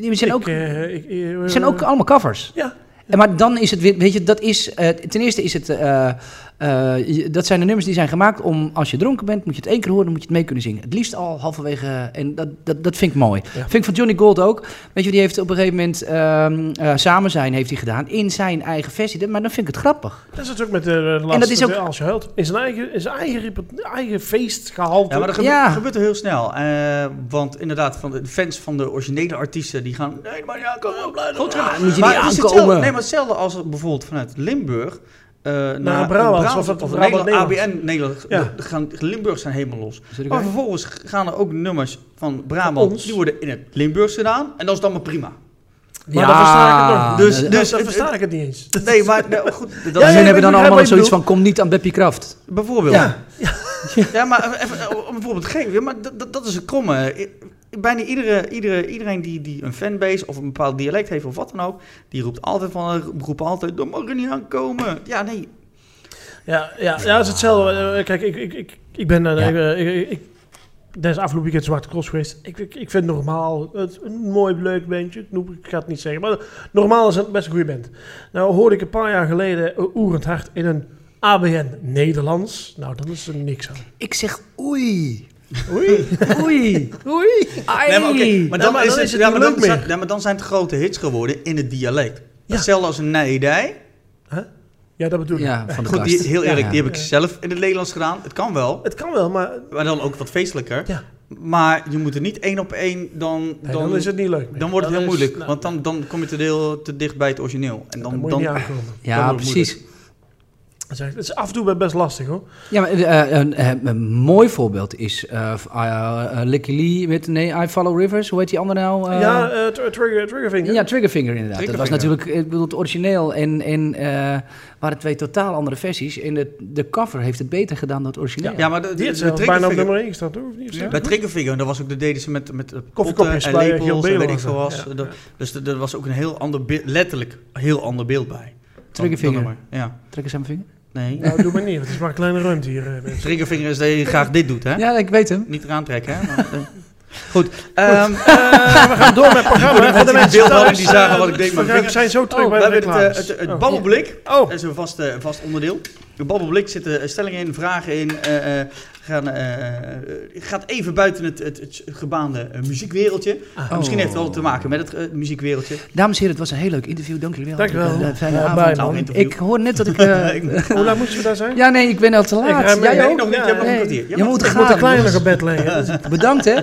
S3: Die zijn, ook,
S2: Ik, eh, ik, eh,
S3: zijn ook allemaal covers.
S2: Ja.
S3: En Maar dan is het weer... Weet je, dat is... eh, ten eerste is het... eh, eh, je- dat zijn de nummers die zijn gemaakt om... Als je dronken bent, moet je het één keer horen... Dan moet je het mee kunnen zingen. Het liefst al halverwege... eh, En dat, dat, dat vind ik mooi. Vind ik van Johnny Gold ook. Weet je, die heeft op een gegeven moment... ehm, eh, samen zijn heeft hij gedaan. In zijn eigen versie. Dat- Maar dan vind ik het grappig.
S2: Dat is het ook met de, eh, de laatste.
S3: dat is ook-
S2: Als je huilt. In zijn eigen, in zijn eigen, rep- eigen feestgehalte.
S1: Ja, maar dat gebe-
S3: Ja.
S1: gebeurt er heel snel. Eh, want inderdaad, van de de fans van de originele artiesten die gaan. Nee, maar ja, kom op, blijf.
S3: Goed,
S2: Ah,
S3: ja, moet je
S1: Maar
S3: niet
S1: het is
S3: aankomen.
S1: hetzelfde- Nee, maar hetzelfde als er bijvoorbeeld vanuit Limburg. eh, naar,
S2: Brabant, of het- Brabant,
S1: Nederland,
S2: Nederland.
S1: ABN, Nederland.
S2: Ja.
S1: de- gaan, Limburg zijn helemaal los.
S3: Zit ik
S1: Maar
S3: aan?
S1: vervolgens gaan er ook nummers van
S2: Van
S1: Brabant.
S2: ons.
S1: die worden in het Limburgs gedaan. En dat is dan maar prima.
S2: Maar dan versta ik het nog.
S3: Dus,
S1: Dus-
S2: Dus,
S1: dus
S2: dan
S1: het-
S2: versta ik het niet eens.
S1: Nee, maar nou, goed. Dat
S2: Ja,
S3: en
S2: ja, ik
S3: hun
S1: is
S2: weet
S3: hebben dan
S2: wat
S3: allemaal
S2: jij
S3: zoiets
S2: bedoelt.
S3: van, kom niet aan Beppie Kraft.
S1: bijvoorbeeld.
S3: Ja.
S1: Ja, maar eh, even, om een voorbeeld te geven, maar dat, dat, dat is het kromme. I- Bijna iedere, iedere, iedereen die, die een fanbase of een bepaald dialect heeft of wat dan ook, die roept altijd van, eh, roepen altijd, dat mag er niet aankomen. Ja, nee.
S2: Ja, ja, ja, het is hetzelfde. Eh, Kijk, ik, ik, ik, ik ben... eh,
S3: Ja.
S2: ik, ik, ik, er is afgelopen weekend Zwarte Cross geweest. Ik, ik, ik vind normaal het een mooi, leuk bandje. Ik, noem, ik ga het niet zeggen. Maar normaal is het best een goede band. Nou hoorde ik een paar jaar geleden eh, Oerend Hart in een ABN Nederlands. Nou, dan is er niks aan.
S3: Ik zeg oei.
S2: Oei.
S3: Oei. oei. Ai.
S1: nee maar, oké, maar
S2: Ja,
S1: dan
S2: maar
S1: is
S2: dan
S1: het,
S2: is het
S1: ja,
S2: niet
S1: maar dan
S2: leuk
S1: zijn,
S2: meer.
S1: ja, maar dan zijn het grote hits geworden in het dialect. Hetzelfde als een nijdij.
S2: Ja, dat bedoel ik.
S3: Ja, van de
S1: Goed, die,
S3: kast.
S1: heel eerlijk,
S3: Ja.
S1: die heb ik zelf in het Nederlands gedaan. Het kan wel,
S2: Het kan wel, maar
S1: maar dan ook wat feestelijker.
S2: Ja.
S1: Maar je moet er niet één op één, dan,
S2: nee,
S1: dan,
S2: dan, is het niet leuk meer.
S1: dan wordt het
S2: Dan
S1: heel
S2: is-
S1: moeilijk.
S2: nou,
S1: want dan, dan kom je te, deel, te dicht bij het origineel. En
S2: dan
S1: dan,
S2: moet je
S1: dan,
S2: niet aankomen.
S3: Ja,
S1: wordt het
S3: precies.
S2: Dat is echt- Het is af en toe best lastig, hoor.
S3: Ja, maar, eh, een, eh, een mooi voorbeeld is eh v- eh, eh, Licky Lee met nee, I Follow Rivers. Hoe heet die andere nou? Eh,
S2: ja, eh, tr- trigger, Triggerfinger.
S3: ja, Triggerfinger inderdaad. Dat was
S1: Triggerfinger.
S3: natuurlijk eh, ik bedoel, het origineel en, en eh, waren twee totaal andere versies. En het, de cover heeft het beter gedaan dan het origineel.
S1: Ja, maar de,
S2: Die
S1: de,
S2: is
S1: de
S2: zelfs bijna op
S1: triggerfinger-
S2: nummer 1 gestaan, toch? Of niet? Of zo?
S1: Bij Triggerfinger, dat was ook, dat deden ze met, met eh,
S2: Koffiekopjes
S1: potten
S2: bij,
S1: en
S2: eh, Giel
S1: lepels en weet
S2: Beelen
S1: ik veel
S2: was
S1: was.
S2: dat, ja.
S1: Dat- Dus er er was ook een heel ander beeld, letterlijk een heel ander beeld bij. Dan-
S3: Triggerfinger.
S1: dan nummer, Ja.
S3: Trek eens aan mijn vinger.
S1: Nee.
S2: Nou, doe maar niet, want het is maar een kleine ruimte hier. eh, mensen.
S1: Triggervinger is dat je graag dit doet, hè?
S3: Ja, ik weet hem.
S1: Niet eraan trekken, hè? Maar, eh, Goed. Ehm eh,
S2: we gaan door met het programma.
S1: Voor de mensen die beeldhouding
S2: thuis,
S1: die zagen
S2: eh,
S1: wat ik deed met
S2: we
S1: mijn
S2: gaan- zijn zo terug
S1: oh, we
S2: bij de
S1: hebben het, eh,
S2: reclames.
S1: het, het
S2: Oh.
S1: babbelblik.
S2: Oh,
S1: Dat is een vast, eh, vast onderdeel. De babbelblik zitten eh, stellingen in, vragen in. eh, eh, gaan, eh, eh, gaat even buiten het, het, het gebaande eh, muziekwereldje.
S3: Oh.
S1: Misschien heeft het wel te maken met het eh, muziekwereldje.
S3: Dames en heren, het was een heel leuk interview. Dank jullie wel.
S2: Dank je wel.
S3: Ik, eh, fijne
S2: Ja,
S3: avond.
S2: bye, man.
S1: Interview.
S3: ik hoor net dat ik... eh,
S2: hoe laat moeten we daar zijn?
S3: ja, nee, ik ben al te laat.
S2: ruim-
S3: Jij
S2: nee,
S1: Nee,
S3: ook?
S1: nog niet. Je
S2: Ja,
S1: hebt nog een
S3: Nee,
S1: kwartier. Ja,
S3: je
S1: maar-
S3: moet
S2: Ik moet een
S3: gaan.
S2: kleine
S3: jongens.
S2: nog op bed leggen.
S3: Bedankt, hè.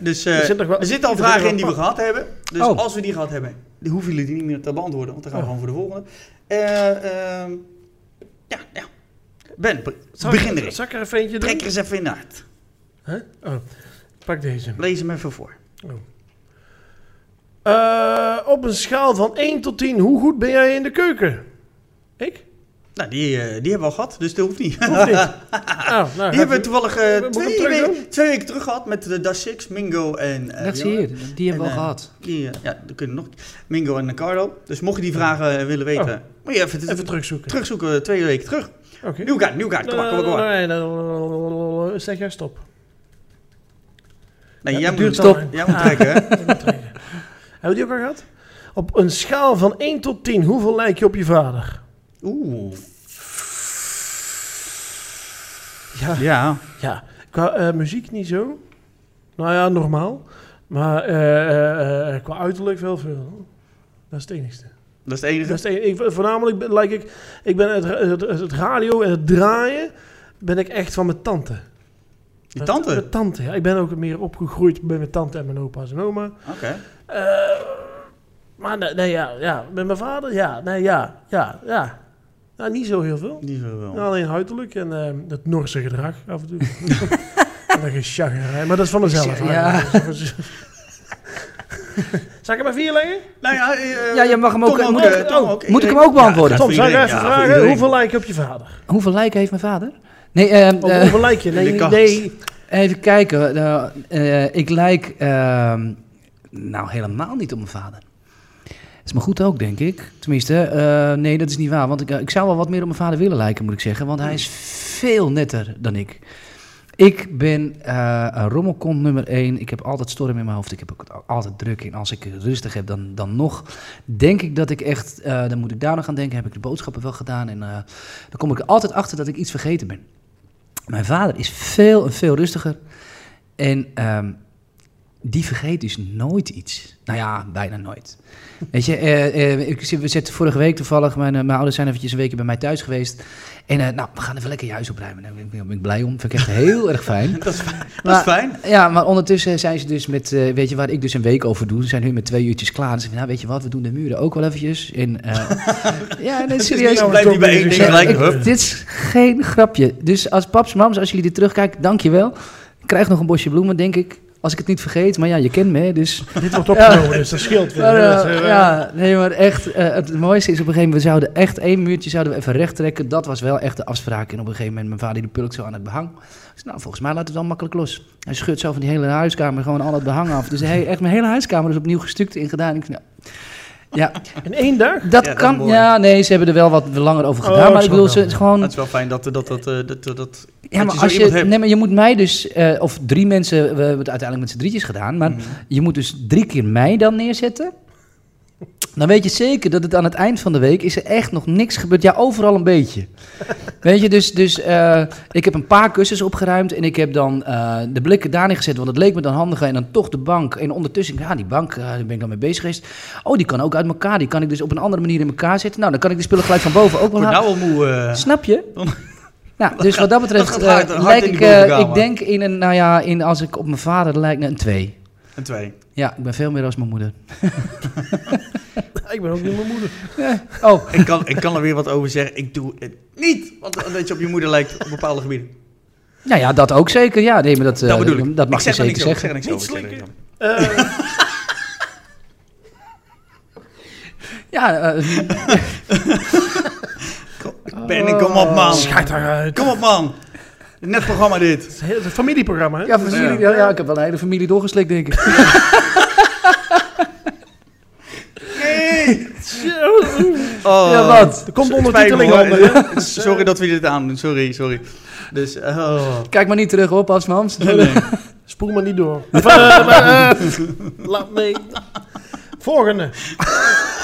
S1: Dus eh,
S2: Er zit nog wel-
S1: er zitten al
S2: er zit
S1: vragen
S2: nog
S1: in die we
S2: wel-
S1: gehad hebben. Dus
S3: Oh.
S1: als we die gehad hebben, die hoeven jullie die niet meer te beantwoorden. Want dan gaan we
S2: Oh.
S1: gewoon voor de volgende. Eh, ehm, ja, ja. Ben, be-
S2: Zal ik-
S1: begin erin.
S2: Zal ik er even eentje
S1: Trek
S2: doen?
S1: er eens even in uit.
S2: Huh? Oh, pak deze.
S1: Lees hem even voor.
S2: Eh, op een schaal van 1 tot 10, hoe goed ben jij in de keuken? Ik?
S1: Nou, die, eh, die hebben we al gehad, dus dat hoeft niet.
S2: Of niet? Oh, nou,
S1: Die hebben we toevallig eh,
S2: Moet ik hem
S1: twee,
S2: terug doen?
S1: weken- twee weken terug gehad met de Dash 6, Mingo en... eh,
S3: Dat zie
S1: Johan.
S3: je. Die hebben we
S1: En,
S3: al
S1: eh,
S3: gehad.
S1: Die, eh, ja, dat kunnen nog. Mingo en Carlo. Dus mocht je die vragen eh, willen weten, moet je even,
S2: Oh. Even terugzoeken.
S1: terugzoeken eh, twee weken terug.
S2: Oké.
S1: Nieuw kaart, nieuw kaart. Kom maar, kom maar, kom maar.
S2: Nee, nee, nee, nee, Zeg jij stop.
S1: Nee,
S2: Ja,
S1: jij
S2: het
S1: moet hem
S2: duurt al.
S1: stoppen. Jij moet trekken, hè?
S2: Hebben we die ook al gehad? Op een schaal van 1 tot 10, hoeveel lijk je op je vader?
S1: Oeh.
S2: Ja,
S1: Ja.
S2: ja. qua eh, muziek niet zo. Nou ja, normaal. Maar eh, eh, eh, qua uiterlijk wel veel. Dat is het enigste.
S1: Dat is het enige.
S2: Dat is het enige. Ik- voornamelijk ben, like ik, ik ben het, ra- het, het radio en het draaien ben ik echt van mijn tante.
S1: Die tante.
S2: Mijn tante, ja. Ik ben ook meer opgegroeid bij mijn tante en mijn opa's en oma.
S1: Oké.
S2: Eh, maar nee, nee, ja, ja. Met mijn vader, ja. Nee, ja, ja, ja. Nou, niet zo heel veel.
S1: Die wil wel.
S2: Alleen huidelijk en eh dat Norse gedrag af en toe. en dat gesjaggerij, maar dat is van mezelf.
S3: Ja.
S2: eigenlijk. Dus- Zal ik er maar vier leggen?
S1: Nou ja, eh,
S3: Ja, je mag hem ook-
S1: Tom
S3: moet
S1: eh,
S2: ik-
S1: Tom
S2: oh,
S1: ook.
S3: moet ik hem ook beantwoorden?
S1: Ja,
S2: Tom, zou ik
S1: iedereen.
S2: even
S1: Ja, voor
S2: vragen,
S1: iedereen.
S2: hoeveel lijken op je vader?
S3: Hoeveel lijken heeft mijn vader? Nee, ehm,
S2: Of
S3: eh,
S2: hoeveel lijken? Nee,
S1: in de kast.
S2: nee.
S3: even kijken. Nou, eh, ik lijk ehm, nou helemaal niet op mijn vader. Is maar goed ook, denk ik. Tenminste, eh, nee, dat is niet waar. Want ik, eh, ik zou wel wat meer op mijn vader willen lijken, moet ik zeggen. Want hij is veel netter dan ik. Ik ben eh, een rommelkont nummer één. Ik heb altijd storm in mijn hoofd. Ik heb ook al- altijd druk. En als ik rustig heb, dan, dan nog. Denk ik dat ik echt... eh, dan moet ik daar nog aan denken. Heb ik de boodschappen wel gedaan? En eh, dan kom ik er altijd achter dat ik iets vergeten ben. Mijn vader is veel en veel rustiger. En ehm, die vergeet dus nooit iets. Nou ja, bijna nooit. Weet je, eh, eh, ik zit- we zitten vorige week toevallig... Mijn, eh, mijn ouders zijn eventjes een weekje bij mij thuis geweest. En eh, nou, we gaan even lekker je huis opruimen. Daar ben ik- ben ik blij om. Vind ik echt heel erg fijn.
S1: Dat is, fijn. dat is
S3: Maar-
S1: fijn.
S3: Ja, maar ondertussen zijn ze dus met, eh, weet je, waar ik dus een week over doe, ze zijn hun met twee uurtjes klaar. Dus ik, nou, weet je wat, we doen de muren ook wel eventjes. En, eh, ja, nee, serieus.
S1: Blijf niet bij één ding
S3: Nee,
S1: gelijk.
S3: ik-
S1: Hup.
S3: dit is geen grapje. Dus als paps, mams, als jullie dit terugkijken, dankjewel. Ik krijg nog een bosje bloemen, denk ik. Als ik het niet vergeet, maar ja, je kent me, hè, dus...
S2: Dit wordt opgenomen, dus dat scheelt weer.
S3: Maar, eh,
S2: Dat, eh,
S3: ja, nee, maar echt, eh, het mooiste is op een gegeven moment, we zouden echt één muurtje zouden we even recht trekken. Dat was wel echt de afspraak. En op een gegeven moment, mijn vader die pulkt zo aan het behang. Dus nou, volgens mij laten we het dan makkelijk los. Hij schudt zo van die hele huiskamer gewoon al het behang af. Dus hij, echt mijn hele huiskamer is opnieuw gestuukt in gedaan. Ik, nou, ja,
S2: In één dag?
S3: dat
S1: dat is
S3: kan.
S1: mooi.
S3: ja, nee, ze hebben er wel wat langer over
S2: Oh,
S3: gedaan.
S2: ik
S3: maar
S2: snap
S3: ik bedoel,
S2: wel.
S3: ze het is gewoon...
S1: Het is wel fijn dat, dat, dat, eh, dat, dat, dat
S3: Ja,
S1: dat
S3: maar
S1: je zo
S3: als
S1: iemand
S3: je,
S1: hebt.
S3: nee, maar je moet mij dus, eh, of drie mensen, we hebben het uiteindelijk met z'n drietjes gedaan, maar
S1: Mhm.
S3: je moet dus drie keer mij dan neerzetten. Dan weet je zeker dat het aan het eind van de week is er echt nog niks gebeurd. Ja, overal een beetje. Weet je, dus, dus eh, ik heb een paar kussens opgeruimd en ik heb dan eh, de blikken daarin gezet, want het leek me dan handiger. En dan toch de bank. En ondertussen, ja, die bank, eh, daar ben ik dan mee bezig geweest. Oh, die kan ook uit elkaar. Die kan ik dus op een andere manier in elkaar zetten. Nou, dan kan ik die spullen gelijk van boven ook wel
S1: wordt
S3: halen.
S1: nou al moe. eh.
S3: Snap je?
S1: Dan-
S3: Nou, dus wat dat betreft
S1: dat gaat hard-
S3: eh,
S1: hard
S3: lijk
S1: in die
S3: ik, eh,
S1: bovenkamer.
S3: ik denk in een, nou ja, in, als ik op mijn vader lijk, naar een 2.
S1: Een twee.
S3: Ja, ik ben veel meer als mijn moeder.
S2: Ik ben ook niet mijn moeder.
S3: Oh,
S1: Ik kan, ik kan er weer wat over zeggen. Ik doe het niet. Want eh, dat je op je moeder lijkt op bepaalde gebieden.
S3: nou ja, dat ook zeker. Ja, nee, maar dat, eh,
S1: dat bedoel ik.
S3: dat mag
S1: ik
S3: je
S1: zeg er
S3: zeker
S1: niks over, ik
S3: zeggen.
S1: zeg er niks
S2: Niet
S1: over. ik zeg er
S2: slikken.
S1: niks over.
S2: Eh,
S3: Ja, eh,
S1: Ben ik, kom op man.
S2: Schijt eruit.
S1: Kom op man. Net programma dit.
S2: Het is een familieprogramma, hè?
S3: ja, voor jullie- ja, ja, ik heb wel een hele familie doorgeslikt, denk ik.
S1: Nee.
S2: Zo.
S1: Wat Oh,
S2: ja, wat? Er komt
S1: s-
S2: ondertiteling
S1: spijt me, hoor.
S2: onder. hè?
S1: Sorry dat we dit aandoen, sorry, sorry. Dus, oh.
S3: Kijk maar niet terug op, Oh, Asmams.
S1: Nee.
S2: Spoel maar niet door. Of, eh, maar, eh, Laat mee. Volgende.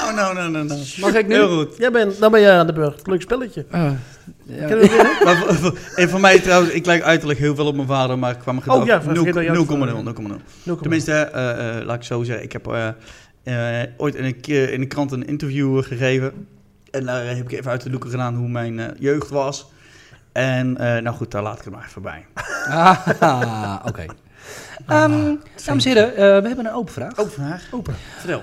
S1: Oh, no, no, no, no.
S3: Mag ik nu?
S1: Heel goed.
S2: Jij bent, dan ben jij aan de beurt. Leuk spelletje.
S3: Eh,
S2: Ken
S3: ja.
S2: je dat weer?
S1: Maar voor- voor- en voor mij trouwens, ik lijk uiterlijk heel veel op mijn vader, maar qua mijn
S2: Oh,
S1: gedrag
S2: ja, vergeet dat jij het
S1: 0,0,
S2: vader
S1: 0,0.
S2: Nul komma.
S1: Tenminste, eh, eh, laat ik zo zeggen, ik heb eh, eh, ooit in een, keer in een krant een interview eh, gegeven. En daar heb ik even uit de doeken gedaan hoe mijn eh, jeugd was. En eh, nou goed, daar laat ik het maar even bij.
S3: Ah, oké.
S1: Ah,
S3: Ehm, dames en heren, eh, we hebben een open vraag.
S1: Ook vandaag.
S2: Open.
S1: Vertel.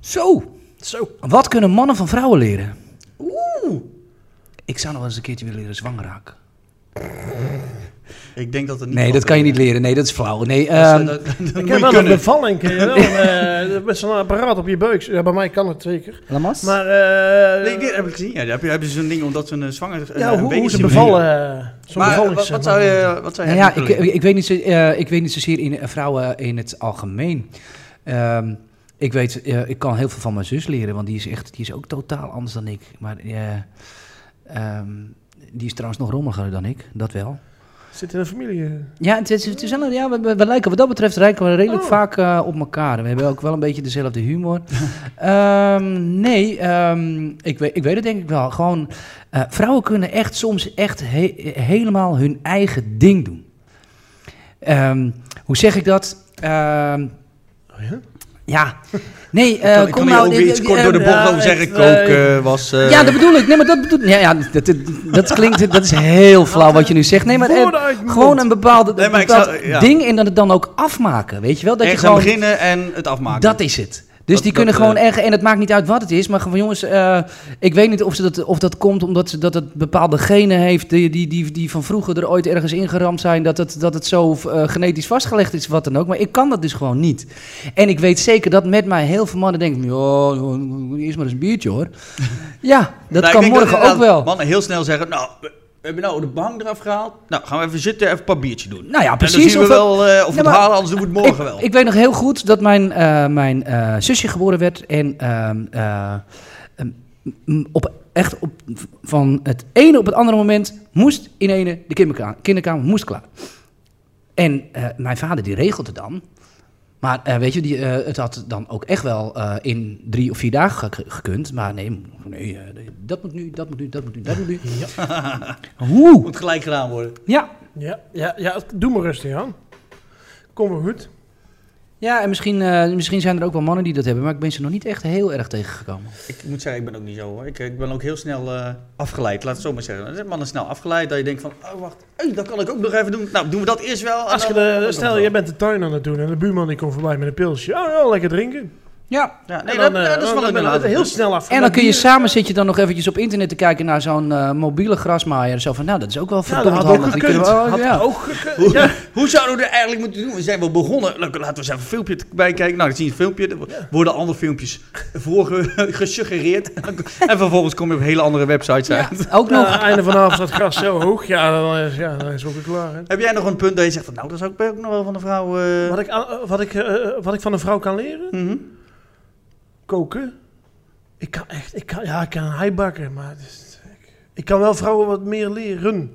S3: Zo,
S2: Zo.
S3: wat kunnen mannen van vrouwen leren?
S1: Oeh.
S3: Ik zou nog wel eens een keertje willen leren zwanger raken.
S1: Ik denk dat het niet
S3: Nee,
S1: van
S3: dat
S1: te-
S3: kan je niet leren. Nee, dat is flauw. Nee,
S1: Dat is-
S3: ehm,
S1: dat- dat- dat moet
S2: Ik heb
S1: je
S2: wel een
S1: kunnen.
S2: bevalling, ken je wel? Een, eh, met zo'n apparaat op je buik. Ja, bij mij kan het zeker.
S3: Lamas?
S2: Maar eh,
S1: Nee, dit heb ik gezien. Ja, daar heb je, hebben ze zo'n ding omdat ze een zwanger
S2: ja,
S1: een
S2: hoe, hoe ze
S1: baby
S2: bevallen. eh, Zo'n
S1: Maar eh,
S2: bevalling.
S1: wat, wat zou je, wat zou
S3: Nou
S1: je
S3: ja,
S1: hebben
S3: ik,
S1: willen?
S3: ik, weet niet, zo- eh, ik weet niet zozeer in eh, vrouwen in het algemeen. Ehm, ik weet, eh, ik kan heel veel van mijn zus leren, want die is echt, die is ook totaal anders dan ik. Maar eh, ehm, die is trouwens nog rommeliger dan ik, dat wel.
S2: Zit in een familie. eh.
S3: Ja, het is, het is wel een- ja we, we- we lijken wat dat betreft lijken we redelijk
S2: Oh.
S3: vaak eh, op elkaar. We hebben ook wel een beetje dezelfde humor. Ehm, nee, ehm, ik, weet, ik weet het denk ik wel. Gewoon, eh, vrouwen kunnen echt soms echt he- helemaal hun eigen ding doen. Ehm, hoe zeg ik dat? Ehm,
S2: Oh, ja?
S3: ja, nee,
S1: Ik
S3: eh,
S1: kan, ik
S3: kom
S1: kan hier
S3: nou...
S1: ook
S3: eh,
S1: weer iets
S3: eh,
S1: kort door de
S3: eh,
S1: bocht
S2: ja,
S1: over zeggen.
S2: het, eh,
S1: Koken was... eh,
S3: ja, dat bedoel ik. Nee, maar dat bedoel... Ja, ja, dat, dat, dat klinkt... Dat is heel flauw wat je nu zegt. Nee, maar... eh,
S2: Woorden uit mijn
S3: gewoon
S2: mond.
S3: een bepaalde,
S1: Nee, maar ik
S3: bepaald
S1: zou- ja.
S3: ding en dan het dan ook afmaken, weet je wel? Dat
S1: ergens
S3: je gewoon,
S1: aan beginnen en het afmaken.
S3: Dat is het. Dus
S1: Dat-
S3: die kunnen
S1: dat,
S3: gewoon
S1: eh,
S3: erg, en het maakt niet uit wat het is, maar gewoon jongens, eh, ik weet niet of, ze dat, of dat komt omdat ze, dat het bepaalde genen heeft die, die, die, die van vroeger er ooit ergens ingeramd zijn, dat het, dat het zo eh, genetisch vastgelegd is, wat dan ook. Maar ik kan dat dus gewoon niet. En ik weet zeker dat met mij heel veel mannen denken, "Ja, eerst maar eens een biertje hoor. ja, dat
S1: Nou, ik
S3: kan
S1: denk
S3: morgen ook
S1: inderdaad
S3: wel.
S1: Mannen heel snel zeggen, nou, we we hebben nou de bank eraf gehaald. Nou, gaan we even zitten, even een paar biertje doen.
S3: Nou ja,
S1: En dan zien
S3: precies.
S1: we
S3: of dat-
S1: wel eh, of we
S3: Ja,
S1: het
S3: maar-
S1: halen, anders doen we het morgen
S3: ik,
S1: wel.
S3: Ik weet nog heel goed dat mijn, eh, mijn eh, zusje geboren werd. En ehm, eh, ehm, m- op, echt op, van het ene op het andere moment moest in ene de kinderkamer, kinderkamer moest klaar. En eh, mijn vader die regelde dan. Maar eh, weet je, die, eh, het had dan ook echt wel eh, in drie of vier dagen ge- gekund. Maar nee, nee eh, dat moet nu, dat moet nu, dat moet nu, dat moet nu. Hoe?
S1: moet gelijk gedaan worden.
S3: Ja,
S2: Ja, ja, ja, doe maar rustig aan. Kom maar goed.
S1: Oh,
S3: ja en misschien, eh, misschien zijn er ook wel mannen die dat hebben. Maar ik ben ze nog niet echt heel erg tegengekomen.
S1: Ik moet zeggen, ik ben ook niet zo hoor. Ik, ik ben ook heel snel eh, afgeleid, laat het zo maar zeggen. Dan zijn mannen snel afgeleid, dat je denkt van, oh wacht, hey, dat kan ik ook nog even doen. Nou, doen we dat eerst wel. en
S2: Als je
S1: dan-
S2: de,
S1: dan
S2: stel,
S1: wel.
S2: jij bent de tuin aan het doen en de buurman die komt voorbij met een pilsje. Oh, ja, lekker drinken.
S3: Ja,
S1: Ja, nee,
S2: En dan,
S1: dat,
S2: eh,
S1: dat is
S2: dan
S1: wel
S2: ben je
S1: inderdaad.
S2: heel snel af.
S3: En dan kun je
S2: bier-
S3: samen zit je dan nog eventjes op internet te kijken naar zo'n eh, mobiele grasmaaier. Zo van, nou, dat is ook wel
S2: Ja, dat
S3: verdomd
S2: had ook
S3: handig. Die
S2: gekund.
S3: kunnen we- oh,
S2: Had
S3: ja.
S2: ook gekund.
S1: Hoe, hoe zouden we er eigenlijk moeten doen? We zijn wel begonnen. Nou, Laten we eens even een filmpje t- bijkijken. Nou, dan zie je een filmpje. Er worden andere filmpjes voor ge- gesuggereerd. En vervolgens kom je op hele andere websites uit.
S3: Ja, ook nog.
S2: Ja, einde vanavond staat gras zo hoog. Ja, dan is, ja, dan is het ook weer klaar. Hè.
S1: Heb jij nog een punt dat je zegt van, nou, dat zou ik ook nog wel van de vrouw... eh,
S2: Wat ik, aan- wat, ik, eh, wat ik van een vrouw kan leren?
S1: mhm.
S2: Koken. Ik kan echt, ik kan, ja, ik kan een hei bakken, maar het is- ik, ik kan wel vrouwen wat meer leren.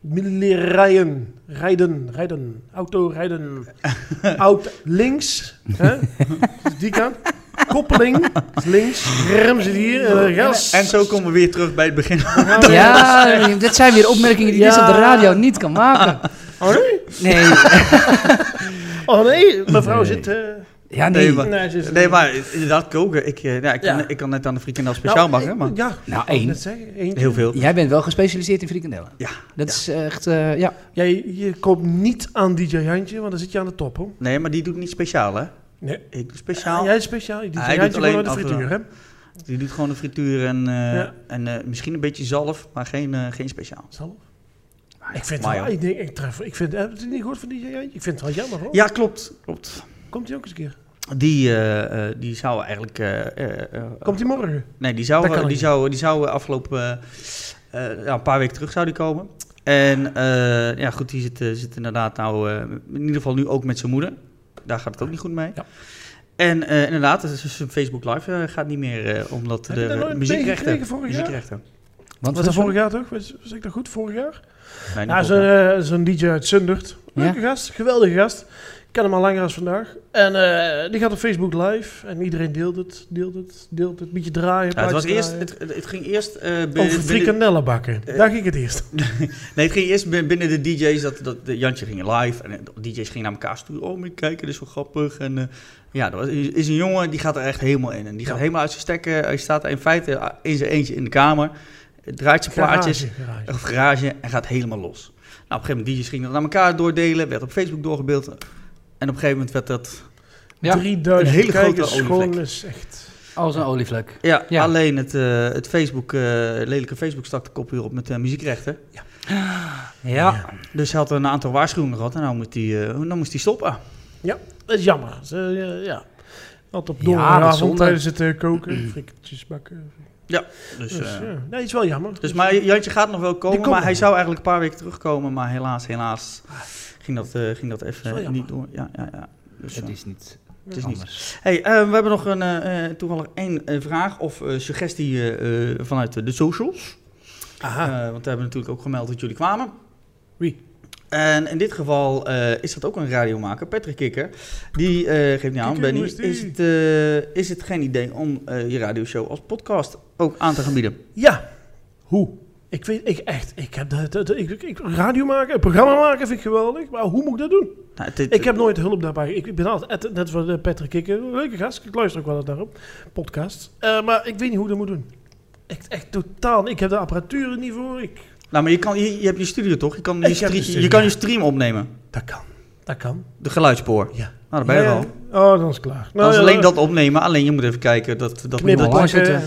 S2: Meer Leren rijden, rijden, rijden, auto rijden. Oud links, hè? die kant. Koppeling, links, rem zit hier, eh, gas.
S1: En zo komen we weer terug bij het begin.
S3: Ja, dit zijn weer opmerkingen die je dus
S2: Ja.
S3: op de radio niet kan maken.
S2: Oh nee,
S3: Nee,
S2: oh, nee. mevrouw zit... eh,
S1: Nee,
S3: ja, Ah, nee.
S1: maar-
S2: nee, ze is-
S1: Nee, maar inderdaad, koken. Ik, eh, ja, ik, kan,
S2: Ja.
S1: ik kan net aan de frikandel
S2: Nou,
S1: speciaal bakken,
S2: ik-
S1: maar
S2: Ja,
S3: Nou,
S2: wou
S3: één.
S2: net zeggen, eentje.
S1: heel veel.
S3: Jij bent wel gespecialiseerd in frikandellen.
S1: Ja.
S3: Dat is echt, eh, ja.
S2: Ja, je, je komt niet aan DJ Jantje, want dan zit je aan de top, hoor.
S1: Nee, maar die doet niet speciaal, hè?
S2: Nee.
S1: Ik doe speciaal.
S2: Jij is speciaal, DJ
S1: Hij
S2: Jantje
S1: doet
S2: komt
S1: alleen
S2: uit de
S1: afgeladen.
S2: frituur, hè?
S1: Die doet gewoon de frituur en, eh,
S2: Ja.
S1: en eh, misschien een beetje zalf, maar geen, eh, geen speciaal.
S2: Zal. Ik vind
S1: Maar
S2: het wel,
S1: Ah, ja.
S2: ik denk, ik tref, ik vind, heb je het niet gehoord van DJ Jantje? Ik vind het wel jammer, hoor.
S1: Ja, klopt. klopt.
S2: Komt hij ook eens een keer?
S1: Die, eh, eh, die zou eigenlijk. eh, eh, eh,
S2: Komt hij morgen?
S1: nee, die
S2: Dat
S1: zou,
S2: kan
S1: eh,
S2: ook
S1: die
S2: niet.
S1: zou, die zou afgelopen. eh, eh, ja, een paar weken terug zou die komen. En eh, ja, goed, die zit, eh, zit inderdaad nou. eh, in ieder geval nu ook met zijn moeder. Daar gaat het ook niet goed mee.
S2: Ja.
S1: En eh, inderdaad, het is- Facebook Live eh, gaat niet meer, eh, omdat
S2: Heb je daar
S1: de
S2: nooit
S1: muziekrechten...
S2: tegengekregen vorig jaar?
S1: muziekrechten.
S3: Want
S2: Was dat vorig jaar toch? Was, was ik dat goed vorig jaar?
S1: Nee, niet
S2: Ja, zo'n
S1: volgens mij.
S2: eh, zo'n DJ uit Zundert.
S3: Ja.
S2: Leuke gast, geweldige gast. Ik ken hem al langer als vandaag. En eh, die gaat op Facebook live. En iedereen deelt het, deelt het, deelt het. Beetje draaien,
S1: Ja, Nou, het, was
S2: plaatjes
S1: eerst,
S2: draaien.
S1: het, het ging eerst... eh, binnen-
S2: Over
S1: binnen-
S2: frikandellenbakken.
S1: Eh,
S2: Daar ging het eerst.
S1: Nee, het ging eerst bin- binnen de DJ's. Dat, dat, de Jantje ging live en de DJ's gingen naar elkaar sturen. Oh, moet je kijken, dit is wel grappig. En eh, ja, er was- is is een jongen die gaat er echt helemaal in. En die gaat
S2: Ja.
S1: helemaal uit zijn stekken. Hij staat in feite eh, in zijn eentje in de kamer. Draait zijn plaatjes,
S2: Garage, garage.
S1: of garage en gaat helemaal los. Nou, op een gegeven moment DJ's gingen dat naar elkaar doordelen. Werd op Facebook doorgebeeld. En op een gegeven moment werd dat...
S3: Ja.
S2: 3000
S1: Een hele grote
S2: kijkers, gewoon
S1: olievlek.
S2: is echt...
S3: Als een Oh, olievlek.
S1: Ja,
S3: Ja.
S1: alleen het, eh, het Facebook, eh, lelijke Facebook stak de kop weer op met eh, muziekrechten.
S3: Ja.
S1: Dus hij had een aantal waarschuwingen gehad en nou moet hij, eh, dan moest hij stoppen.
S2: Dat is jammer. Ze, eh, ja. Had op
S3: Ja, dat is
S2: donderdagavond
S3: zonde.
S2: tijdens het eh, koken. Friketjes bakken.
S1: Dus,
S2: Dus,
S1: eh,
S2: ja. Nee, is wel jammer.
S1: Dus maar Jantje gaat nog wel
S2: Die
S1: komen,
S2: komt
S1: maar hij
S2: nog.
S1: zou eigenlijk een paar weken terugkomen, maar helaas, helaas ging dat, eh, ging dat
S2: Zo
S1: even
S2: jammer.
S1: niet door. Ja, ja, ja. Dus,
S3: Het
S1: eh,
S3: is niet
S1: het is niet.
S3: anders.
S1: Hey, eh, we hebben nog een, eh, eh, toevallig één eh, vraag of eh, suggestie eh, eh, vanuit de socials.
S2: Dus, Aha.
S1: Eh, want we hebben natuurlijk ook gemeld dat jullie kwamen.
S2: Ah. Wie?
S1: En in dit geval eh, is dat ook een radiomaker, Patrick Kikker. Die eh, geeft niet aan,
S2: Kikker,
S1: Benny,
S2: hoe is die?
S1: is het, eh, is het geen idee om eh, je radioshow als podcast ook aan te gaan bieden?
S2: Ja. Hoe? Ik weet ik echt, ik heb dat, dat- ik, ik, radio maken, een programma maken vind ik geweldig, maar hoe moet ik dat doen?
S1: Nou, het- het-
S2: Ik heb nooit hulp daarbij. Ik ben altijd, net- net voor eh, Patrick Kikker, leuke gast, ik luister ook wel eens daarop, podcast. Eh, maar ik weet niet hoe ik dat moet doen. Echt, echt totaal, ik heb de apparatuur er niet voor, ik,
S1: Nou, maar je, kan, je, je hebt je studio toch? Je kan je,
S2: Ik heb
S1: stre-
S2: de studio,
S1: je, kan
S2: ja.
S1: je stream opnemen.
S2: dat kan, dat kan,
S1: De geluidsspoor. Nou,
S2: ja.
S1: daar ben je
S2: Ja,
S1: al.
S2: ja. Oh, dan is het klaar.
S1: Dat is
S2: ja,
S1: alleen dat opnemen, alleen je moet even kijken dat... dat,
S2: knippen,
S1: dat
S3: Mooi
S2: plakken,
S3: zitten.
S2: eh,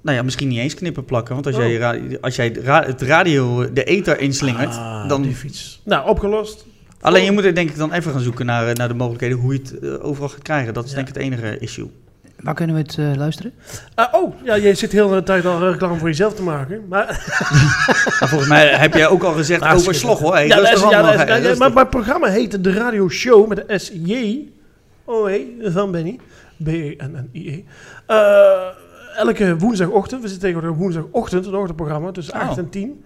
S1: nou ja, misschien niet eens knippen plakken. Want als
S2: Oh.
S1: jij, je ra- als jij het ra- het radio, de ether inslingert,
S2: ah,
S1: dan...
S2: die fiets. Nou, opgelost.
S1: Alleen
S2: Oh.
S1: je moet er denk ik dan even gaan zoeken naar, eh, naar de mogelijkheden hoe je het eh, overal gaat krijgen. Dat is
S2: Ja.
S1: denk ik het enige issue.
S3: Waar kunnen we het eh, luisteren?
S2: Ah, oh, ja, jij zit heel de tijd al reclame voor jezelf te maken. Maar,
S1: Maar volgens mij heb jij ook al gezegd
S2: Maar
S1: over
S2: Nou,
S1: slog
S2: schitterend.
S1: hoor. Hey,
S2: ja, dat
S1: rustig
S2: is, ja,
S1: allemaal,
S2: dat is-
S1: hey,
S2: ja, ja,
S1: rustig.
S2: maar mijn programma heette De Radio Show met de SJ. Oh, hé, van Benny. E B-E-N-N-I-E. Eh, elke woensdagochtend, we zitten tegenwoordig op woensdagochtend, een ochtendprogramma tussen
S1: Oh.
S2: 8 en 10.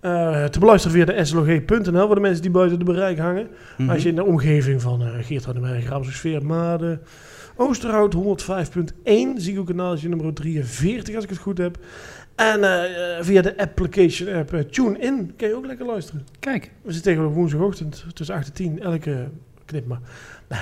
S2: Eh, te beluisteren via de slog.nl voor de mensen die buiten de bereik hangen.
S1: Mhm.
S2: Als je in de omgeving van eh Geert van den Berg, Ramsersfeer, Maden, Oosterhout 105.1, Ziggo kanaaltje nummer 43 als ik het goed heb. En eh, eh, via de application app Tune TuneIn kan je ook lekker luisteren.
S3: Kijk.
S2: We zitten tegenwoordig woensdagochtend tussen 8 en 10, elke knip maar. Nee.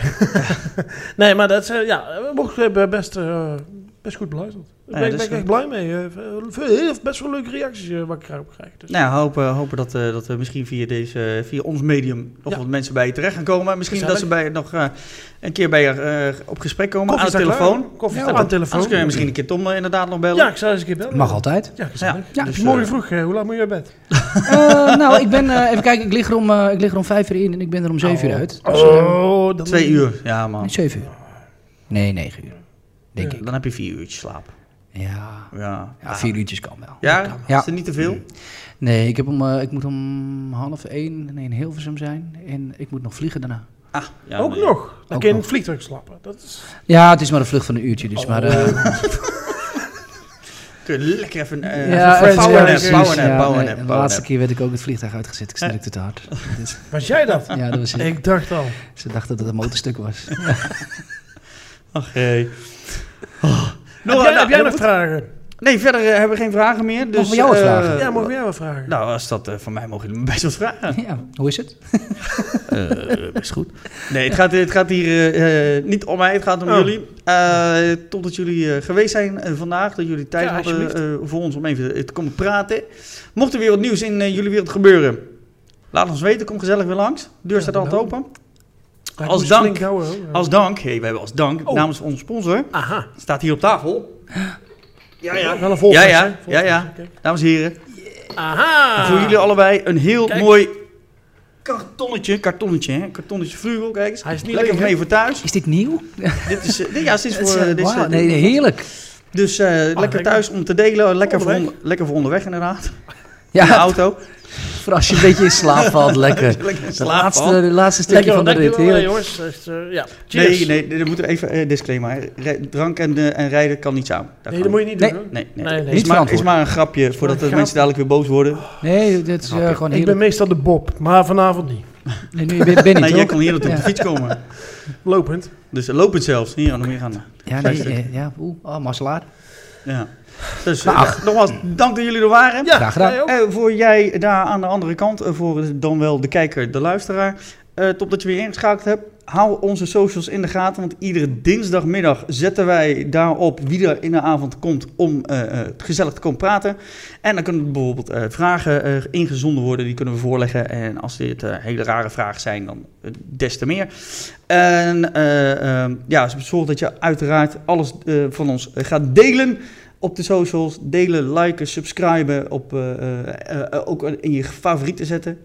S2: nee, maar dat is, eh, ja, we mochten best, eh, best goed beluisterd. Daar
S1: Ja,
S2: ben, ik-
S1: dat
S2: ben
S1: is
S2: ik echt blij mee. eh, veel- heel- best wel leuke reacties eh, wat ik erop krijg. Dus.
S1: Nou, ja, hopen, hopen dat, eh, dat we misschien via, deze, eh, via ons medium nog
S2: Ja.
S1: wat mensen bij je terecht gaan komen. Misschien
S2: Gezellig.
S1: dat ze bij, nog eh, een keer bij je eh, op gesprek komen
S2: Koffie
S1: aan de
S2: staat
S1: telefoon.
S2: klaar. Koffie
S3: Ja,
S2: staat aan
S3: want
S2: de telefoon.
S1: Anders kun je misschien een keer Tom eh, inderdaad nog bellen.
S2: Ja, ik zou eens een keer bellen.
S3: Mag altijd.
S2: Ja, gezellig.
S1: Ja,
S2: Ja,
S1: dus,
S2: morgen
S1: eh,
S2: vroeg, eh, hoe laat moet je naar bed?
S3: Eh, nou, ik ben, eh, even kijken, ik lig, er om, eh, ik lig er om vijf uur in en ik ben er om zeven uur uit. Dus, eh,
S2: oh, dan
S1: Twee uur. Ja, man.
S3: nee, zeven uur. Nee, negen uur. Denk ik.
S1: Dan heb je vier uurtjes slaap.
S3: Ja.
S1: Ja.
S3: ja, vier uurtjes kan wel.
S1: Ja?
S3: Ja.
S1: Is het niet te veel?
S3: Nee, ik, heb om, eh, ik moet om half één nee, in Hilversum zijn en ik moet nog vvliegen daarna.
S1: Ah, ja,
S2: ook
S1: nee.
S2: nog. Dan
S3: Ook
S2: kun je in
S3: nog.
S2: het vliegtuig slappen. Dat is...
S3: Ja, het is maar een vlucht van een uurtje, dus maar... eh,
S1: Kun je lekker even... eh
S3: Ja,
S1: even
S2: Friends
S3: even-
S1: powernap,
S2: kijken.
S1: powernap,
S3: Ja, nee,
S1: powernap,
S3: De
S1: powernap.
S3: laatste keer werd ik ook het vliegtuig uitgezet. Ik snurkte te hard. Dus,
S2: Was jij dat?
S3: ja, dat was
S2: Ik dacht al.
S1: Nou,
S3: Ze dachten dat het een motorstuk was.
S1: Ach, hey.
S2: heb
S1: Nora,
S2: jij,
S1: nou,
S2: heb jij
S1: dat
S2: nog
S1: moet-
S2: vragen?
S1: Nee, verder eh, hebben we geen vragen meer. Dus,
S3: Mogen we jou wat
S1: eh,
S3: vragen?
S2: ja, mogen jij wat vragen?
S1: Nou, als dat eh, van mij mogen jullie me best wat vragen.
S3: ja, hoe is het?
S1: Eh, best goed. Nee, het gaat, het gaat hier eh, eh, niet om mij, het gaat om
S2: Oh.
S1: jullie. Eh totdat jullie eh, geweest zijn eh, vandaag, dat jullie tijd
S2: Ja,
S1: hadden
S2: alsjeblieft.
S1: eh, voor ons om even eh, te komen praten. Mocht er weer wat nieuws in eh, jullie wereld gebeuren, laat ons weten. Kom gezellig weer langs. Deur
S2: Ja,
S1: staat altijd
S2: nou.
S1: open.
S2: Kijk,
S1: als
S2: moet je het
S1: dank.
S2: flink houden, hoor.
S1: Als dank, hey, we hebben als dank
S2: Oh.
S1: namens onze sponsor,
S2: Aha.
S1: staat hier op tafel. Ja, ja.
S2: Wel een volgers,
S1: Ja, ja.
S2: hè?
S1: Ja, ja.
S2: Volgers,
S1: Dames en heren,
S2: oké. Aha.
S1: voor jullie allebei een heel
S2: Ah. Kijk.
S1: mooi kartonnetje. Kartonnetje, hè? Kartonnetje vlugel, kijk eens.
S2: Hij is niet
S1: Lekker
S2: leeg, hè?
S1: mee voor thuis.
S3: Is dit nieuw?
S1: dit is, eh, dit- ja, sinds
S3: Het is,
S1: voor...
S3: eh,
S1: eh, dit is,
S3: wauw,
S1: eh,
S3: nee, nee, heerlijk.
S1: Dus eh, lekker
S2: Ah, lekker.
S1: thuis om te delen. Lekker voor,
S2: Onderweg.
S3: Nou.
S1: onder- lekker voor onderweg inderdaad. In de
S3: Ja,
S1: auto.
S4: Voor als je een beetje in slaap valt, lekker.
S1: Lekker in
S4: De
S1: slaap
S4: laatste,
S1: valt.
S4: de laatste stukje van de rit,
S2: dankjewel,
S4: heerlijk.
S2: jongens. Echt, eh, ja. Cheers.
S1: Nee, nee, nee, dan moeten we even eh, disclaimer. Re- drank en, eh, en rijden kan niet samen. Daar
S2: Nee, dat
S1: kan
S2: moet je niet doen. hoor.
S1: Nee, nee.
S2: Nee, nee.
S1: Is,
S4: Niet
S1: maar,
S4: verantwoord.
S1: is maar een grapje voordat de
S2: grap.
S1: mensen dadelijk weer boos worden.
S4: Nee, dit is eh,
S1: Grapje.
S4: gewoon
S2: Ik ben
S4: heerlijk.
S2: meestal de Bob, maar vanavond niet.
S4: Nee, nu ben, ben je
S1: nee,
S4: niet,
S1: jij
S4: toch?
S1: kan hier natuurlijk op
S4: Ja.
S1: de fiets komen.
S2: Lopend.
S1: Dus loop het zelfs. Hier, nog meer gaan.
S4: Ja, nee, eh, ja, oeh, oh, Marselaar.
S1: Ja. Dus eh, nou, nogmaals, dank dat jullie er waren.
S2: Ja,
S4: Graag gedaan.
S2: jij ook.
S1: Eh, voor jij daar aan de andere kant, eh, voor dan wel de kijker, de luisteraar. eh top dat je weer ingeschakeld hebt. Hou onze socials in de gaten, want iedere dinsdagmiddag zetten wij daarop wie er in de avond komt om eh, eh, gezellig te komen praten. En dan kunnen bijvoorbeeld eh, vragen eh, ingezonden worden, die kunnen we voorleggen. En als dit eh, hele rare vragen zijn, dan eh, des te meer. En eh, ehm, ja, zorg dat je uiteraard alles eh, van ons eh, gaat delen op de socials. Delen, liken, subscriben. Op, eh, eh, eh, ook in je favorieten zetten.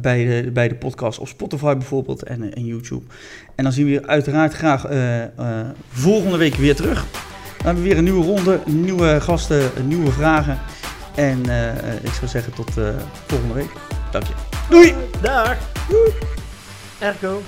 S1: Bij de, bij de podcast op Spotify bijvoorbeeld en, eh, en YouTube. En dan zien we je uiteraard graag eh, eh, volgende week weer terug. Dan hebben we weer een nieuwe ronde, nieuwe gasten, nieuwe vragen. En eh, eh, ik zou zeggen tot eh, volgende week. Dank je. Doei!
S2: Dag. Erco.